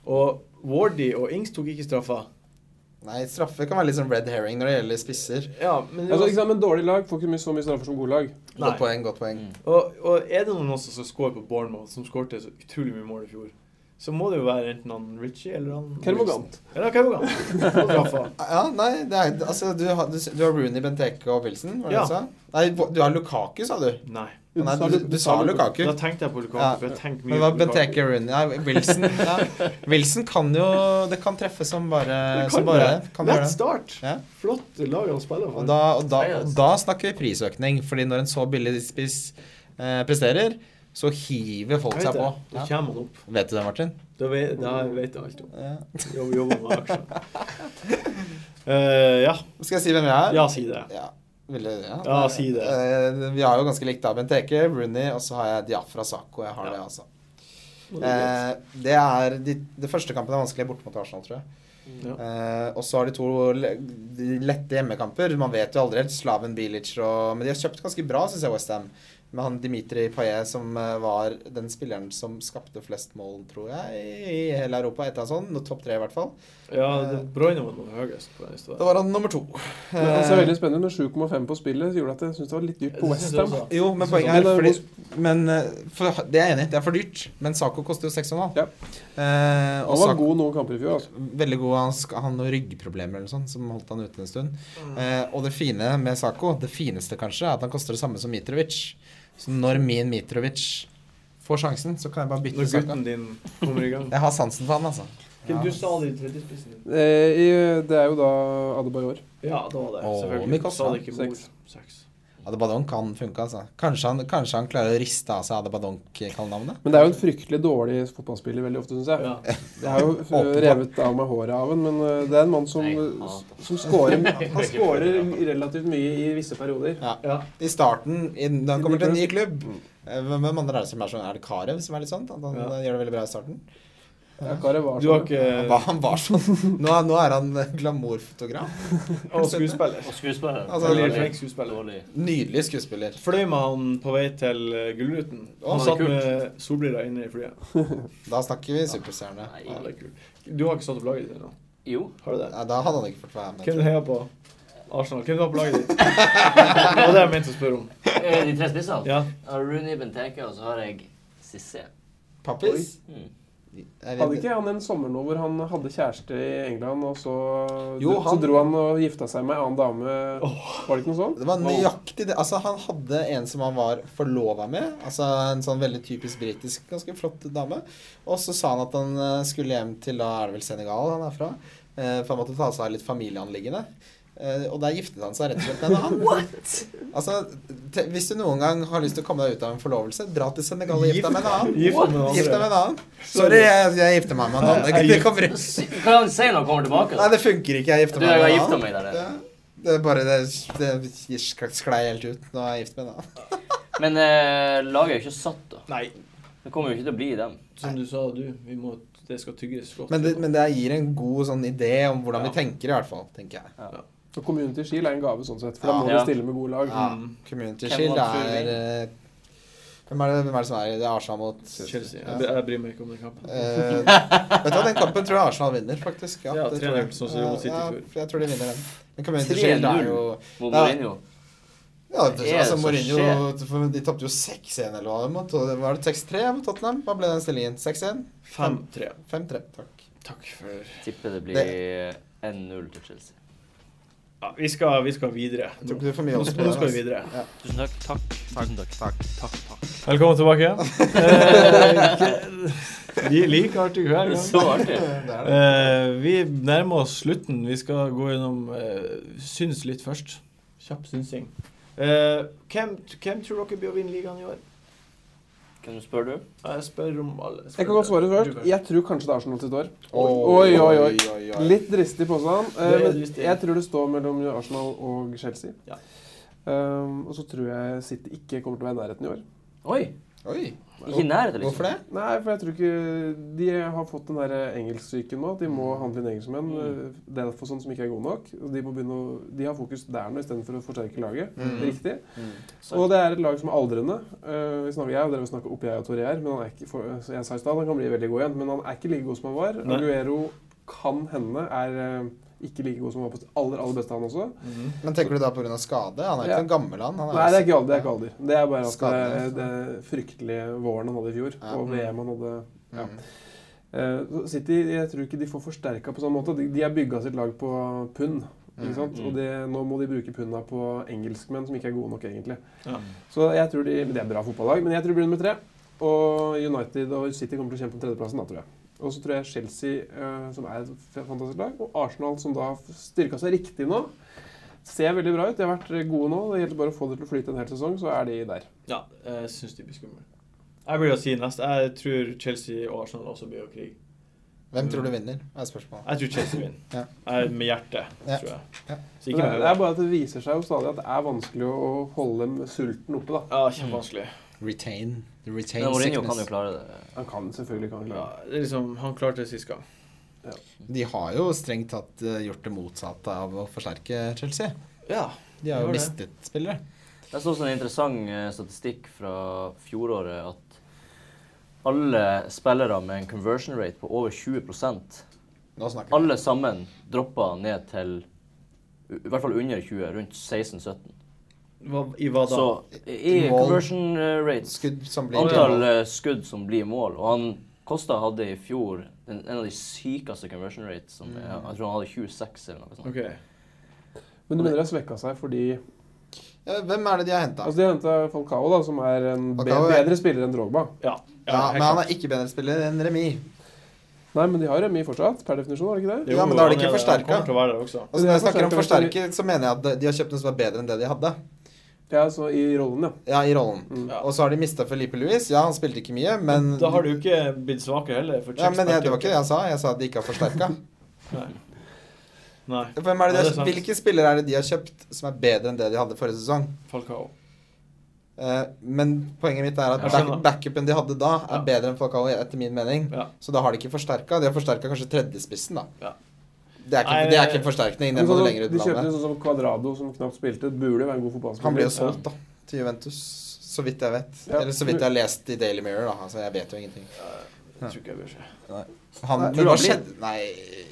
A: Og Wardy og Ings tok ikke straffa.
D: Nei, straffe kan være litt sånn red herring når det gjelder spisser.
A: Ja, men
E: Men,
A: det
E: altså,
A: var-
E: ikke sant, men dårlig lag får ikke mye, så mye straffer som gode lag.
A: Nei.
D: Godt poeng, godt poeng.
B: Mm.
A: Og, og er det noen også som scorer på Bournemouth, som skårte så utrolig mye mål i fjor, så må det jo være enten han Ritchie eller han
E: Kermogan.
A: Wilson. Eller Kermogan. På straffa.
D: Ja, nei, det er, altså, du, har, du, du har Rooney, Benteke og Wilson, var det
A: Ja.
D: du sa? Nei, du har Lukaku, sa du.
A: Nei.
D: Nei, du, du, sa Lukaku.
A: Da tenkte jeg på Lukaku.
D: Ja.
A: for jeg tenkte mye
D: Men det var
A: på Lukaku.
D: Benteke og Rooney Nei, Wilson. Ja. Wilson kan jo Det kan treffe som bare
A: Det kan
D: eh, som bare
A: det.
D: kan gjøre
A: Let's
D: det.
A: start.
D: Ja.
A: Flott lag han spiller
D: Og
A: for.
D: da, og, da,
A: altså.
D: og da snakker vi prisøkning, fordi når en så billig spiss eh, presterer, så hiver folk
A: Jeg
D: seg
A: vet
D: på.
A: det. Da
D: Ja.
A: kommer han opp.
D: Vet du det, Martin?
A: Da vet, da vet jeg alt om
D: Ja.
A: Jobb- Jobber med aksjer. Eh, ja.
D: Skal jeg si hvem jeg er?
A: ja, si det.
D: Ja, ville, ja.
A: Ja, si det.
D: Eh, vi har jo ganske likt da Benteke, Rooney, og så har jeg Diafra Sako. Jeg har
A: Ja.
D: det, altså.
A: Må du
D: Eh, det er de, det første kampen er vanskelig borte mot Arsenal, tror jeg.
A: Ja.
D: Eh, og så har de to le de lette hjemmekamper. Man vet jo aldri helt. Slaven Bilic og Men de har kjøpt ganske bra, syns jeg, Westham. Med han Dimitri Payet, som eh, var den spilleren som skapte flest mål, tror jeg, i hele Europa. Et eller annet sånt. Topp tre, i hvert fall.
A: ja, det- Bruyne var den høyest på den lista.
D: Da var han nummer to.
E: Men Han ser veldig spennende ut. 7,5 på spillet gjorde at jeg syntes det var litt dyrt på
A: Det synes jeg
E: Westham.
A: også.
D: Jo,
A: Jeg
D: men
A: synes
D: poenget er
E: også-
D: fordi, men, eh, for, Det er jeg enig i, det er for dyrt. Men Sako koster jo 6,5.
E: Ja.
D: Eh, og
E: Han var
D: Sako-
E: god noen kamper i fjor. altså.
D: Veldig god. Han ska- han hadde noen ryggproblemer eller noe sånt, som holdt han ute en stund. Eh, og det fine med Sako, det fineste kanskje, er at han koster det samme som Mitrovic. Så når min Mitrovic får sjansen, så kan jeg bare bytte
A: Når
D: Sako.
A: gutten din kommer i gang.
D: Jeg har sansen for han, altså. Ja.
A: Du sa det i tredjespissen din.
E: Eh, i, det er jo da Adebayor.
A: Ja, da var det.
D: Åh,
A: Selvfølgelig.
D: Mikasa.
A: Sa det ikke mor.
E: Seks.
A: Seks.
D: Adebayon kan funke, altså. Kanskje han, kanskje han klarer å riste av seg Adebayon-kallenavnet?
E: Men det er jo en fryktelig dårlig fotballspiller veldig ofte, syns jeg.
A: Ja.
E: Jeg har
D: [laughs]
E: jo
D: Åpenbart.
E: f- revet av meg håret av den, men eh, det er en mann som,
B: Nei,
E: eh,
B: hater.
E: som scorer Han scorer relativt mye i visse perioder.
A: Ja.
D: I starten, i, når han
E: I
D: kommer
E: ny
D: til en ny klubb eh, Hvem hvem andre er det som er sånn? Er det Karev som er litt sånn? At han
A: Ja. Eh,
D: eh, gjør det veldig bra i starten?
E: Ja, Karev var
A: Du har
E: sånn.
D: Han var,
A: ikke
D: han var sånn. [laughs] Nå, er- nå er han eh, glamourfotograf.
A: Og skuespiller.
B: Og skuespilleren.
D: Altså,
A: Veldig
D: han er
A: flink skuespiller.
B: Dårlig.
D: Nydelig skuespiller.
A: Fløy med han på vei til eh, Gullruten.
B: Å,
A: Han
B: det er
A: satt
B: kult.
A: med solbriller inne i flyet.
D: Da snakker vi superstjerne.
B: Nei.
A: Ja, det er kult. Du har ikke satt opp laget ditt ennå?
B: Jo.
A: Har du det?
D: Ja, da hadde han ikke fått være med.
A: Hvem
D: tror
A: du
D: jeg.
A: heier på? Arsenal. Hvem du har på laget
D: [laughs]
A: ditt? Det var det jeg mente å spørre om.
B: Eh, De tre spissene?
A: Ja.
B: Jeg har Rooney, Benteke, og så har jeg Sissé.
D: Pappis?
B: Mm.
D: Er
E: Hadde
D: det-
E: ikke han en sommer nå hvor han hadde kjæreste i England, og så,
D: Jo,
E: så
D: han-
E: dro han og gifta seg med en annen dame? Var det ikke noe sånt?
D: Det var
E: Wow.
D: nøyaktig det. Altså, han hadde en som han var forlova med. Altså En sånn veldig typisk britisk, ganske flott dame. Og så sa han at han eh, skulle hjem til da er det vel Senegal han er fra. eh, For han måtte ta seg av litt familieanliggende. Eh, Og der giftet han seg rett og slett med en
E: [laughs]
D: annen. Altså, te, hvis du noen gang har lyst til å komme deg ut av en forlovelse, dra til Senegal og gift deg med en annen.
A: Gift deg med en
D: Gift deg med
A: andre.
D: en annen. Sorry, jeg, jeg gifter meg med en annen. Det, det kommer ikke
B: Kan han si når han kommer tilbake?
D: Nei,
B: da?
D: det funker ikke. Jeg gifter
B: Du,
D: meg
B: jeg har
D: med en
B: gifta
D: annen.
B: meg der.
D: Ja, det er bare det, det sklei helt ut. Nå er jeg gift med en annen.
B: Men eh, laget er jo ikke satt, da.
A: Nei,
B: Det kommer jo ikke til å bli dem.
A: som du sa, du. Vi må, det skal tygges godt.
D: Men det, men det gir en god sånn idé om hvordan
B: Ja.
D: vi tenker, i hvert fall. tenker jeg.
E: Så Community Shield er en gave sånn sett, for
D: Ja.
E: da må
B: Ja.
E: du stille med gode lag.
D: Ja,
A: Mm.
D: Community
B: Hvem
D: Shield
B: vant for
D: er eh, hvem er, det, hvem er det som er i det? Det er Arsenal mot
A: Chelsea.
D: Ja.
A: Jeg, jeg bryr meg ikke om den kampen.
D: Eh, vet du hva, Den kampen tror jeg Arsenal vinner, faktisk.
A: Ja,
D: det tror
A: 3-0,
D: jeg.
A: sånn som de mot City
D: ja,
A: i fjor.
D: jeg tror de vinner den. Men Community Shield er jo
B: Mot
D: Ja.
B: Mourinho.
D: ja,
B: Hva er det
D: altså
B: som
D: Mourinho for De tapte jo 6-1 eller hva det mot. og det- Var det 6-3 mot Tottenham? Hva ble den stillingen? 6-1?
A: 5-3.
D: 5-3. Takk.
A: Takk for
B: Tipper det blir 1-0 til Chelsea.
A: ja, vi, skal, vi skal videre.
D: Jeg
A: Nå
D: tror ikke du får mye
A: Nå
D: å
A: skal nå skal vi videre.
B: Tusen takk. Takk. Tusen takk.
A: Velkommen tilbake. [laughs] Eh, vi er like artig hver gang.
B: Så artig.
A: Eh, vi nærmer oss slutten. Vi skal gå gjennom eh, syns litt først. Kjapp synsing. Eh, hvem, hvem tror dere blir å vinne ligaen i år?
B: Hvem spør du?
A: Jeg spør om alle.
E: Jeg kan godt svare først. Jeg tror kanskje det er Arsenal sitt år. Oi, oi, oi. Litt dristig påstand. eh,
A: Det er
E: men
A: dristig.
E: Jeg tror det står mellom Arsenal og Chelsea.
A: Ja.
E: Um, og så tror jeg City ikke kommer til å være i nærheten i år.
B: Oi!
D: Oi.
B: Ikke i nærheten, liksom.
D: Hvorfor det?
E: Nei, for jeg tror ikke De har fått den der engelsksyken nå. at De må handle inn engelskmenn.
B: Mm.
E: Det er for sånn som ikke er gode nok. og De, må begynne å, de har fokus der nå istedenfor å forsterke laget.
D: Mm.
E: Riktig.
A: Sant.
E: Og det er et lag som er aldrende. Eh, vi snakker, jeg og dere snakker oppi jeg og Torre her, men han er ikke, for, så jeg sa i stad, han kan bli veldig god igjen. Men han er ikke like god som han var.
A: Nei.
E: Aguero kan hende er eh, ikke like god som han var på sitt aller, aller beste, han også.
A: Mhm.
D: Men tenker du da pga. skade? Han er ikke
E: Ja.
D: en gammel han. han
E: Nei, det er ikke alder. Det er, ikke alder. Det er bare at det,
D: Skadelig.
E: det fryktelige våren han hadde i fjor,
D: Ja.
E: og VM han hadde ja.
D: Mm.
E: Eh, så City jeg tror ikke de får forsterka på samme måte. De, de har bygga sitt lag på pund. Ikke
D: Mm.
E: sant?
B: Mm.
E: Og det, nå må de bruke punda på engelskmenn som ikke er gode nok, egentlig.
A: Ja.
E: Så jeg tror de, Det er bra fotballag, men jeg tror de blir nummer tre. Og United og City kommer til å kjempe om tredjeplassen, da, tror jeg. Og så tror jeg Chelsea, eh, som er et f- fantastisk lag, og Arsenal, som da har styrka seg riktig nå, ser veldig bra ut. De har vært gode nå. Det gjelder bare å få det til å flyte en hel sesong, så er de der.
A: ja, jeg syns de blir skumle. Jeg blir å si neste. Jeg tror Chelsea og Arsenal også blir å krige.
D: Hvem tror du vinner? er spørsmålet.
A: Jeg tror Chelsea vinner.
D: Ja.
A: Jeg, med hjertet,
D: Ja.
A: tror jeg.
D: Ja.
A: Så ikke
E: Men Det
A: med
E: er, det er bare at det viser seg jo stadig at det er vanskelig å å holde dem sulten oppe, da.
A: Ja, kjempevanskelig.
D: Retain. The retain
B: Men Mourinho kan jo
D: sickness.
B: klare det.
E: Han kan selvfølgelig kan han
A: Ja,
E: klare det.
A: det er liksom, han klarte det sist gang.
D: De har jo strengt tatt eh, gjort det motsatte av å forsterke Chelsea.
A: Ja.
D: De har jo
A: Gjør det.
D: mistet spillere.
B: Jeg så også sånn en interessant eh, statistikk fra fjoråret at alle spillere med en conversion rate på over 20
D: Nå snakker vi.
B: alle sammen droppa ned til u- i hvert fall under 20, rundt 16-17.
A: Hva, I hva da?
B: Så i
D: Mål.
B: conversion eh, rates
D: Skudd som blir
B: Antall eh, skudd som blir mål. Og han Kosta hadde i fjor en, en av de sykeste conversion rates. Som, jeg, jeg tror han hadde 26 eller noe sånt.
A: OK.
E: Men du mener de har svekka seg fordi
D: Ja, Hvem er det de har henta?
E: Altså, de har henta Falcao, da, som er en be
D: Falcao er-
E: bedre spiller enn Drogba.
A: Ja.
D: Ja,
A: helt
D: men han
A: klart.
D: er ikke bedre spiller enn Remi.
E: Nei, men de har Remi fortsatt, per definisjon, har de ikke det?
A: Jo,
D: Ja, men da er det ikke
A: han
D: forsterket.
A: Han kommer til å være der også.
D: Altså, når jeg
E: Det er
D: snakker om
E: forsterket,
D: forsterke, så mener jeg at de har kjøpt noe som er bedre enn det de hadde.
E: Ja, så i rollen, ja.
D: Ja, i rollen.
E: Mm.
A: Ja.
D: Og så har de mista Felipe Louis. Ja, han spilte ikke mye, men
A: Da har du jo ikke blitt svakere heller. For
D: ja, men jeg, Det var ikke det
A: Chelsea-
D: jeg sa. Jeg sa at de ikke har forsterka.
A: [laughs] Nei.
D: Hvem er det
A: Ja, det
D: de
A: er
D: har,
A: sant.
D: hvilke spillere er det de har kjøpt som er bedre enn det de hadde forrige sesong?
A: Falcao.
D: Eh, men poenget mitt er at
A: Jeg
D: back,
A: skjønner.
D: backupen de hadde da, er
A: Ja.
D: bedre enn Falcao, etter min mening.
A: Ja.
D: Så da har de ikke forsterka. De har forsterka kanskje tredjespissen, da.
A: Ja.
D: Det, er ikke,
A: Nei,
D: det er ikke en forsterkning.
E: Men
D: Den må
E: så,
D: du lenger ut
E: de
D: i
E: kjøpte en
D: landet.
E: sånn som Quadrado, som knapt spilte. Burde jo være en god fotballspiller.
D: Han ble jo
A: Ja.
D: solgt, da, til Juventus. Så vidt jeg vet.
E: Ja.
D: Eller så vidt jeg har lest i Daily Mirror, da. Altså, jeg vet jo ingenting.
A: Jeg tror ikke jeg bryr seg.
D: Han,
E: Nei,
D: men
E: tror
D: hva
E: du han
D: skjedde Nei,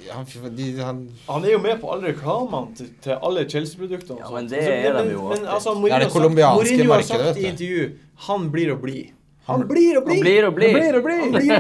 D: han, de, han
A: Han er jo med på alle reklamene til, til alle Chelsea-produktene. og
B: Ja,
A: sånt.
B: men det
A: Altså,
B: er de jo
A: Men, men
B: alltid.
A: altså,
D: Det er det
A: Mourinho,
D: colombianske
A: Mourinho har
D: markedet,
A: sagt
D: vet
A: i
D: du.
A: intervju han blir å bli. Han blir å bli!
B: Han blir og blir.
E: Han
A: Han
E: blir og blir!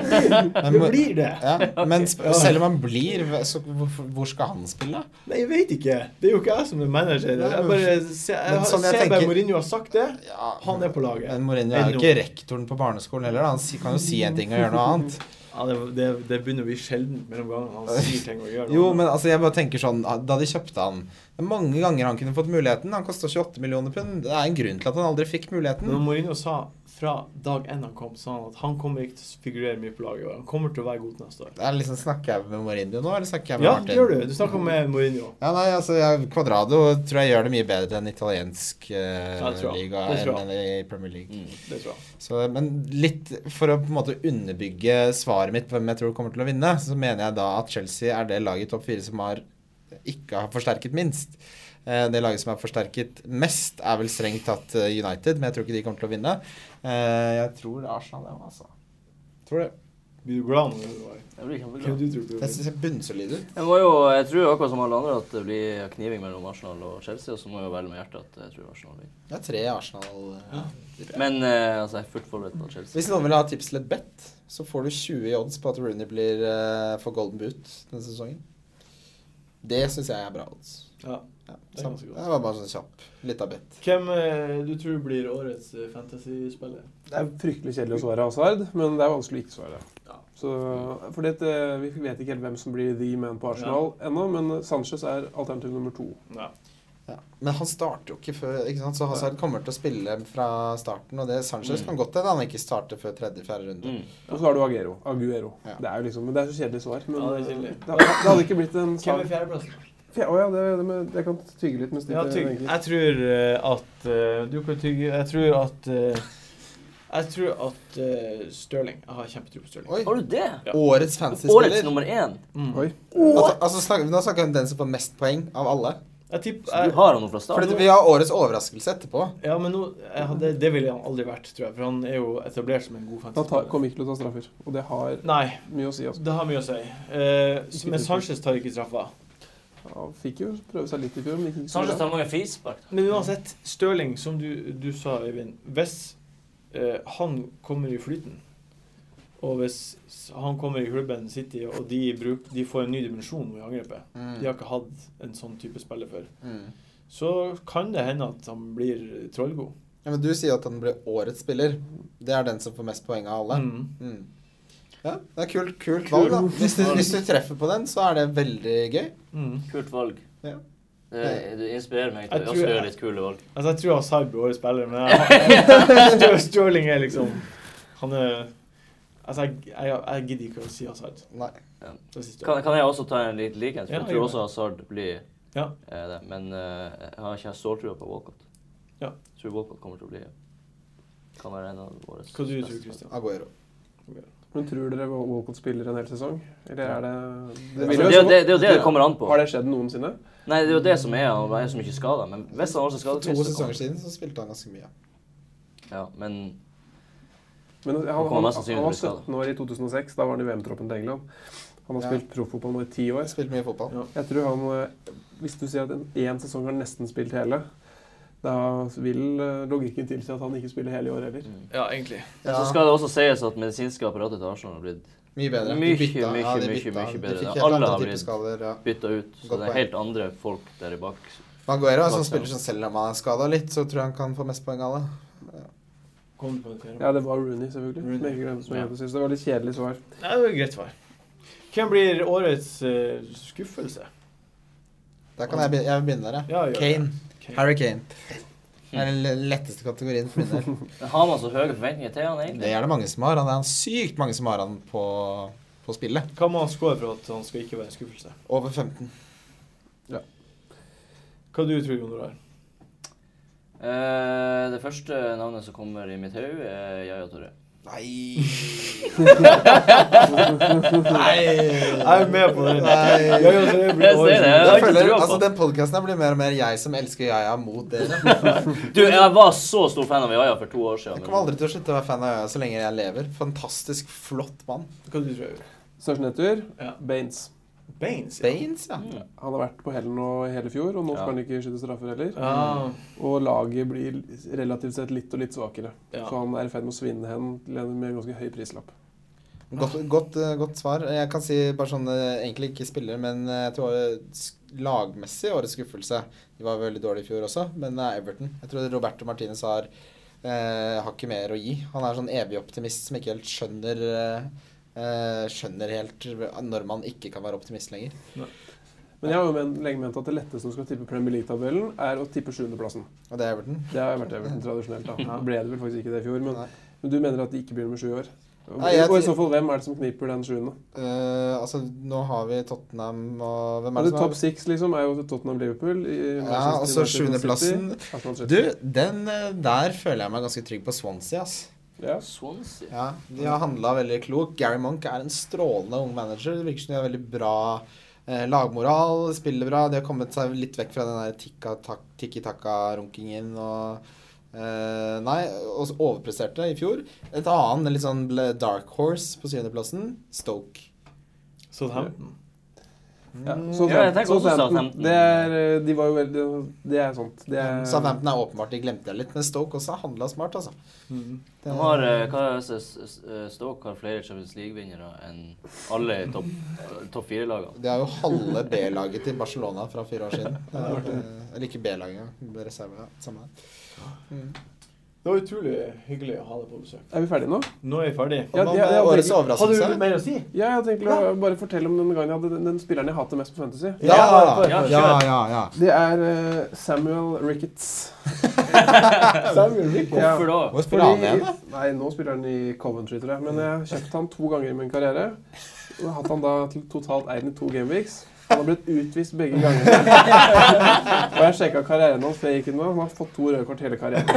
A: blir å bli!
D: Men
A: Det
D: Mor-
A: blir det.
D: Ja,
A: [laughs]
D: men sp- selv om han blir, så hvorfor- hvor skal han spille?
A: Nei, jeg vet ikke. Det er jo ikke jeg som er manager.
D: Nei,
A: Jeg
D: men-
A: bare ser, jeg,
D: Men sånn jeg
A: ser bare
D: tenker-
A: Mourinho har sagt det.
D: Ja,
A: Han er på laget.
D: Men Mourinho er jo ikke rektoren på barneskolen heller. da. Han si- kan jo si en ting og gjøre noe
A: [laughs]
D: annet.
A: Ja, det, det, det begynner å bli sjeldent mellom gangene han sier ting og gjør noe.
D: Jo, men altså, jeg bare tenker sånn Da de kjøpte han Det er mange ganger han kunne fått muligheten. Han kosta 28 millioner pund. Det er en grunn til at han aldri fikk
A: Når
D: muligheten.
A: Mourinho sa fra dag én han kom, sa han at han kommer ikke til å figurere mye på laget i år. Han kommer til å være god til neste år.
D: Det er liksom, Snakker jeg med Mourinho nå, eller snakker jeg med
A: Ja,
D: Martin?
A: det gjør du. Du snakker med Mourinho.
D: Ja, nei, altså, jeg, Quadrado tror jeg gjør det mye bedre enn italiensk eh,
A: Ja, det tror jeg.
D: liga
A: Det tror
D: enn
A: jeg.
D: enn i Premier League.
B: Mm.
A: Det tror jeg.
D: Så, men litt for å på en måte underbygge svaret mitt på hvem jeg tror kommer til å vinne, så mener jeg da at Chelsea er det laget i topp fire som har ikke har forsterket minst. Eh, Det laget som er forsterket mest, er vel strengt tatt eh, United, men jeg tror ikke de kommer til å vinne. Eh, Jeg tror Arsenal det, altså. Tror det.
A: Blir du glad når du var
B: Jeg blir kjempeglad.
A: Hvem du tror du
D: Jeg
A: vinner?
D: syns jeg er bunnsolid ut.
B: Jeg, må jo, jeg tror akkurat som alle andre at det blir kniving mellom Arsenal og Chelsea. Og så må jeg jo velge med hjertet at jeg tror Arsenal vinner.
D: Det er tre Arsenal. eh.
B: Men eh, altså, jeg er fullt forberedt på at Chelsea
D: Hvis noen vil ha tips til et bet, så får du 20 i odds på at Rooney blir eh, for golden boot denne sesongen. Det syns jeg er bra odds.
A: Ja.
D: Ja,
A: Det er
D: samt-
A: ganske
D: det
A: godt.
D: var bare sånn kjapp. Litt av bet.
A: Hvem eh, du tror blir årets eh, fantasy-spiller?
E: Det er fryktelig kjedelig å svare Hazard, men det er vanskelig å ikke svare.
A: Ja.
E: Så, fordi at, eh, Vi vet ikke helt hvem som blir the man på Arsenal ennå, men Sanchez er alternativ nummer to.
A: Ja.
D: Ja. Men han starter jo ikke før ikke sant? Så Hazard kommer til å spille fra starten, og det Sanchez
B: Mm.
D: kan godt hende han ikke starter før tredje-fjerde runde.
B: Mm.
E: Og så har du Agero. Aguero.
D: Ja.
E: Det er jo liksom, men det er så kjedelig svar. Men
A: Ja, det er
E: eh,
A: kjedelig.
E: det, hadde- det hadde ikke blitt en
A: Hvem
E: sak.
A: er fjerdeplass?
E: Fje- Å ja, det, det med, jeg kan tygge litt med
A: Ja,
E: snittet.
A: tygg.
E: egentlig.
A: Jeg tror eh, at eh, Du kan tygge Jeg tror at eh, Jeg tror at eh, Stirling Jeg har kjempetro på Stirling.
D: Oi!
B: Har du det?
A: Ja.
D: Årets
B: Årets
D: fantasy-spiller.
B: nummer én?
A: Mm.
E: Oi.
D: Altså, altså, snakker- nå snakker vi om den som får mest poeng av alle.
A: Jeg tipper
B: Så du
A: jeg,
B: har han jo fra start?
D: Fordi vi har årets overraskelse etterpå.
A: Ja, men nå jeg hadde, Det ville han aldri vært, tror jeg. For han er jo etablert som en god
E: Han tar,
A: fantasy.
E: kommer ikke til å ta straffer, og det har
A: Nei,
E: mye å si. altså.
A: det har mye å si. Eh,
E: Ikke
A: men
E: bruk.
A: Sanchez tar ikke straffa.
E: Han fikk jo prøve seg litt i fjor, men gikk ikke så
B: Sanchez
E: bra.
B: tar mange frispark. Sånn da.
A: Men uansett, Stirling, som du, du sa, Øyvind Hvis eh, han kommer i flyten, og hvis han kommer i klubben City, og de, bruk, de får en ny dimensjon i angrepet
D: Mm.
A: De har ikke hatt en sånn type spiller før.
D: Mm.
A: Så kan det hende at han blir trollgod.
D: Ja, men du sier jo at han blir årets spiller. Det er den som får mest poeng av alle.
A: Mm.
D: Mm. Ja, det er kult, kult valg, da. Hvis du, hvis du treffer på den, så er det veldig gøy.
A: Mm.
B: Kult valg. Eh,
D: Ja.
B: Det- Du inspirerer meg
A: Jeg
B: til å
A: tror
B: også
A: jeg-
B: gjøre litt kule valg.
A: Altså, jeg tror Asaib blir årets spiller, men jeg- Stir- Stirling er liksom Han er Altså, jeg, jeg, jeg gidder ikke å si Asaib.
D: Nei.
B: Kan, kan jeg også ta en liten likhet? For
A: Ja,
B: jeg
A: gjør
B: tror også Hazard blir
A: Ja.
B: eh, det. Men eh, jeg har ikke ståltrua på Walcott.
A: Ja.
B: Jeg tror Walcott kommer til å bli Kan være en av våre
A: Hva du
B: beste.
A: tror du, Christian?
D: Aguero.
E: Men tror dere Walcott spiller en hel sesong? Eller er det
D: Altså,
E: vil
B: Altså,
E: jo-
B: det, er jo det, det er jo det det kommer an på.
E: Har det skjedd noensinne?
B: Nei, det er jo det som er Han er så mye skada. Men hvis han også
D: For
B: skader
D: to sesonger siden så spilte han ganske mye.
B: Ja, men
E: Men han,
B: kommer
E: han, han,
B: mest sannsynlig
E: var
B: til å bli
E: 17 år i 2006. Da var han i VM-troppen til England. Han har
D: Ja.
E: spilt proffotball nå i ti år.
D: Han spilte mye fotball.
A: Ja.
E: Jeg tror han eh, Hvis du sier at en- én sesong har han nesten spilt hele, da vil eh, logikken tilsi at han ikke spiller hele i år heller.
B: mm.
A: Ja, egentlig.
B: Men
D: Ja,
B: så skal det også sies at medisinske apparatet til Arsenal har blitt
D: mye bedre. De
B: Mye,
D: bytta-
B: mye,
D: ja, de
B: mye,
D: bytta.
B: mye bedre.
D: De fikk
B: Alle
D: helt andre
B: har
D: typer
B: blitt-
D: skader. Ja.
B: bytta ut. Så
D: Godt
B: det er
D: poeng.
B: helt andre folk der i bak.
D: Men Aguero er en sånn
B: Bak
D: spiller som selv om han er skada litt, så tror jeg han kan få mest poeng av alle.
A: Kom du på det fjerde?
E: Ja, det var Rooney, selvfølgelig.
A: Rooney.
E: Som jeg ikke glemte, som jeg
B: Ja.
E: glemte sist. Det var litt kjedelig svar.
A: Nei, det var et greit svar. Hvem blir årets eh, skuffelse?
D: Der kan jeg, be- jeg begynne der, jeg.
A: Ja, gjør
D: Kane.
A: det. Kane.
D: Harry Kane.
B: Mm.
D: Det er den le- letteste kategorien for min del.
B: [laughs] Men har man så høye forventninger til han egentlig?
D: Det er det mange som har. Han er sykt mange som har han på, på spillet.
A: Hva må han score for at han skal ikke være en skuffelse?
D: Over 15.
A: Hva du tror du, Jon Roar?
B: Eh, det første navnet som kommer i mitt hode, er Yaya Torre.
D: Nei
A: Jeg er med på det.
D: Nei.
A: Ja, jo, så det blir
B: Jeg ser det.
A: årets-
B: har
D: Jeg
B: ikke
D: føler,
B: trua på
D: altså
B: han.
D: Den podkasten blir mer og mer jeg som elsker Yaya mot dere.
B: Du, jeg var så stor fan av Yaya for to år siden.
D: Jeg kommer aldri til å slutte å være fan av Yaya så lenge jeg lever. Fantastisk flott mann.
A: Hva du tror du?
E: Største nedtur
A: Ja.
E: Baines.
A: Baines? ja.
D: Baines, ja.
B: Mm.
E: Han har vært på hellen nå i hele fjor, og nå
B: Ja.
E: skal han ikke skyte straffer heller.
A: Ja.
E: Og laget blir relativt sett litt og litt svakere.
A: Ja.
E: Så han er i ferd med å svinne hen til en med en ganske høy prislapp.
D: Godt, godt, eh, godt svar. Jeg kan si bare sånn eh, Egentlig ikke spiller, men eh, jeg tror eh, sk- lagmessig årets skuffelse De var veldig dårlige i fjor også, men det er Everton. Jeg tror Roberto Martinez har, eh, har ikke mer å gi. Han er sånn evig optimist som ikke helt skjønner eh, eh, Skjønner helt når man ikke kan være optimist lenger.
E: Men jeg har jo men, lenge ment at det letteste som skal tippe Premier League-tabellen, er å tippe sjuendeplassen.
D: Og det er Everton.
E: Det har vært Everton tradisjonelt. da.
A: Ja.
E: Ble det vel faktisk ikke det i fjor, men,
D: Nei.
E: men du mener at de ikke blir med sju i år?
D: Nei, jeg
E: og i
D: tror-
E: så fall, hvem er det som kniper den sjuende?
D: Eh, altså, nå har vi Tottenham og Hvem er
E: Altså,
D: det som
E: Topp six liksom, er jo Tottenham-Liverpool. i
D: Ja,
E: Manchester
D: og så
E: United, City,
D: sjuendeplassen.
E: Arsenal,
D: er
E: Chelsea.
D: Du, den eh, der føler jeg meg ganske trygg på Swansea, ass.
E: Ja.
B: Swansea?
D: Ja, de har handla veldig klokt. Gary Monk er en strålende ung manager. Det virker som de har veldig bra eh, lagmoral, spiller bra. De har kommet seg litt vekk fra den der tikka tak- tikki-takka-runkingen og eh, Nei, og så overpresterte i fjor. Et annet litt sånn ble- dark horse på syvendeplassen, Stoke.
A: Southampton.
E: Ja,
D: Mm.
E: Southampton.
B: Ja, jeg tenker også
E: Southampton.
B: Southampton.
E: Det er, eh, de var jo veldig, det er sant. Det er,
D: Southampton er åpenbart, de glemte jeg litt, men Stoke også handla smart, altså.
A: Mm.
D: Det-
B: De har, eh, hva er det, s- s- eh, Stoke har flere Champions League-vinnere enn alle i topp top fire-lagene.
D: Det er jo halve B-laget til Barcelona fra fire år siden. Det er, eh, eller ikke B-laget, engang. reserve. Ja, samme det. Mm.
A: Det var utrolig hyggelig å ha deg på besøk.
E: Er vi ferdige nå?
A: Nå er vi ferdig.
E: Ja,
D: Hva med
E: ja, ja,
D: årets
E: det-
A: Hadde
D: overraskelse?
A: du mer å si?
E: Ja, jeg tenkte å bare fortelle om den gangen jeg hadde den, den spilleren jeg hater mest på Fantasy.
D: Ja, ja,
B: Ja,
D: ja. ja, ja.
E: Det er eh, Samuel Ricketts.
A: Samuel Ricketts.
E: Ja.
B: Hvorfor da?
D: Hvor spiller han igjen, da?
E: Nei, nå spiller han i Coventry, tror jeg. Men jeg har kjøpt han to ganger i min karriere. Og jeg har hatt han da til totalt eid i to gameweeks. Han har blitt utvist begge ganger. Og jeg sjekka karrieren hans før jeg gikk inn nå. Han har fått to røde kort hele karrieren.
A: Det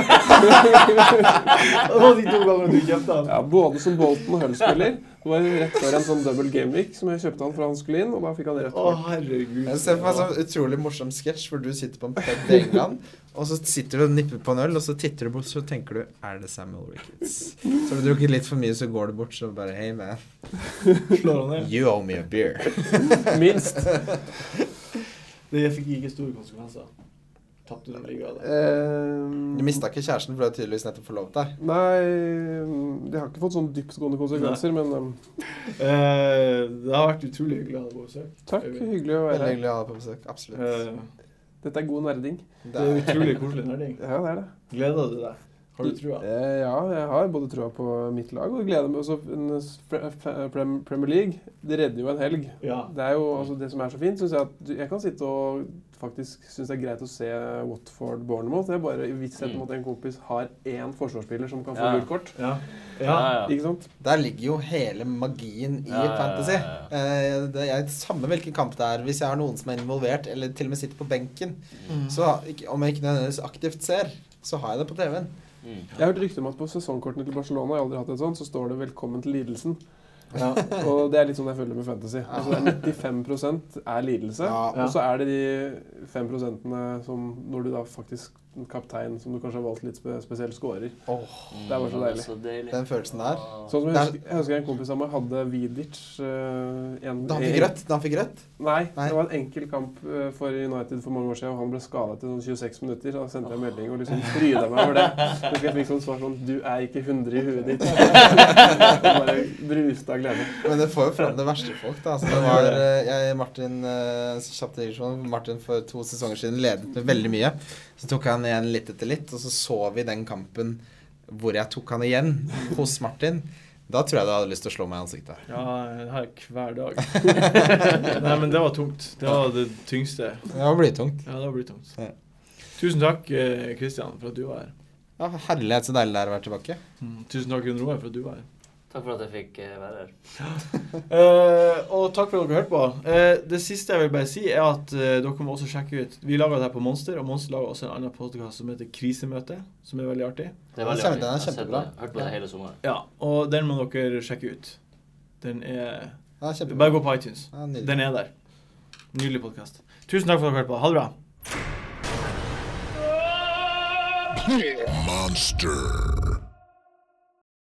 A: var de to gangene du kjøpte han.
E: Ja, både som Bolton og Hull-spiller. Det var rett før en sånn double gameweek som jeg kjøpte han for han skulle inn, og da fikk han rødt
A: Å,
E: kort.
A: herregud.
D: Jeg ser for meg en sånn utrolig morsom sketsj hvor du sitter på en pub i England, og så sitter du og nipper på en øl, og så titter du bort, så tenker du Er det Samuel Ricketts? Så har du drukket litt for mye, så går du bort, så bare Hey, man.
A: Slår han ned.
D: You owe me a beer.
E: Minst.
A: Det fikk ikke store konsekvenser. Tapte du ligaen?
E: Eh.
A: da?
E: Du
D: Du
E: Ehm,
D: mista ikke kjæresten, for du har tydeligvis nettopp forlovet deg.
E: Nei, det har ikke fått sånn dyptgående konsekvenser, men um,
A: Eh, det har vært utrolig hyggelig å ha deg på besøk.
E: takk. Hyggelig å være
D: Veldig
E: her.
D: hyggelig å ha deg på besøk. Absolutt.
A: Eh,
E: Dette er god nerding.
A: det er utrolig koselig nerding.
E: Ja, det er det.
A: Gleder du deg? Har du trua?
E: Eh, ja, jeg har både trua på mitt lag og gleder meg også en s- pre- pre- pre- Premier League. Det redder jo en helg.
A: Ja.
E: Det er jo altså, det som er så fint, syns jeg at du, jeg kan sitte og faktisk synes det er greit å se Watford Bournemouth. Det er bare i vissheten om
B: Mm.
E: at en kompis har én forsvarsspiller som kan få
B: Ja.
E: gult kort.
A: Ja. ja.
B: Ja, ja.
E: Ikke sant?
D: Der ligger jo hele magien i
B: Ja, ja, ja,
D: fantasy.
B: ja.
D: Eh, Det er samme hvilken kamp det er. Hvis jeg har noen som er involvert, eller til og med sitter på benken, så ikke- om jeg ikke nødvendigvis aktivt ser, så har jeg det på TV-en.
B: Mm.
E: Jeg har hørt rykte om at på sesongkortene til Barcelona jeg har aldri hatt et sånt, så står det 'Velkommen til lidelsen'.
A: ja.
E: Og det er litt sånn jeg føler med fantasy. Altså,
A: [laughs]
E: det er 95 er lidelse.
D: Ja.
E: Og så er det de 5 som når du da faktisk kaptein, som du kanskje har valgt litt spe spesielt, scorer.
D: Åh,
B: Mm,
E: Det var så
B: han er
E: deilig.
B: deilig.
D: Den følelsen der.
B: Ah.
E: Sånn som jeg
D: Der-
E: husker, jeg husker en kompis av meg hadde Vidic eh, en,
D: Da han fikk rødt. Da han fikk rødt.
E: Nei,
D: Nei.
E: det var en enkel kamp eh, for United for mange år siden, og han ble skada etter sånn 26 minutter. Så da sendte jeg melding og liksom fryda meg over det. Så jeg fikk sånn svar sånn Du er ikke 100 i huet ditt. [laughs] Og bare bruste av glede.
D: Men det får jo fram det verste i folk, da. Så det var eh, jeg, Martin eh, kjapt digresjon. Martin for to sesonger siden ledet med veldig mye. Så tok han igjen litt etter litt, og så så vi den kampen hvor jeg tok han igjen hos Martin. Da tror jeg du hadde lyst til å slå meg i ansiktet.
A: Ja, det har jeg hver dag. Nei, men det var tungt. Det var det tyngste.
D: Det var blytungt.
A: Ja, det blir tungt.
D: Ja.
A: Tusen takk, eh, Christian, for at du var her.
D: Ja, herlighet, så deilig det er å være tilbake.
A: Mm, Tusen takk, Gunn Roar, for at du var her.
B: Takk for at jeg fikk eh, være her.
A: Eh, og takk for at dere hørte på. Eh, det siste jeg vil bare si, er at eh, dere må også sjekke ut Vi lager det her på Monster, og Monster lager også en annen podkast som heter Krisemøte, som er veldig artig.
B: Det
D: Ja,
B: er veldig
D: kjempe- den er
B: artig. Jeg har sett
D: kjempebra.
B: det. Hørt på det hele sommeren.
A: Ja, og den må dere sjekke ut. Den er
D: Ja,
A: Bare
D: kjempebra.
A: gå på iTunes.
D: Ja, nydelig.
A: Den er der. Nydelig podkast. Tusen takk for at dere hørte på. Ha det bra.
C: Monster.